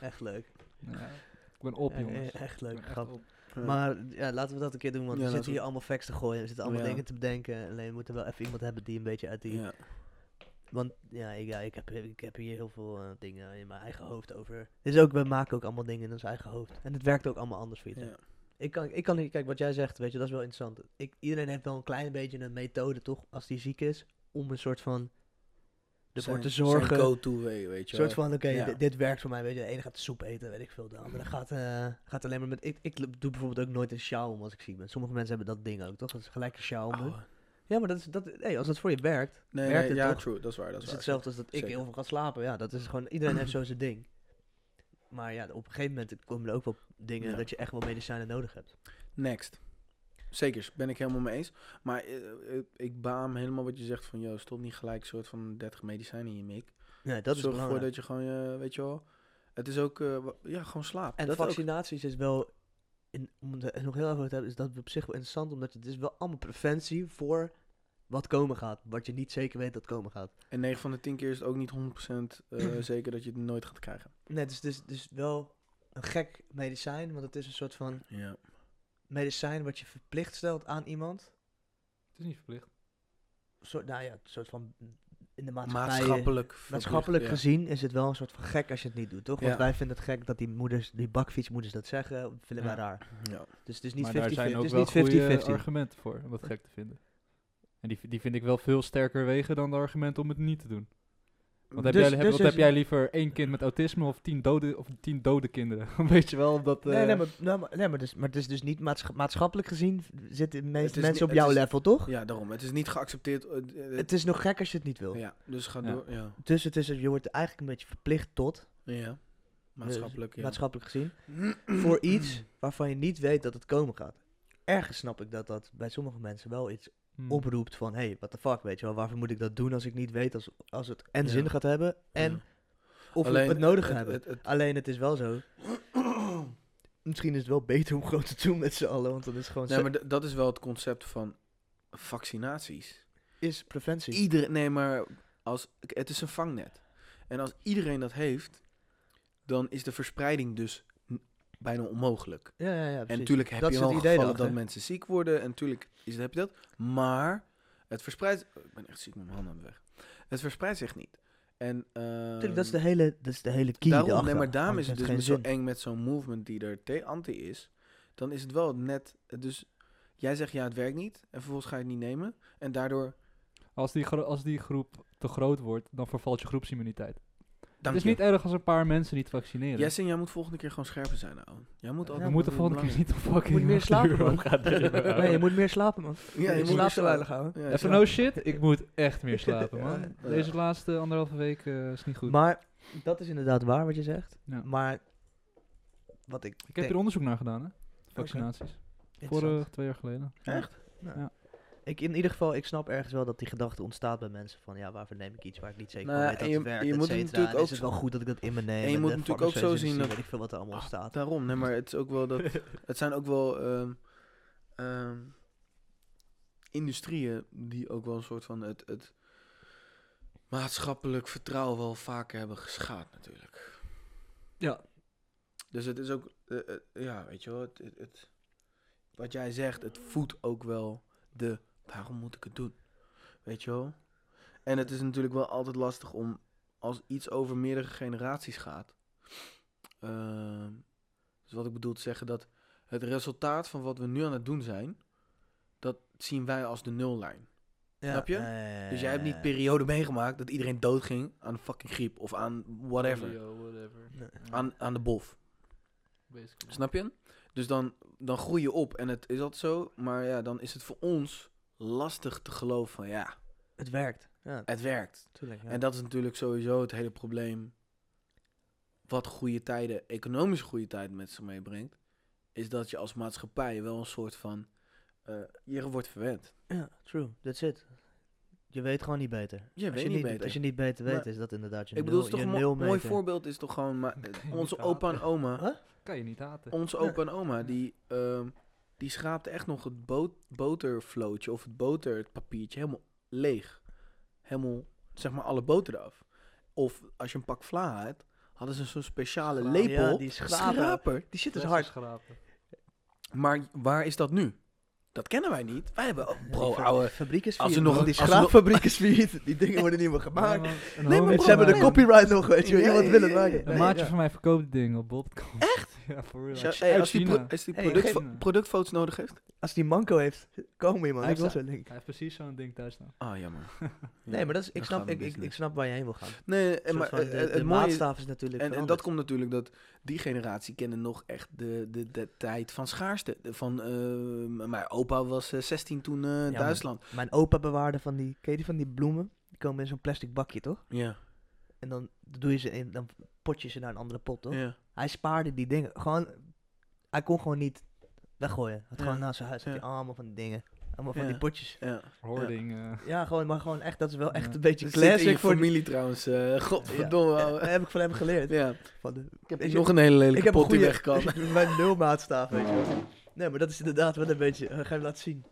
echt leuk.
ja. Ik ben op,
Eh,
jongens.
eh,
e-
echt leuk.
Ik ben echt
grap.
op.
Ja.
Maar ja, laten we dat een keer doen, want
Ja,
we
laten
zitten
we-
hier allemaal facts te gooien. We zitten allemaal
Ja.
dingen te bedenken. Alleen we moeten wel even iemand hebben die een beetje uit die...
Ja.
Want ja, ik, ja, ik, heb, ik heb hier heel veel eh, dingen in mijn eigen hoofd over. Dus ook, we maken ook allemaal dingen in ons eigen hoofd. En het werkt ook allemaal anders voor iedereen.
Ja.
Ik kan, ik kan, niet- kijk, wat jij zegt, weet je, dat is wel interessant. Ik, iedereen heeft wel een klein beetje een methode, toch, als die ziek is, om een soort van ervoor te
Zijn-
zorgen.
Zijn go-to, way, weet je
Een soort
wel.
van, oké,
Ja.
di- dit werkt voor mij. Weet je, de ene gaat soep eten, weet ik veel. De andere gaat, eh, gaat alleen maar met... Ik, ik doe bijvoorbeeld ook nooit een sjaal om als ik ziek ben. Sommige mensen hebben dat ding ook, toch? Dat is gelijk een sjaal om doen.
Oh,
Ja, maar dat is, dat, hey, als dat voor je werkt,
nee,
Werkt
nee,
het
ja,
toch?
true, dat is waar. Dat
is
is
het
waar.
hetzelfde als dat ik
Zeker.
heel veel ga slapen. Ja, dat is gewoon... Iedereen heeft zo zijn ding. Maar ja, op een gegeven moment komen er ook wel dingen
Ja.
dat je echt wel medicijnen nodig hebt.
Next. Zekers, ben ik helemaal mee eens. Maar eh, eh, ik baam helemaal wat je zegt van, joh, stop niet gelijk een soort van 30 medicijnen in je mik.
Ja, dat
Zorg
is
ervoor
belangrijk.
dat je gewoon, je, weet je wel, het is ook, eh, wa- ja, gewoon slaap.
En
dat ook.
vaccinaties is wel, in, om het er nog heel even over te hebben, is dat op zich wel interessant, omdat het is wel allemaal preventie voor wat komen gaat, wat je niet zeker weet dat komen gaat.
En 9 van de 10 keer is het ook niet 100% eh, zeker dat je het nooit gaat krijgen.
Nee, dus het is dus wel een gek medicijn, want het is een soort van
Ja.
medicijn wat je verplicht stelt aan iemand.
Het is niet verplicht.
Soort, nou ja, een soort van in de maatschappij.
Maatschappelijk. verplicht,
Maatschappelijk
ja.
gezien is het wel een soort van gek als je het niet doet, toch? Want
Ja.
wij vinden het gek dat die moeders, die bakfietsmoeders dat zeggen, dat vinden wij
Ja.
raar.
Ja.
Dus het is niet
Maar daar
50-50.
zijn
Het
ook
is
wel
niet 50-50.
goede argumenten voor, om dat gek te vinden. En die, die vind ik wel veel sterker wegen dan de argumenten om het niet te doen. Want heb,
Dus-
jij, heb,
dus
wat
is-
heb jij liever één kind met autisme of tien dode, of tien dode kinderen? Weet je wel, omdat... eh,
Nee, nee, maar, nou, maar, nee maar, dus, maar het is dus niet maatsch- maatschappelijk gezien zitten
Het
de meeste
is
mensen
niet-
op
het
jouw
is-
level, toch?
Ja, daarom. Het is niet geaccepteerd. eh, d- eh,
Het is nog gek als je het niet wil.
ja, dus ga
Ja.
door. Ja.
Dus het is, je wordt eigenlijk een beetje verplicht tot,
ja. Maatschappelijk, ja.
maatschappelijk gezien, Dus voor iets waarvan je niet weet dat het komen gaat. Ergens snap ik dat dat bij sommige mensen wel iets
hmm.
oproept van, hé, hey, what the fuck, weet je wel, waarvoor moet ik dat doen als ik niet weet als, als het en
Ja.
zin gaat hebben en
Ja.
of
Alleen
we het nodig
het-
hebben.
het- het-
Alleen het is wel zo. Misschien is het wel beter om gewoon te doen met z'n allen, want dan is het gewoon
Nee, maar d- dat is wel het concept van vaccinaties.
is preventie.
Iedereen, nee, maar als, k- het is een vangnet. En als iedereen dat heeft, dan is de verspreiding dus n- bijna onmogelijk.
Ja, ja, ja.
En
precies.
natuurlijk heb
Dat
je
is
wel
het
gevallen
idee
dat
erachter.
mensen ziek worden. En natuurlijk is het, heb je dat. Maar het verspreidt... Ik ben echt ziek met mijn handen aan de weg. Het verspreidt zich niet. En,
Tuurlijk, dat is de
ehm,
hele, dat is de hele key.
Daarom, nee,
erachter.
maar daarom is
Anders
het dus
heeft
met zo
geen zin.
eng met zo'n movement die er te- anti is. Dan is het wel net... Dus jij zegt ja, het werkt niet. En vervolgens ga je het niet nemen. En daardoor...
Als, die gro- als die groep te groot wordt, dan vervalt je groepsimmuniteit.
Dank
het is
je.
niet erg als een paar mensen niet vaccineren.
Jess en jij moet volgende keer gewoon scherper zijn, ouwe. Jij moet
we
Ja,
altijd...
moeten volgende keer niet op fucking
Moet meer slapen,
uur
man.
om gaan drillen.
Nee, je moet meer slapen, man.
Ja, je moet
slaap
meer
te
slapen.
weinig houden.
Ja, je
Even
slaapt.
no shit, ik moet echt meer slapen, man.
Ja.
Deze laatste anderhalve week eh, is niet goed.
Maar dat is inderdaad waar wat je zegt.
Ja.
Maar wat ik.
ik heb hier onderzoek naar gedaan, hè. Vaccinaties. Voor eh, twee jaar geleden.
Echt?
ja.
Nou, Ik, in ieder geval, ik snap ergens wel dat die gedachte ontstaat bij mensen van ja, waarvoor neem ik iets waar ik niet zeker
Nou ja,
van weet dat
en je-
het werkt,
je
et
moet het
cetera.
natuurlijk
En is
ook
het
zo-
wel goed dat ik dat in me neem.
je
en
moet
de
natuurlijk ook zo
farmaceutische
zien dat- Ah,
weet ik veel wat er allemaal staat.
Daarom, nee, maar het is ook wel dat... het zijn ook wel ehm, ehm, industrieën die ook wel een soort van het, het maatschappelijk vertrouwen wel vaker hebben geschaad natuurlijk.
Ja.
Dus het is ook, eh, eh, ja, weet je wel, het, het, het- wat jij zegt, het voedt ook wel de waarom moet ik het doen, weet je wel. En het is natuurlijk wel altijd lastig om, als iets over meerdere generaties gaat, ehm, dus wat ik bedoel te zeggen, dat het resultaat van wat we nu aan het doen zijn, dat zien wij als de nullijn.
Ja.
Snap je?
Eh,
Dus jij hebt niet periode meegemaakt dat iedereen doodging aan fucking griep of aan whatever.
Nee.
Aan, aan de bof. Snap je? Dus dan, dan groei je op en het is dat zo, maar ja, dan is het voor ons lastig te geloven van ja,
Het werkt. Ja,
het werkt.
tuurlijk. ja.
En dat is natuurlijk sowieso het hele probleem. Wat goede tijden, economisch goede tijden met zich meebrengt, is dat je als maatschappij wel een soort van. eh, je wordt verwend.
Ja, true. That's it. Je weet gewoon niet beter.
Je
als,
weet
je
niet
niet,
beter.
als je niet beter weet,
Maar-
is dat inderdaad je
Ik bedoel,
nul,
het is toch
je
een mo- mooi
nulmeter.
voorbeeld is toch gewoon. Maar,
Kan je
onze
niet haten.
opa en oma.
Huh?
Kan je niet haten.
Onze opa en oma, die, ehm die schraapten echt nog het boot, botervlootje of het boterpapiertje helemaal leeg. Helemaal, zeg maar, alle boter eraf. Of als je een pak vla had, hadden ze zo'n speciale
Vla,
lepel.
ja, die schraper. Die shit is hard.
dus Maar waar is dat nu? Dat kennen wij niet. Wij hebben, oh, bro,
Die fa-
ouwe.
fabriek is
als
failliet.
er nog
man.
een-
die
als er
schraapfabriek is failliet. Die dingen worden niet meer gemaakt.
maar,
Nee, maar
Ze hebben de
nee.
copyright nog, weet je wel.
Ja,
Iemand
ja,
wil het
ja, ja.
maken.
Een maatje van mij verkoopt die dingen op Bol.com. Echt? ja, voor real.
Shout-
Uit-
hey,
uit
als die,
China.
pro- als die
Hey,
product-
geef-
productfoto's nodig heeft.
Als die manco heeft, kom hier man.
Hij
Ik wil
heeft-
zo'n link.
Hij heeft precies zo'n ding thuis staan.
Ah, jammer.
Nee, maar dat is, ik,
dan
snap,
gaan we
ik, ik, ik
business.
snap waar je heen wil gaan.
Nee, en,
Een
maar
soort van
eh,
de,
het
de
mooie is-
maatstaf is natuurlijk
En, en dat
veranderd.
komt natuurlijk dat die generatie kende nog echt de, de, de tijd van schaarste. De- Van, eh, mijn opa was eh, 16 toen eh,
maar-
Duitsland.
Mijn opa bewaarde van die, ken je die van die bloemen? Die komen in zo'n plastic bakje, toch?
Ja,
En dan doe je ze in, dan pot je ze naar een andere pot, toch?
ja.
Hij spaarde die dingen. Gewoon, hij kon gewoon niet weggooien. Hij had
Ja.
gewoon naast zijn huis had
Ja.
hij allemaal van die dingen. Allemaal van
Ja.
die potjes.
ja.
Hoarding. eh,
Ja, gewoon, maar gewoon echt, dat is wel echt
Ja.
een beetje
Dat zit in
classic
je
voor die...
familie trouwens. eh godverdomme.
Ja,
ouwe.
heb ik van hem geleerd.
Ja,
Van de,
ik heb
Weet je,
nog een hele
ik
lelijke
heb een
pot die
goede
weg kan.
Mijn nulmaatstaaf, weet je wel. Nee, maar dat is inderdaad wel een beetje, eh, ga je laten zien.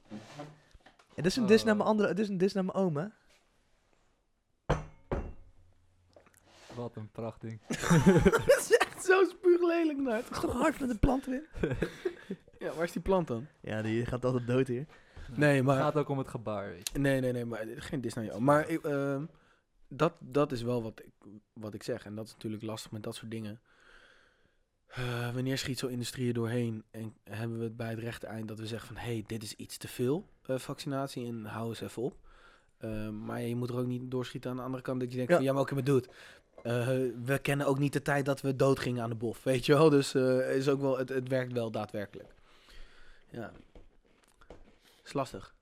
En dit is een dis
Oh.
naar mijn andere, dit is een dis naar mijn oom, hè?
Wat een prachtding.
dat is echt zo spuuglelijk, Nart.
Is toch hard met een plant erin?
Ja, waar is die plant dan?
Ja, die gaat altijd dood hier.
Nee,
Het
maar...
gaat ook om het gebaar, weet je.
Nee, nee, nee, maar eh, geen dis naar jou. Maar ik, ehm, dat, dat is wel wat ik, wat ik zeg. En dat is natuurlijk lastig met dat soort dingen. Eh, wanneer schiet zo'n industrie er doorheen en hebben we het bij het rechte eind dat we zeggen van... hé, hey, dit is iets te veel eh, vaccinatie en hou eens even op. Eh, maar je moet er ook niet doorschieten aan de andere kant dat je denkt
Ja.
van... ja, maar oké, maar doet. Eh, we kennen ook niet de tijd dat we dood gingen aan de bof, weet je wel. Dus eh, is ook wel, het, het werkt wel daadwerkelijk. Ja. Is lastig.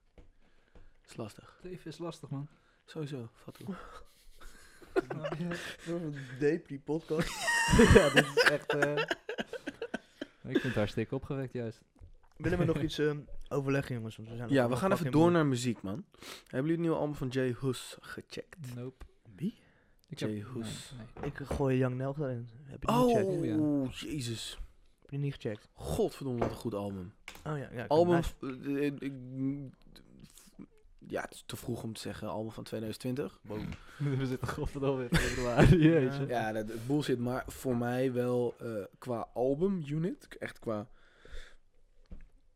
Is lastig.
Het leven is lastig, man.
Sowieso, vat toe.
Depri podcast.
ja, dit is echt... eh, Ik vind het hartstikke opgewekt, juist.
Willen we nog iets ehm, overleggen, jongens? Want we zijn
Ja, we
nog
gaan even
fucking
door
moe.
naar muziek, man. Hebben jullie het nieuwe album van Jay Hus gecheckt?
Nope.
Wie?
Ik
Jay
heb...
Hoes.
Nee, nee.
Ik gooi Young Nelg erin. Heb je die niet gecheckt?
Oh,
gecheckt? Ja.
jezus.
Heb je die niet gecheckt?
Godverdomme, wat een goed album.
Oh ja, ja.
Album...
nice.
eh, eh, ik- mm, Ja, het is te vroeg om te zeggen. Album van 2020.
We zitten godverdomme in februari, jeetje.
Ja, dat dat bullshit. Maar voor mij wel eh, qua album-unit. k- Echt qua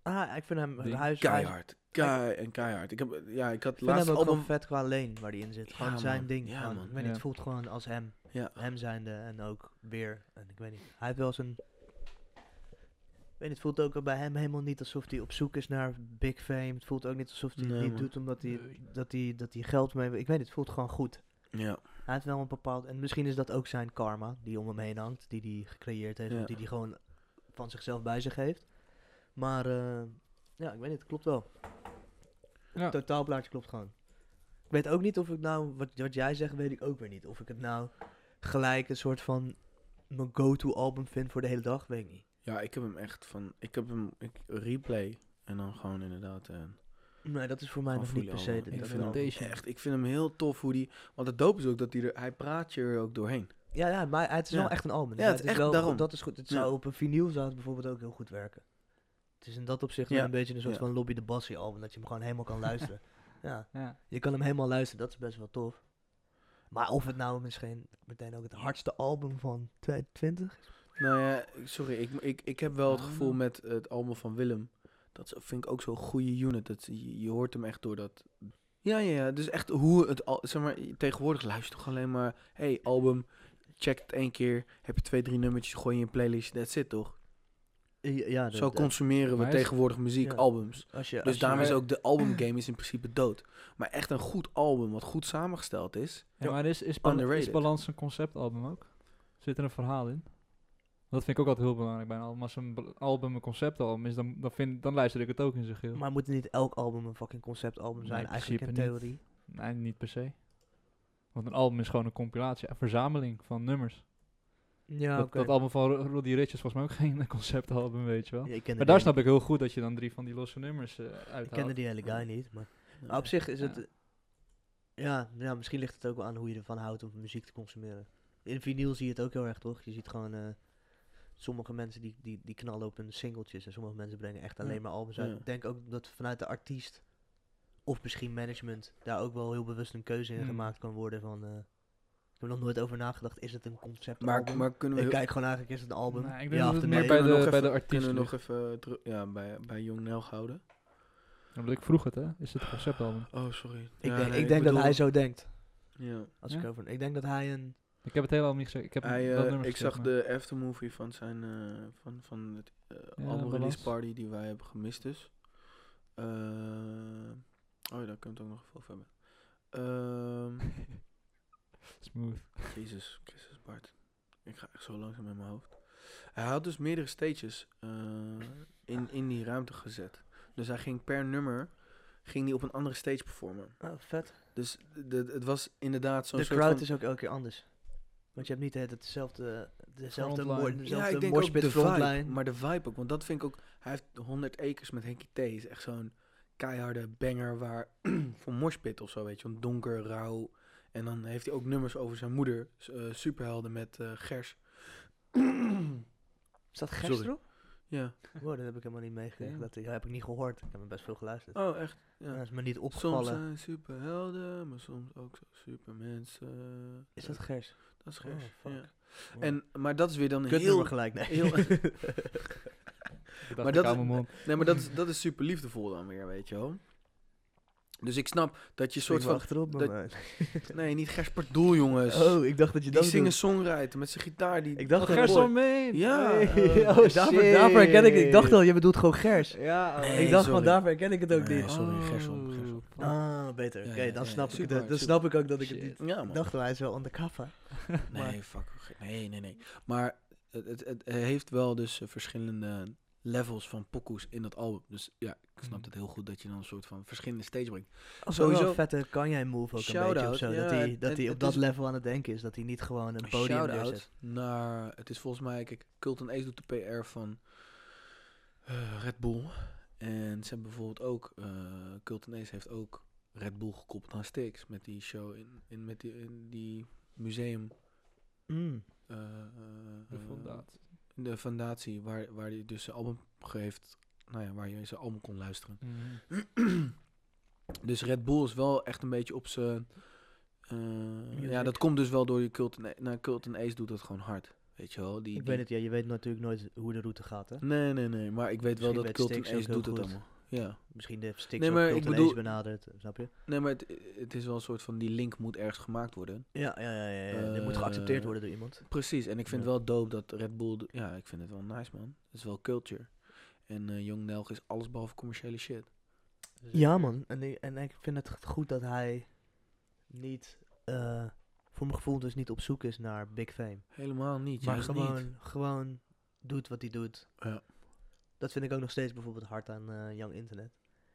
Ah, ik vind hem
Die
huis, ik
keihard. Kei en keihard. Ik, heb, eh, ja, ik had het
vind hem
laatste
ook
album...
gewoon vet qua leen waar hij in zit.
Ja,
Gewoon zijn
man.
ding.
Ja,
gewoon,
man.
Ik weet niet,
Ja.
het voelt gewoon als hem.
Ja.
Hem zijnde en ook weer. En ik weet niet. Hij heeft wel zijn... Ik weet niet, het voelt ook bij hem helemaal niet alsof hij op zoek is naar big fame. Het voelt ook niet alsof hij
Nee,
het niet
man.
doet omdat hij,
Nee.
dat hij, dat hij geld mee... wil. Ik weet niet, het voelt gewoon goed.
Ja,
Hij heeft wel een bepaald... En misschien is dat ook zijn karma die om hem heen hangt. Die hij gecreëerd heeft.
Ja.
Of die hij gewoon van zichzelf bij zich heeft. Maar eh, ja, ik weet niet. Het klopt wel.
Ja.
Het totaalplaatje klopt gewoon. Ik weet ook niet of ik nou... Wat, wat jij zegt weet ik ook weer niet. Of ik het nou gelijk een soort van... Mijn go-to album vind voor de hele dag. Weet ik niet.
ja, ik heb hem echt van... Ik heb hem... Ik replay. En dan gewoon inderdaad... eh,
Nee, dat is voor mij
Gewoon
nog niet per
voelen allemaal.
se... de-
Ik
dat
vind
wel.
hem-
Echt, ik vind hem heel tof hoe die. Want het dope is ook dat hij er. Hij praat je er ook doorheen.
Ja, ja, maar het is
Ja.
wel echt een album.
Ja, het is echt
wel
daarom.
goed, dat is goed. Het zou
Ja.
op een vinyl zou het bijvoorbeeld ook heel goed werken. Het is in dat opzicht wel
Ja,
een beetje een soort
ja.
van Lobby de Bassie album. Dat je hem gewoon helemaal kan luisteren. ja,
Ja.
je kan hem helemaal luisteren. Dat is best wel tof. Maar of het nou misschien meteen ook het hardste album van 2020 is?
Nou ja, sorry, ik, ik, ik heb wel het gevoel
Ah.
met het album van Willem. Dat is- vind ik ook zo'n goede unit. Dat, je, je hoort hem echt door dat. Ja, ja, ja. Dus echt hoe het. al- Zeg maar, tegenwoordig luister je toch alleen maar. hey, album. Check het één keer. Heb je twee, drie nummertjes. Gooi je in een playlist. That's it, toch?
Eh, Ja,
Zo
dat- dat-
consumeren we
Maar is-
tegenwoordig muziek,
Ja.
albums.
als je, als
Dus
je-
daarom is ook de albumgame is in principe dood. Maar echt een goed album, wat goed samengesteld is.
Ja, maar is, is, Bal- is
Underrated.
Balans een conceptalbum ook? Zit er een verhaal in? Dat vind ik ook altijd heel belangrijk bij een album. Als een bal- album een conceptalbum is, dan, dan, vind, dan luister ik het ook in zijn geheel.
Maar moet niet elk album een fucking conceptalbum
Nee,
zijn?
in
eigenlijk in
principe niet.
theorie.
Nee, niet per se. Want een album is gewoon een compilatie, een verzameling van nummers.
Ah,
Ja,
dat,
oké.
dat album van Ro- Roddy Ricch is volgens mij ook geen eh, conceptalbum, weet je wel.
Ja, ik kende
Maar
die
daar
hele-
snap ik heel goed dat je dan drie van die losse nummers eh
Ik kende
uithaalt.
die hele guy niet, maar... Maar op zich is
Ja.
het... eh, Ja, ja, misschien ligt het ook wel aan hoe je ervan houdt om muziek te consumeren. In vinyl zie je het ook heel erg, toch? Je ziet gewoon... eh, sommige mensen die, die, die knallen op hun singeltjes. En sommige mensen brengen echt alleen
Ja.
maar albums uit.
Ja.
Ik denk ook dat vanuit de artiest... Of misschien management... Daar ook wel heel bewust een keuze in
Hmm.
gemaakt kan worden van... eh, ik heb er nog nooit over nagedacht. Is het een concept
Maar, maar kunnen we
ik
heel-
kijk gewoon eigenlijk, is het een album?
Nee, Nou, ik denk
ja
dat
of
het
nee?
meer bij
Kunnen we
de,
nog
bij de
even-
artiest
Kunnen we nog
ligt.
even teru- ja, bij, bij Jong Nelg houden?
Ja, want Ik vroeg het, hè? Is het een conceptalbum?
Oh, sorry.
Ik denk, ik denk dat hij zo denkt.
Ja.
Als
Ja?
ik, over, ik denk dat hij een
Ik heb het helemaal niet gezegd. Ik heb
Hij,
dat
eh,
nummer
ik
gezegd,
zag
maar-
de aftermovie van zijn eh, van, van het eh,
Ja,
album
Balans.
release party die wij hebben gemist dus. Eh, oh ja, daar kunnen we het ook nog even over hebben. Ehm,
Smooth.
Jezus, Christus Bart. Ik ga echt zo langzaam in mijn hoofd. Hij had dus meerdere stages eh, in, in die ruimte gezet. Dus hij ging per nummer ging die op een andere stage performen.
Oh, vet.
Dus de, het was inderdaad zo'n
De
soort
crowd
van-
is ook elke keer anders. Want je hebt niet de hele tijd dezelfde, dezelfde,
Frontline.
moord,
Ja,
Ja,
dezelfde
ik
ja,
denk ook de vibe,
frontline.
maar de vibe ook. Want dat vind ik ook... Hij heeft 100 Acres met Henky T. is echt zo'n keiharde banger waar... voor moshpit of zo, weet je. Een donker, rauw. En dan heeft hij ook nummers over zijn moeder. s- eh, superhelden met eh, Gers.
Staat
Sorry.
Gers erop?
ja.
Wow, dat heb ik helemaal niet meegekregen.
Ja.
Dat ja, heb ik niet gehoord. Ik heb hem best veel geluisterd.
Oh, echt? ja.
Dat is me niet
Soms eh,
opgevallen.
zijn superhelden, maar soms ook zo supermensen.
is dat Gers?
Dat is Gers.
Oh, fuck.
ja. en, maar dat is weer dan
Kut
heel...
nummer gelijk, nee.
heel-
Ik dacht,
Maar
ik
dat
hou
is-
mijn mond.
Nee, maar dat is, dat is super liefdevol dan weer, weet je wel. Dus ik snap dat je soort
soort
van...
achterop, maar
dat-
man.
Nee, niet Gers per doel, jongens.
Oh, ik dacht dat je
Die
dat
zingen
bedoelde.
songwriter met zijn gitaar. Die
Ik dacht
Oh,
dat-
Gerson
Mooi.
Meen!
Ja,
Hey,
eh,
oh,
daarvoor, daarvoor herken ik het. Ik dacht
dat.
al, je bedoelt gewoon Gers.
Ja, oh,
Nee,
ik dacht
sorry.
van, daarvoor herken ik het ook
Nee,
niet.
sorry, Gerson, Gerson.
Ah, beter. Oké,
Ja, ja,
dan
ja,
snap
ja,
ik
super,
het. Dan
super.
snap ik ook dat ik het
Shit.
niet...
Ja,
Ik
man.
dacht wel, hij is wel undercover.
Nee, fuck. Nee, nee, nee. Maar het, het, het heeft wel dus eh, verschillende levels van pokoes in dat album. Dus ja, ik snap
Mm.
het heel goed dat je dan een soort van verschillende stage brengt. Sowieso-
Sowieso een vette kan jij move ook een beetje
Shout-out,
of zo.
ja,
dat hij, dat
het-
hij
het
op dat
is-
level aan het denken is. Dat hij niet gewoon een podium neerzet.
Shout-out naar... Het is volgens mij... Kijk, Culton Ace doet de PR van eh, Red Bull. En ze hebben bijvoorbeeld ook... eh Culton Ace heeft ook Red Bull gekoppeld aan Styx. Met die show in, in, met die, in die museum...
Mm.
eh, eh,
De
Oh.
eh,
fondatie.
de fundatie waar, waar hij dus zijn album heeft... Nou ja, waar je zijn album kon luisteren.
Mm-hmm.
Mhm.
Dus Red Bull is wel echt een beetje op zijn... eh, ja,
Music.
dat komt dus wel door je Culton Ace. Nou, Culton Ace doet dat gewoon hard. Weet je wel? Die,
Ik
die-
weet het, ja, je weet natuurlijk nooit hoe de route gaat, hè?
Nee, nee, nee. Maar ik weet wel
Misschien
dat
weet
Culten
Styx ook
Ace
heel
doet het
goed.
allemaal. Ja.
Misschien de sticks
Nee,
nee,
maar
maar
ik bedoel-
eens benaderd, snap je?
Nee, maar het, het is wel een soort van... Die link moet ergens gemaakt worden.
Ja, ja, ja. ja, ja. Dit moet
Eh,
geaccepteerd worden door iemand.
Precies. En ik vind
Ja.
wel dope dat Red Bull... d- Ja, ik vind het wel nice, man. Het is wel culture. En eh Young Nelg is alles behalve commerciële shit.
Ja, man. En, ik- en ik vind het goed dat hij niet, eh, voor mijn gevoel dus niet op zoek is naar big fame.
Helemaal niet.
maar
juist
gewoon,
niet.
gewoon doet wat hij doet.
Ja.
Dat vind ik ook nog steeds bijvoorbeeld hard aan eh, Young Internet.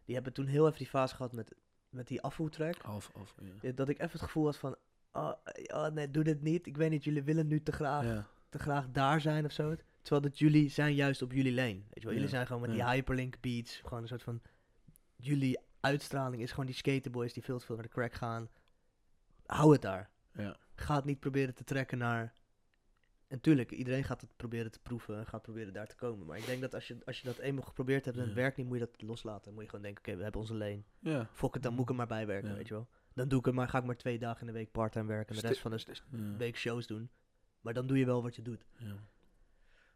Die hebben toen heel even die fase gehad met, met die afvoertrack.
Af, af. Ja.
Ja, Dat ik even het gevoel had van, oh, oh, nee, doe dit niet. Ik weet niet, jullie willen nu te graag
Ja.
te graag daar zijn of zo. Terwijl dat jullie zijn juist op jullie lane. Weet je wel? Jullie
Ja,
zijn gewoon met die
ja.
hyperlink beats. Gewoon een soort van... Jullie uitstraling is gewoon die skaterboys die veel te veel naar de crack gaan. Hou het daar.
Ja.
Ga het niet proberen te trekken naar... En tuurlijk, iedereen gaat het proberen te proeven en gaat proberen daar te komen. Maar ik denk dat als je, als je dat eenmaal geprobeerd hebt en het
Ja.
werkt niet, moet je dat loslaten. Dan moet je gewoon denken, oké, we hebben onze lane.
Ja.
Fok het, dan moet ik er maar bij werken,
Ja.
weet je wel. Dan doe ik er maar, ga ik maar twee dagen in de week parttime werken en de
Stu-
rest van de s-
ja,
week shows doen. Maar dan doe je wel wat je doet.
ja.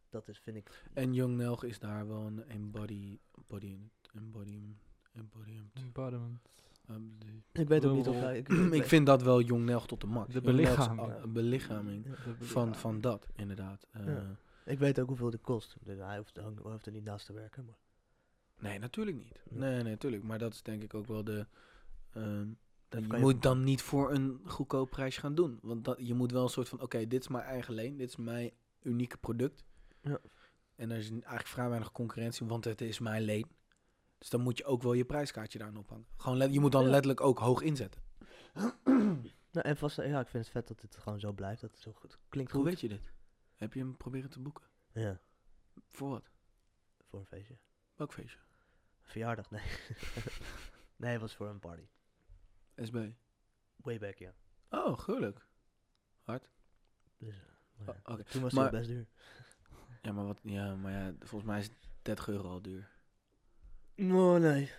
Dat is, vind ik.
En Young Nelg is daar wel een embody... Embody... Embody... Embody...
Mm. Bottom.
embody
Ik weet ook niet of
Lul.
hij.
Ehm, ik vind dat wel Jong Nelg tot de
De
max. Jong Nelg is
belichaming.
al- een belichaming van, van dat, inderdaad. Eh,
Ja. Ik weet ook hoeveel dit kost. Dus hij hoeft, ook- hij hoeft er niet naast te werken. Maar
Nee, natuurlijk niet.
Ja.
Nee, nee, natuurlijk. Maar dat is denk ik ook wel de... ehm, dat je
kan je-
moet dan niet voor een goedkoop prijs gaan doen. Want dat, je moet wel een soort van... Oké, dit is mijn eigen leen. Dit is mijn unieke product.
Ja.
En er is n- eigenlijk vrij weinig concurrentie, want het is mijn leen. Dus dan moet je ook wel je prijskaartje daaraan ophangen. Gewoon let- je moet dan letterlijk ook hoog inzetten.
nou, en vast, ja, ik vind het vet dat dit gewoon zo blijft. Dat het zo goed klinkt.
Hoe
goed.
weet je dit? Heb je hem proberen te boeken?
Ja,
Voor wat?
voor een feestje.
Welk feestje?
Verjaardag, nee. nee, het was voor een party.
SB.
Way back, ja.
Oh, gelukkig.
Dus, maar
Oh,
ja.
Oké.
Toen was
Maar-
het best duur.
Ja, maar wat? Ja, maar ja, volgens mij is 30 euro al duur.
Oh nee.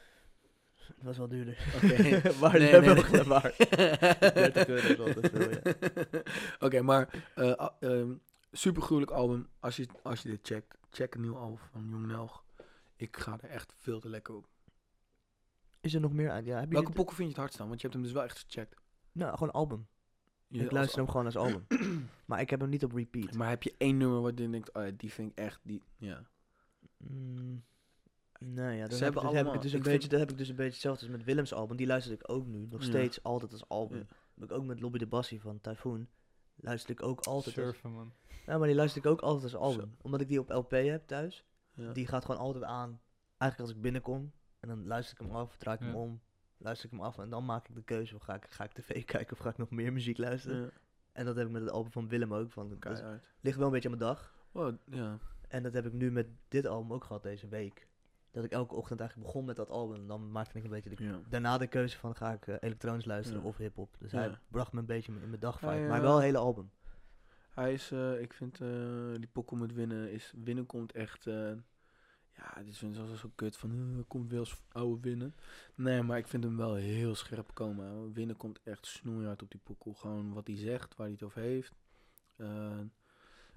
Het was wel duurder.
Oké.
Waar
Nee,
hebben
nee,
we
nee.
waar? 30 euro is wel te veel, ja.
Oké, maar eh a- ehm, supergruwelijk album. Als je, als je dit checkt, check een nieuw album van Jong Nelg. Ik ga er echt veel te lekker op.
Is er nog meer aan? Ja, heb je
Welke pokken vind je het hardst dan? Want je hebt hem dus wel echt gecheckt.
Nou, gewoon album.
Je-
ik
als-
luister hem gewoon als album. maar ik heb hem niet op repeat.
Maar heb je één nummer wat je denkt, oh ja, die vind ik echt, die, ja.
Mm, nee, ja, dan,
Ze
heb,
hebben
ik, dus, heb ik
allemaal-
het dus een
ik
beetje,
vind-
dan heb ik dus een beetje hetzelfde als met Willems album. Die luister ik ook nu nog
Ja.
steeds altijd als album.
Ja.
Heb ik ook met Lobby de Bassie van Typhoon. Luister ik ook altijd. Als,
Surfen, man.
nou, maar die luister ik ook altijd als album.
Zo.
Omdat ik die op LP heb thuis.
Ja.
Die gaat gewoon altijd aan. Eigenlijk als ik binnenkom. En dan luister ik hem af, draai ik hem
Ja.
om. Luister ik hem af en dan maak ik de keuze. Ga ik, ga ik tv kijken of ga ik nog meer muziek luisteren?
Ja,
En dat heb ik met het album van Willem ook. Van, dat
keihard.
ligt wel een beetje aan mijn dag.
Wow, ja.
En dat heb ik nu met dit album ook gehad deze week. Dat ik elke ochtend eigenlijk begon met dat album. En dan maakte ik een beetje de,
ja.
daarna de keuze van ga ik eh, elektronisch luisteren
Ja.
of hip-hop. Dus
Ja.
hij bracht me een beetje in mijn dag
Hij,
vibe, Maar
eh,
wel een hele album.
Hij is, eh, ik vind, eh, die pokoe met winnen is, winnen komt echt, eh, ja, dit is zoals zo kut van, eh, komt wel eens oude winnen. Nee, maar ik vind hem wel heel scherp komen. ouwe. Winnen komt echt snoeihard op die pokoe. Gewoon wat hij zegt, waar hij het over heeft. Eh,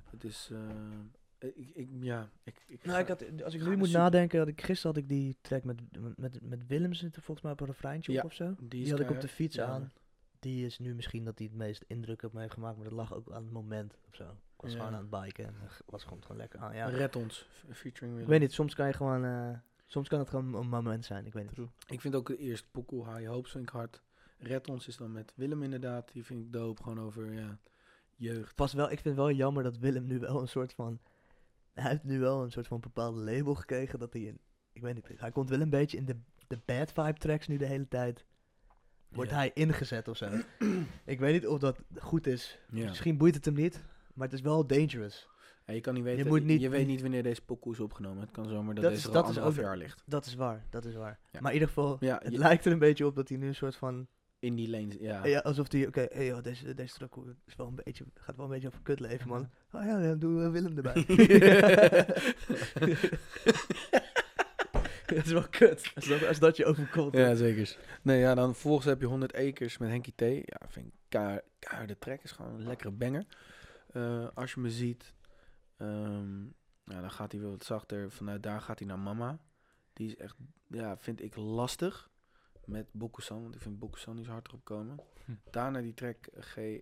het is, eh, ik, ik, ja, ik, ik
Nou,
ga-
ik had, als ik
ga
nu
de
moet
super-
nadenken, had ik, gisteren had ik die track met, met, met Willem zitten, volgens mij op een refreintje
Ja,
op of zo.
is
Die had ik op de
keihard.
fiets
Ja,
aan. Die is nu misschien dat die het meest indruk op me heeft gemaakt, maar dat lag ook aan het moment of zo. Ik was
Ja.
gewoon aan het biken en eh, was gewoon, gewoon lekker aan. Ja,
Red ons, f- featuring
ik
Willem.
weet niet, soms kan je gewoon, eh, soms kan het gewoon een moment zijn, ik weet niet.
Ik vind ook de eerste pokoe, High Hopes, vind ik hard. Red ons is dan met Willem inderdaad. Die vind ik dope, gewoon over ja, jeugd.
Pas wel, ik vind het wel jammer dat Willem nu wel een soort van. Hij heeft nu wel een soort van bepaalde label gekregen dat hij een. Ik weet niet, hij komt wel een beetje in de, de bad vibe tracks nu de hele tijd. Wordt
Ja.
hij ingezet of zo? ik weet niet of dat goed is.
Ja.
Misschien boeit het hem niet, maar het is wel dangerous.
Ja, je kan niet weten,
Je
je,
moet niet-
weet niet wanneer deze pokoe is opgenomen. Het kan zomaar dat,
Dat is-
deze
dat
al
is
anderhalf
ook-
jaar ligt.
Dat is waar, dat is waar.
Ja.
Maar in ieder geval,
Ja,
het
je-
lijkt er een beetje op dat hij nu een soort van.
in die lane. Ja.
Ja, alsof hij, oké, hey, joh, deze, deze track is wel een beetje, gaat wel een beetje over kut leven, man. Oh ja, dan doen we Willem erbij. dat is wel kut. Als dat, als dat je overkomt.
Ja, zeker. Nee, ja, dan volgens heb je 100 acres met Henkie T. Ja, vind ik keihard- keiharde track. Is gewoon een lekkere banger. Eh, als je me ziet, ehm, ja, dan gaat hij weer wat zachter. Vanuit daar gaat hij naar Mama. Die is echt, ja, vind ik lastig. Met Bokusan, want ik vind Bokusan niet zo hard erop komen.
Hm.
Daarna die track G, eh,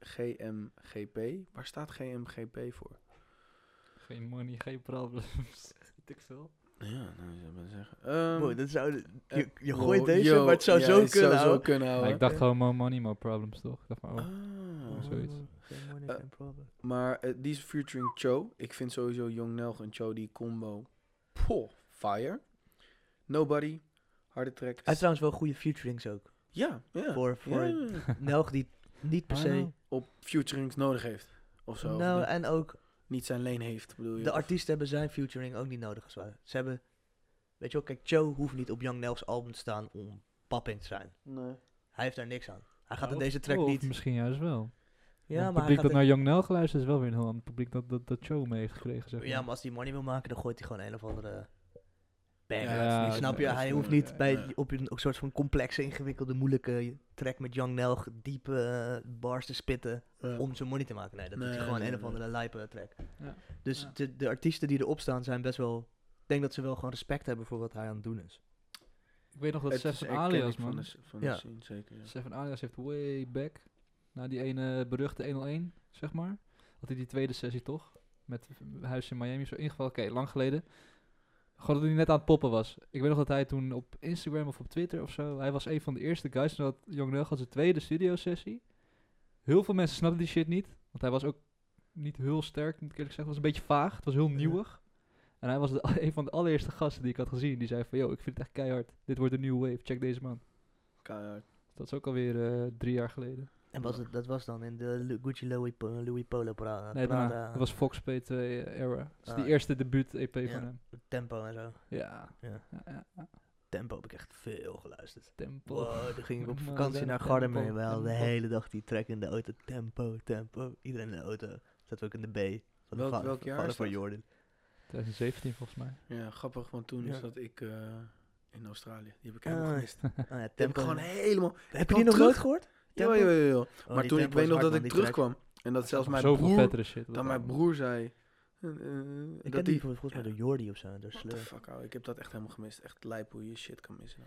GMGP. Waar staat GMGP voor?
Geen money, geen problems. Weet ik veel.
Ja, nou, ik zou maar zeggen. Ehm,
Wow, dat zou,
eh,
je, je
wow,
gooit deze,
yo,
maar het zou
ja,
zo
het
kunnen.
zou zo
ouwe.
kunnen,
Maar
ouwe.
ik dacht gewoon, more money, more problems, toch? Ik dacht van, oh.
Ah.
zoiets.
Geen money,
Eh,
geen problem.
Maar eh, die is featuring Cho. Ik vind sowieso Young Nelg en Cho die combo. Poh, fire. Nobody. Harde track.
Hij heeft trouwens wel goede featurings ook.
ja, ja.
Voor, voor
Ja, ja, ja.
Nelg die niet per
I
se.
know.
Op featurings nodig heeft. Of zo. Of
Nou,
niet,
en ook
niet zijn leen heeft, bedoel je.
De
Of-
artiesten hebben zijn featuring ook niet nodig. Zwaar. Ze hebben... Weet je wel, kijk, Joe hoeft niet op Young Nel's album te staan om papping te zijn.
Nee.
Hij heeft daar niks aan. Hij gaat
Ja,
in
of-
deze track
of
niet...
oh, misschien juist wel. Want
Ja,
het
maar, hij
publiek
gaat
dat
in-
naar Young Nel geluisterd is wel weer een heel ander publiek dat dat, dat show mee heeft gekregen, zeg maar.
ja, maar als hij money wil maken, dan gooit hij gewoon een of andere... Bang.
Ja, dat is niet-
Snap je?
dat is
Hij
niet-
hoeft niet
ja,
bij,
ja.
op een, ook soort van complexe, ingewikkelde, moeilijke track met Young Nelg diepe eh, bars te spitten
Ja.
om zijn money te maken. Nee, dat doet
Nee,
hij gewoon
nee,
een of
nee.
andere lijpe track.
Ja.
Dus
Ja.
de, de artiesten die erop staan zijn best wel... Ik denk dat ze wel gewoon respect hebben voor wat hij aan het doen is.
Ik weet nog dat
Het is
Seven
herkenning
Alias,
Van
man.
de, s- van de
Ja.
scene, zeker. ja.
Seven Alias heeft way back, na die ene beruchte 101, zeg maar, had hij die tweede sessie toch, met Huis in Miami zo ingevallen. Oké, lang geleden. Gewoon dat hij net aan het poppen was. Ik weet nog dat hij toen op Instagram of op Twitter of zo, hij was een van de eerste guys, en dat Young Nug had zijn tweede studio sessie. Heel veel mensen snapten die shit niet, want hij was ook niet heel sterk, moet ik eerlijk zeggen. Het was een beetje vaag, het was heel nieuwig. En hij was de, een van de allereerste gasten die ik had gezien. Die zei van, yo, ik vind het echt keihard. Dit wordt de nieuwe wave, check deze man.
Keihard.
Dat is ook alweer eh, drie jaar geleden.
En was het, dat was dan in de Lu- Gucci Louis, Po- Louis Polo Prada.
nee, daarna.
Prada
Dat was Fox P2 era. Dat is
Ah,
die
ja.
eerste debuut-EP
Ja.
van hem.
Tempo en zo.
Ja.
Ja.
ja, ja, ja.
Tempo heb ik echt veel geluisterd.
Tempo.
Wow, toen ging ik op
Man,
vakantie
ben
naar
tempo,
Gardermeer. Wel de
tempo.
hele dag die track in de auto. Tempo, tempo. Iedereen in de auto. Zaten we ook in de B. Van
Welk-
de va-
welk jaar
vader
is
van
dat?
Jordan.
2017 volgens mij.
Ja, grappig, want toen
Ja.
zat ik eh, in Australië. Die heb ik
Ah,
helemaal gemist. Die
Ah, ja,
heb ik
tempo.
gewoon helemaal...
heb je
kwam
die nog
terug.
nooit gehoord?
Ja,
Tempo?
ja, ja, ja.
Oh,
Maar
die
toen, ik
tempo
weet
is
nog
hard,
dat
man,
ik
die track.
terugkwam. En dat zelfs mijn
Zoveel
broer
vettere shit.
Dat mijn broer zei. eh, eh,
Ik
dat
ken
die.
die volgens mij
ja.
door Jordi of zo. Door
What the
Sleur.
fuck, ouwe, ik heb dat echt helemaal gemist. Echt lijp hoe je shit kan missen.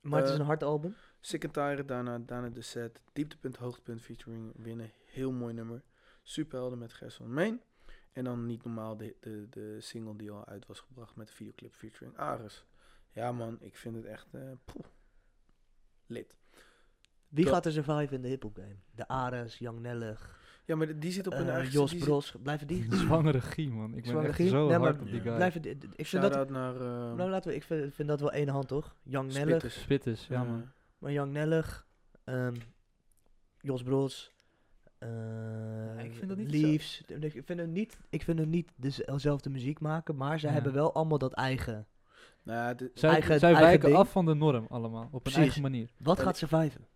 Maar het is
Eh,
een hard album.
Sick and Tired, daarna, daarna de set. Dieptepunt, hoogtepunt, featuring winnen. Heel mooi nummer. Superhelden met Gerson Main. En dan niet normaal de, de, de single die al uit was gebracht met de videoclip featuring Ares. Ja man, ik vind het echt eh poeh, lit.
Wie
dat-
gaat er survive in de hip-hop game? De Ares, Young Nellig,
Ja, maar die zit op een
eh,
eigen...
Jos
die zit-
Bros. Blijven die?
Zwangere Gie, man. Ik ben
Zwangere
echt
Gie?
zo
Nee, maar
hard op die
Ja.
guy.
Blijven die- Ik vind dat...
Shout-out naar eh,
Nou, laten we, ik vind, vind dat wel één hand, toch? Young Nellig,
Spitters.
Spitters, ja man.
Eh,
maar Young Nellig, ehm, Jos Bros. eh,
ik vind dat niet
Leaves. Ik vind hem niet, ik vind hem niet dezelfde muziek maken, maar ze
Ja.
hebben wel allemaal dat eigen.
nou ja, dit-
Zij,
Eigen-
zij
eigen
wijken
ding.
af van de norm allemaal, op
Precies.
een eigen manier.
Wat
En
gaat surviven?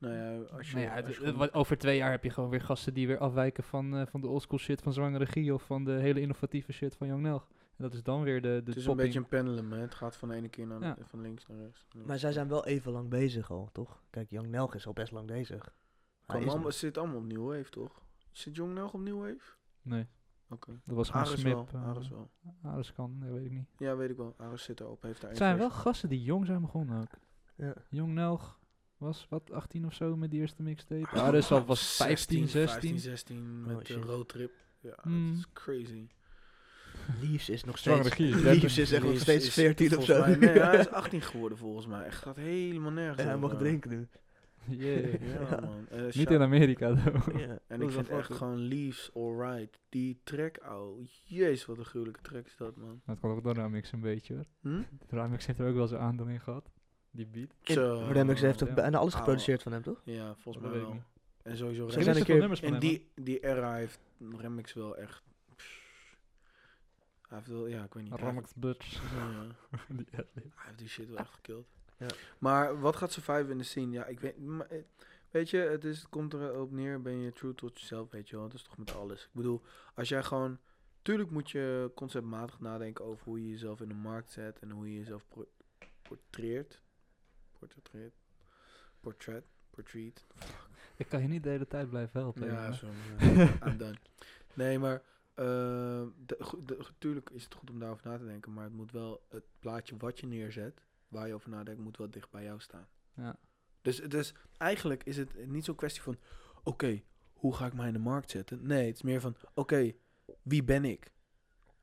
nou ja, als je...
Nou ja, het-
als je
het- wat- over twee jaar heb je gewoon weer gasten die weer afwijken van, eh, van de oldschool shit van Zwangere Gie of van de hele innovatieve shit van Young Nelg. En dat is dan weer de, de
het is een
topping.
beetje een pendulum, hè. Het gaat van de ene keer naar,
Ja.
van links naar rechts.
Maar zij zijn wel even lang bezig al, toch? Kijk, Young Nellig is al best lang bezig. Hij
Kan
is-
allemaal, zit allemaal op New Wave, toch? Zit Jong nog op New Wave?
Nee,
Oké.
dat was gewoon
Ares wel,
Smip. eh,
Ares wel.
Ares kan, dat weet ik niet.
Ja, weet ik wel. Ares zit erop, heeft daar
Het
één
zijn wel
verse.
gasten die jong zijn begonnen ook.
Ja.
Jong Nelg was, wat, 18 of zo met die eerste mixtape? Ares al dus was 15, 16.
15, 16 met
Oh,
de
shit.
roadtrip. Ja,
Mm.
dat is crazy.
Leaves is nog
Zwangere
steeds...
Gie is
Leaves is echt nog
Leaves
steeds
is
14 of
volgens mij-
zo.
nee, hij is 18 geworden volgens mij. Echt gaat helemaal nergens.
Ja, hij mag
over.
drinken nu.
Yeah.
Ja, man. Eh,
Niet
shout-
in Amerika, though.
Ja,
En ik vind echt gewoon Leaves Alright. Die track, oh jezus, wat een gruwelijke track is dat, man.
Dat kan ook door Ramix een beetje hoor.
Hm?
Ramix heeft er ook wel zijn aandeel in gehad. Die beat.
Zo.
Remix heeft toch
ja.
bijna alles
Ouwe.
geproduceerd van hem, toch?
Ja, volgens
Dat
mij
weet ik
wel.
niet.
En sowieso
Ze
Er
Remix.
zijn
zijn veel
een keer-
nummers van
En
hem. hoor.
die, die era heeft Remix wel echt. Hij heeft wel, ja, ik weet niet. Hij
Ramix Butch.
heeft- ja,
Die ad-lib.
hij heeft die shit wel echt gekild.
Ja.
Maar wat gaat Survive in de scene? Ja, ik weet. Maar, eh, weet je, het, is, het komt erop neer. Ben je true tot jezelf, weet je wel. Dat is toch met alles. Ik bedoel, als jij gewoon. Tuurlijk moet je conceptmatig nadenken over hoe je jezelf in de markt zet en hoe je jezelf pro- portreert. Portretreert. Portret. Portreet.
Ik kan je niet de hele tijd blijven helpen.
Ja,
jongen.
sorry. I'm done. Nee, maar eh, de- go- de- tuurlijk is het goed om daarover na te denken, maar het moet wel het plaatje wat je neerzet, waar je over nadenkt, moet wel dicht bij jou staan.
Ja.
Dus, dus eigenlijk is het niet zo'n kwestie van, oké, hoe ga ik mij in de markt zetten? Nee, het is meer van, oké, wie ben ik?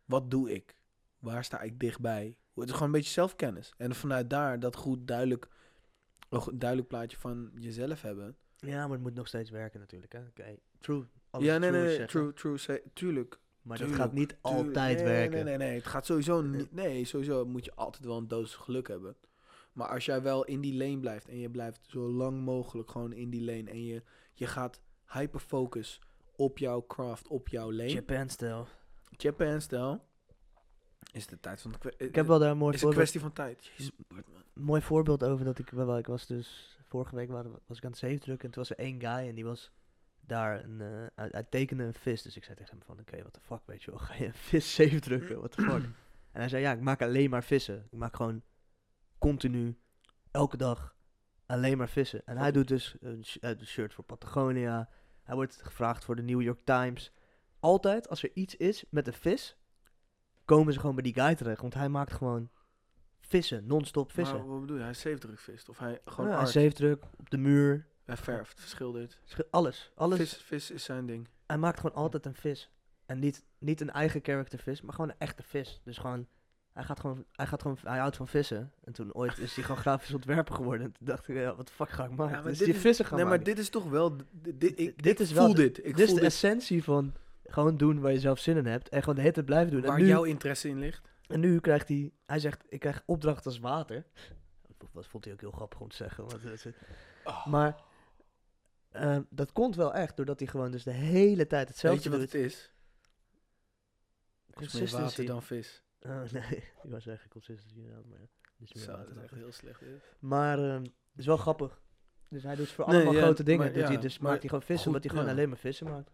Wat doe ik? Waar sta ik dichtbij? Het is gewoon een beetje zelfkennis. En vanuit daar dat goed duidelijk, een goed duidelijk plaatje van jezelf hebben,
Ja, maar het moet nog steeds werken natuurlijk, hè. Oké, true. Alles
ja, nee,
true
nee, nee,
zeggen.
true, true, ze- tuurlijk,
Maar dat
Tuurlijk,
gaat niet
tuurlijk.
altijd
Nee,
werken.
Nee, nee, nee, nee, het gaat sowieso niet, nee, sowieso moet je altijd wel een doos geluk hebben. Maar als jij wel in die lane blijft en je blijft zo lang mogelijk gewoon in die lane en je, je gaat hyperfocus op jouw craft, op jouw lane,
Japan stijl.
Japan stijl, is de tijd van de kwe-
Ik heb wel daar een mooi
is een
voorbeeld,
kwestie van tijd. Jezus, Bart, man.
mooi voorbeeld over dat ik wel, wel- ik was dus vorige week waren we- was ik aan het zeven drukken en toen was er één guy en die was daar een eh, hij, hij tekende een vis, dus ik zei tegen hem van oké, what the fuck, weet je wel, ga je een vis zeven drukken, what the fuck. en hij zei ja, ik maak alleen maar vissen. Ik maak gewoon continu elke dag alleen maar vissen. En hij doet dus een sh- eh, een shirt voor Patagonia. Hij wordt gevraagd voor de New York Times. Altijd als er iets is met een vis, komen ze gewoon bij die guy terecht, want hij maakt gewoon vissen, non-stop vissen.
Maar wat bedoel je, hij zeefdrukvist of hij gewoon
Gewoon ja,
art,
zeefdruk op de muur.
hij verft, schildert.
Schi- Alles. alles.
Vis, vis is zijn ding.
Hij maakt gewoon altijd een vis. En niet, niet een eigen character vis, maar gewoon een echte vis. Dus gewoon hij, gaat gewoon, hij gaat gewoon, hij houdt van vissen. En toen ooit is hij gewoon grafisch ontwerper geworden. En toen dacht ik, ja, wat de fuck ga ik maken?
Ja, maar
dus
dit
die
is-
vissen gaan
nee, maar
maken.
dit is toch wel, d- dit, dit- ik,
Dit
dit
is
is
wel
voel
de-
dit. Ik
dit is
voel
de
dit.
essentie van gewoon doen waar je zelf zin in hebt. En gewoon de hele tijd blijven doen. En
Waar
nu,
jouw interesse in ligt.
en nu krijgt hij, hij zegt, ik krijg opdracht als water. Dat vond hij ook heel grappig om te zeggen. Want, dat is-
Oh.
Maar ehm, dat komt wel echt doordat hij gewoon dus de hele tijd
Weet
hetzelfde
je wat
doet.
het is? Het is meer water
Consistency.
dan vis.
Oh, nee, ik wou zeggen consistency inderdaad, maar ja. dit is meer
Zo,
water
dat is
dan
echt
vis.
heel slecht.
Maar ehm, het is wel grappig. Dus hij doet voor
Nee,
allemaal
ja,
grote dingen.
maar
doet
ja,
hij, dus
maar
maakt hij gewoon vissen,
goed,
omdat hij gewoon
ja.
alleen maar vissen maakt.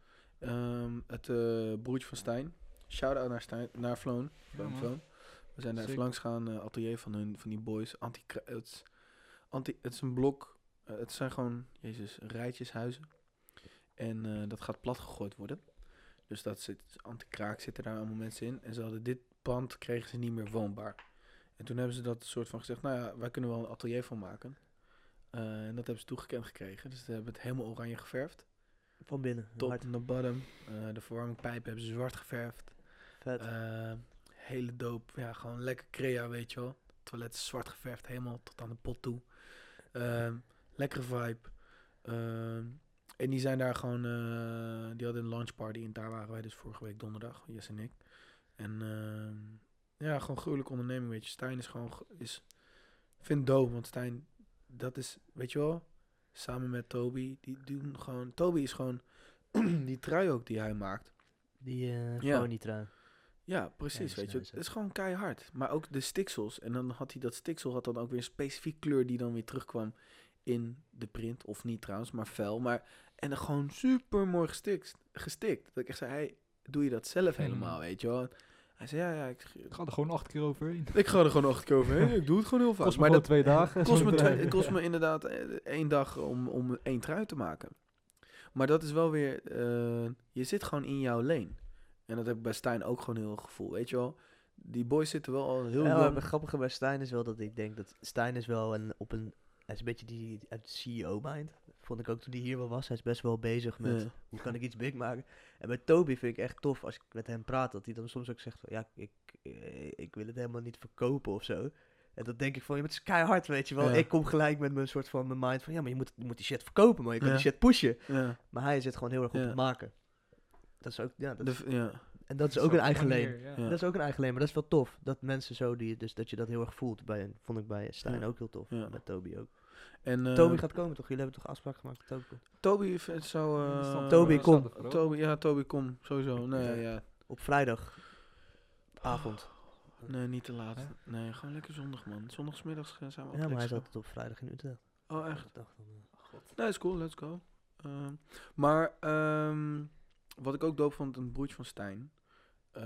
het eh, broertje van Stijn. Shout-out naar Stijn, naar Floon. Bij
man.
Floon. We zijn daar even
Sick.
langs gaan, eh, atelier van, hun, van die boys. Anti het, is- anti, het is een blok, eh, het zijn gewoon, jezus, rijtjeshuizen. En eh, dat gaat plat gegooid worden. Dus dat zit, anti-kraak zitten daar allemaal mensen in. En ze hadden dit pand, kregen ze niet meer woonbaar. En En toen hebben ze dat soort van gezegd, nou ja, wij kunnen wel een atelier van maken. Eh, en dat hebben ze toegekend gekregen. Dus ze hebben het helemaal oranje geverfd.
Van binnen.
Top
Hard.
naar bottom. Eh, de verwarmingpijpen hebben ze zwart geverfd.
Vet.
Eh, hele doop. Ja, gewoon lekker crea, weet je wel. Toilet is zwart geverfd, helemaal tot aan de pot toe. Ehm, lekkere vibe. Ehm, en die zijn daar gewoon... eh, die hadden een launch party en daar waren wij dus vorige week donderdag, Jess en ik. En ehm, ja, gewoon gruwelijke onderneming, weet je. Stijn is gewoon... g- Is, vind dope, want Stijn, dat is... Weet je wel, samen met Toby, die doen gewoon... Toby is gewoon die trui ook die hij maakt.
Die eh
Ja.
gewoon niet trui.
Ja,
die
precies,
is
weet je.
nice,
Het
hè.
is gewoon keihard. Maar ook de stiksels. En dan had hij dat stiksel had dan ook weer een specifieke kleur die dan weer terugkwam in de print. Of niet trouwens, maar fel. Maar, en dan gewoon super mooi gestikt, gestikt. Dat ik echt zei, hey, doe je dat zelf
Hmm.
helemaal, weet je wel. Hij zei, ja, ja, ik,
Ik ga er gewoon acht keer overheen.
ik ga er gewoon acht keer overheen. Ik doe het gewoon heel vaak.
Kost me
maar
gewoon
dat
twee dagen.
kost
zo'n
me, twee-
bedrijf.
het kost me inderdaad eh, één dag om, om één trui te maken. Maar dat is wel weer, eh, je zit gewoon in jouw lane. En dat heb ik bij Stijn ook gewoon heel erg gevoel, weet je wel. Die boys zitten wel al heel
Ja, maar
lang...
het grappige bij Stijn is wel dat ik denk dat Stijn is wel een, op een... Hij is een beetje die uit CEO-mind. Vond ik ook toen hij hier wel was. Hij is best wel bezig met
Ja.
hoe kan ik iets big maken. En bij Toby vind ik echt tof als ik met hem praat. Dat hij dan soms ook zegt van ja, ik, eh, ik wil het helemaal niet verkopen of zo. En dat denk ik van, ja, maar het is keihard, weet je wel.
Ja.
Ik kom gelijk met mijn soort van mijn mind van, ja, maar je moet, je moet die shit verkopen, maar je kan
Ja.
die shit pushen.
Ja,
Maar hij zit gewoon heel erg op
Ja.
het maken. Dat is ook, ja, dat
de
is-
v- ja.
en dat is ook een eigen leen.
manier, ja.
Ja.
Dat is ook een eigen leen, maar dat is wel tof. Dat mensen zo, die, dus dat je dat heel erg voelt. Bij, vond ik bij Stijn
Ja.
ook heel tof.
Ja.
en Met Toby ook.
En eh,
Toby gaat komen toch? Jullie hebben toch afspraak gemaakt dat Toby komt?
Toby vindt zo...
Ja, dat
eh,
stond-
Toby,
dat staat
kom.
er voor ook.
Toby, ja, Toby, kom, sowieso. Nee, ja.
Op vrijdagavond.
Ah, nee niet te laat.
Hè?
Nee, gewoon lekker zondag, man. Zondagsmiddags eh, zijn we
Ja, maar hij
lekker
zat altijd op vrijdag in Utrecht.
zo- Oh, echt?
Ik dacht van, eh,
Nee, is cool, let's go. Ehm, maar ehm, wat ik ook doop vond, een broertje van Stijn. eh,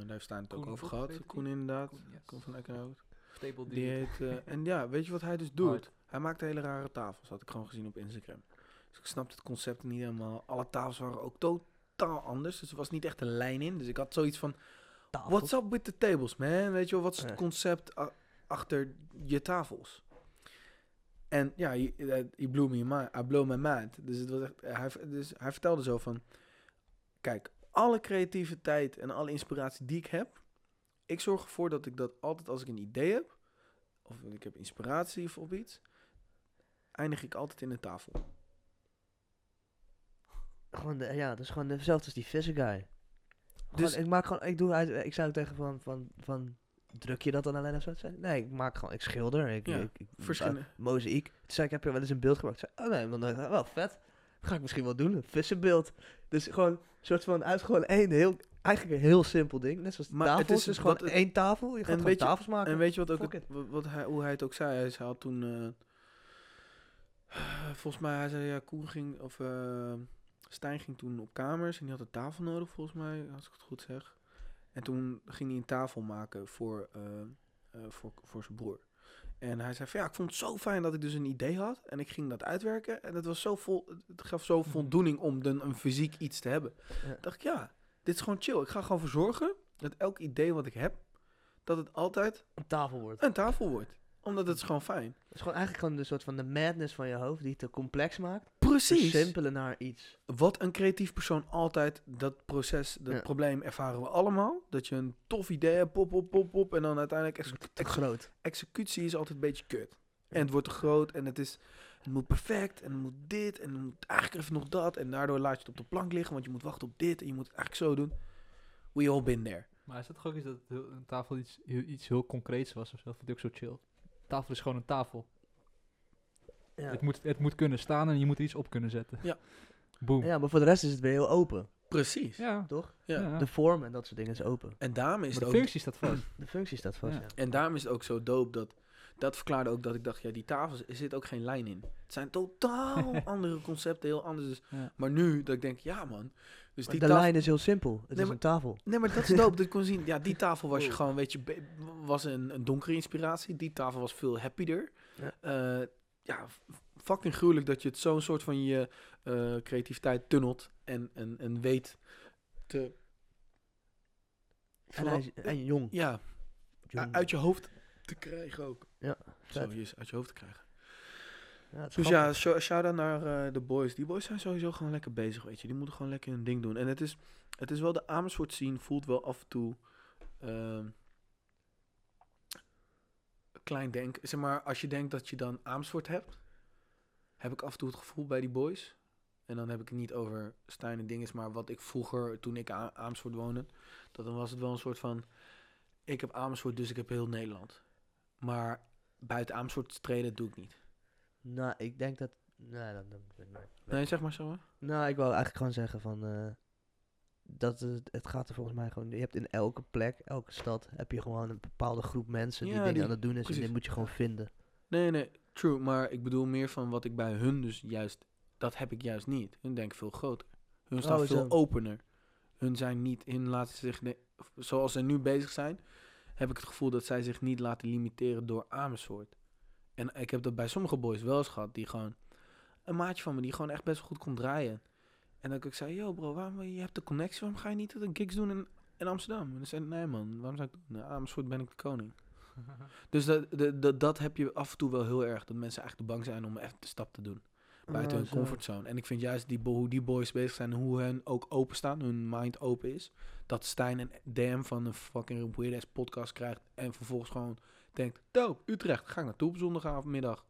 daar heeft Stijn het ook
Koen
over
Vogt, heet
gehad.
die?
Koen inderdaad.
Koen, yes.
Koen van Eckenhout.
Stable
Die
deal.
heet... eh, en ja, weet je wat hij dus doet? Hij maakt hele rare tafels, had ik gewoon gezien op Instagram. Dus ik snapte het concept niet helemaal. Alle tafels waren ook totaal anders. Dus er was niet echt een lijn in. Dus ik had zoiets van,
tafel.
what's up with the tables, man? Weet je wel, wat is het
Ja.
concept a- achter je tafels? En ja, he, eh, he blew me my, I blew my mind. Dus, het was echt, hij, v- dus hij vertelde zo van... Kijk, alle creativiteit en alle inspiratie die ik heb... Ik zorg ervoor dat ik dat altijd als ik een idee heb... Of ik heb inspiratie of op iets... Eindig ik altijd in een tafel.
Gewoon de- ja, dat is gewoon dezelfde als die vissen guy.
Dus-
Dus ik maak gewoon, ik doe, hij- ik zei ook tegen van, van, van, druk je dat dan alleen of zo? Zei hij, Nee, ik maak gewoon, ik schilder, ik,
Ja,
ik, ik
Verschillende.
mozaïek. Toen zei ik, heb je wel eens een beeld gemaakt? Ik zei, oh nee, maar nooit. wel vet. Ga ik misschien wel doen, een vissenbeeld. Dus gewoon een soort van, uit gewoon één heel, eigenlijk een heel simpel ding. Net zoals de
Maar het
tafels,
is
dus gewoon
wat het-
één tafel. Je gaat gewoon
weet je-
tafels maken.
En weet je wat ook
Fuck
het- wa- wat hij, hoe hij het ook zei? Hij zei- had toen. eh, volgens mij, hij zei ja, Koen ging. Of eh, Stijn ging toen op kamers en die had een tafel nodig, volgens mij, als ik het goed zeg. En toen ging hij een tafel maken voor, eh, eh, voor, voor zijn broer. En hij zei van ja, ik vond het zo fijn dat ik dus een idee had. En ik ging dat uitwerken. En het, was zo vol, het gaf zo voldoening om dan een fysiek iets te hebben.
Mhm. Ja.
dacht ik ja, dit is gewoon chill. Ik ga gewoon voor zorgen dat elk idee wat ik heb, dat het altijd
Een tafel wordt.
een tafel wordt. Omdat het is gewoon fijn.
Het is gewoon eigenlijk gewoon een soort van de madness van je hoofd die het te complex maakt.
Precies.
Simpelen naar iets.
Wat een creatief persoon altijd, dat proces, dat
Ja.
probleem ervaren we allemaal. Dat je een tof idee hebt, pop, pop, pop, pop. En dan uiteindelijk, ex-
Te
ex-
groot.
executie is altijd een beetje kut. En het wordt te groot en het is, het moet perfect en het moet dit en het moet eigenlijk even nog dat. En daardoor laat je het op de plank liggen, want je moet wachten op dit en je moet het eigenlijk zo doen. We all been there.
Maar is dat gewoon iets dat het heel- een tafel iets heel, iets heel concreets was of zo? Vind ik ook zo chill. Tafel is gewoon een tafel.
Ja.
Het, moet, het moet kunnen staan en je moet er iets op kunnen zetten.
Ja.
Boom.
ja, maar voor de rest is het weer heel open,
Precies.
Ja.
toch?
Ja.
ja.
De vorm en dat soort dingen is open.
En daarom is
Maar
het
de
ook
functie staat vast.
De functie staat vast,
Ja.
ja.
En daarom is het ook zo dope dat... Dat verklaarde ook dat ik dacht, ja, die tafels, er zit ook geen lijn in. Het zijn totaal andere concepten, heel anders. Dus,
Ja.
Maar nu, dat ik denk, ja man. Dus
Maar
die
de
tafel...
lijn is heel simpel. Het is
maar-
een tafel.
Nee, maar dat is dope dat ik kon zien. Ja, die tafel was je
Wow.
gewoon, weet je, be- was een, een donkere inspiratie. Die tafel was veel happier.
Ja.
Ja, ja f- fucking gruwelijk dat je het zo'n soort van je eh, creativiteit tunnelt en, en, en weet te...
En, hij is, en jong.
Ja,
jong.
uit je hoofd te krijgen ook.
Ja,
Zo,
vet.
je is uit je hoofd te krijgen.
Ja, het is
Dus
grappig.
ja, sho- shout-out naar eh, de boys. Die boys zijn sowieso gewoon lekker bezig, weet je. Die moeten gewoon lekker hun ding doen. En het is, het is wel de Amersfoort scene, voelt wel af en toe... ehm, klein denk. Zeg maar, als je denkt dat je dan Amersfoort hebt... heb ik af en toe het gevoel bij die boys... en dan heb ik het niet over Stijn en dinges... maar wat ik vroeger, toen ik aan Amersfoort woonde... dat dan was het wel een soort van... ik heb Amersfoort, dus ik heb heel Nederland. Maar buiten Amersfoort treden doe ik niet.
Nou, ik denk dat... Nee, dat, dat- dat- nee.
Nee, zeg maar zo, hè?
Nou, ik wil eigenlijk gewoon zeggen van... eh, dat het, het gaat er volgens mij gewoon... Je hebt in elke plek, elke stad... heb je gewoon een bepaalde groep mensen... die
Ja,
dingen
die-
aan het doen is. En
precies.
die moet je gewoon vinden.
Nee, nee, true. Maar ik bedoel meer van wat ik bij hun dus juist... Dat heb ik juist niet. Hun denken veel groter. Hun staan
Oh,
veel
zo.
opener. Hun zijn niet... Hun laten zich... ne- of Zoals ze nu bezig zijn... heb ik het gevoel dat zij zich niet laten limiteren door Amersfoort. En ik heb dat bij sommige boys wel eens gehad. Die gewoon... Een maatje van me die gewoon echt best wel goed kon draaien. En dat ik ook zei... Yo bro, waarom, eh, je hebt de connectie. Waarom ga je niet een gigs doen in, in Amsterdam? En dan zei ik, Nee man, waarom zou ik... doen? Nou, Amersfoort ben ik de koning. Dus dat, dat, dat, dat heb je af en toe wel heel erg. Dat mensen eigenlijk te bang zijn om echt de stap te doen. Buiten
Oh,
hun
zo.
comfortzone. En ik vind juist die, bo- hoe die boys bezig zijn, hoe hen ook openstaan, hun mind open is. Dat Stijn een DM van een fucking weird ass podcast krijgt. En vervolgens gewoon denkt, dope, Utrecht, ga ik naartoe op zondagavondmiddag.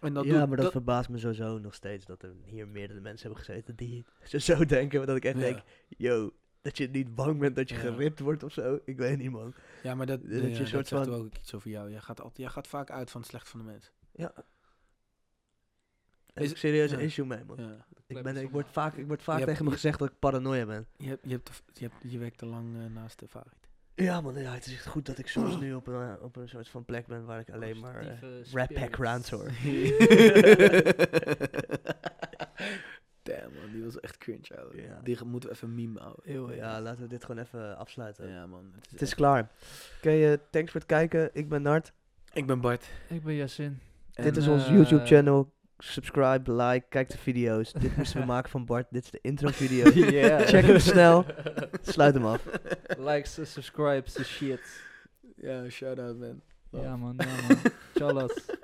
En dat
ja,
doet,
maar dat, verbaast me sowieso nog steeds... dat er hier meerdere mensen hebben gezeten... die zo, zo denken. Dat ik echt
Ja.
denk... Yo, dat je niet bang bent dat je
Ja.
geript wordt of zo. Ik weet niet, man.
ja, maar dat,
dat
ja,
je
dat
soort
zegt
van-
ook iets over jou. Jij gaat, altijd, jij gaat vaak uit van het slecht van de mens.
Ja. Daar
Is-
Heb ik serieus
ja.
een issue mee, man.
Ja.
Ik, ben, ik word vaak, ik word
Je
vaak
hebt-
tegen me
je-
gezegd dat ik paranoia ben.
Je, hebt, je, hebt, te- je, hebt, je werkt te lang eh, naast de vaarheid.
Ja, man, ja, het is echt goed dat ik soms nu op een, eh, op een soort van plek ben waar ik alleen maar eh, Rat Pack Rounds hoor.
Damn man, die was echt cringe ouwe.
Ja.
Die ge- moeten we even meme houden.
Ja, laten we dit gewoon even eh, afsluiten.
Ja man. Het is
Het is
echt-
klaar. Oké, eh, thanks voor het kijken. Ik ben Nart.
Ik ben Bart.
Ik ben Jasin.
dit
En,
is
eh,
ons YouTube channel. Subscribe, like, kijk de video's. dit moesten we maken van Bart. Dit is de intro video.
Yeah.
Check hem snel. Sluit hem af.
Likes, subscribes, the shit.
Ja, shout out man.
Ja man, ja man. Chalas.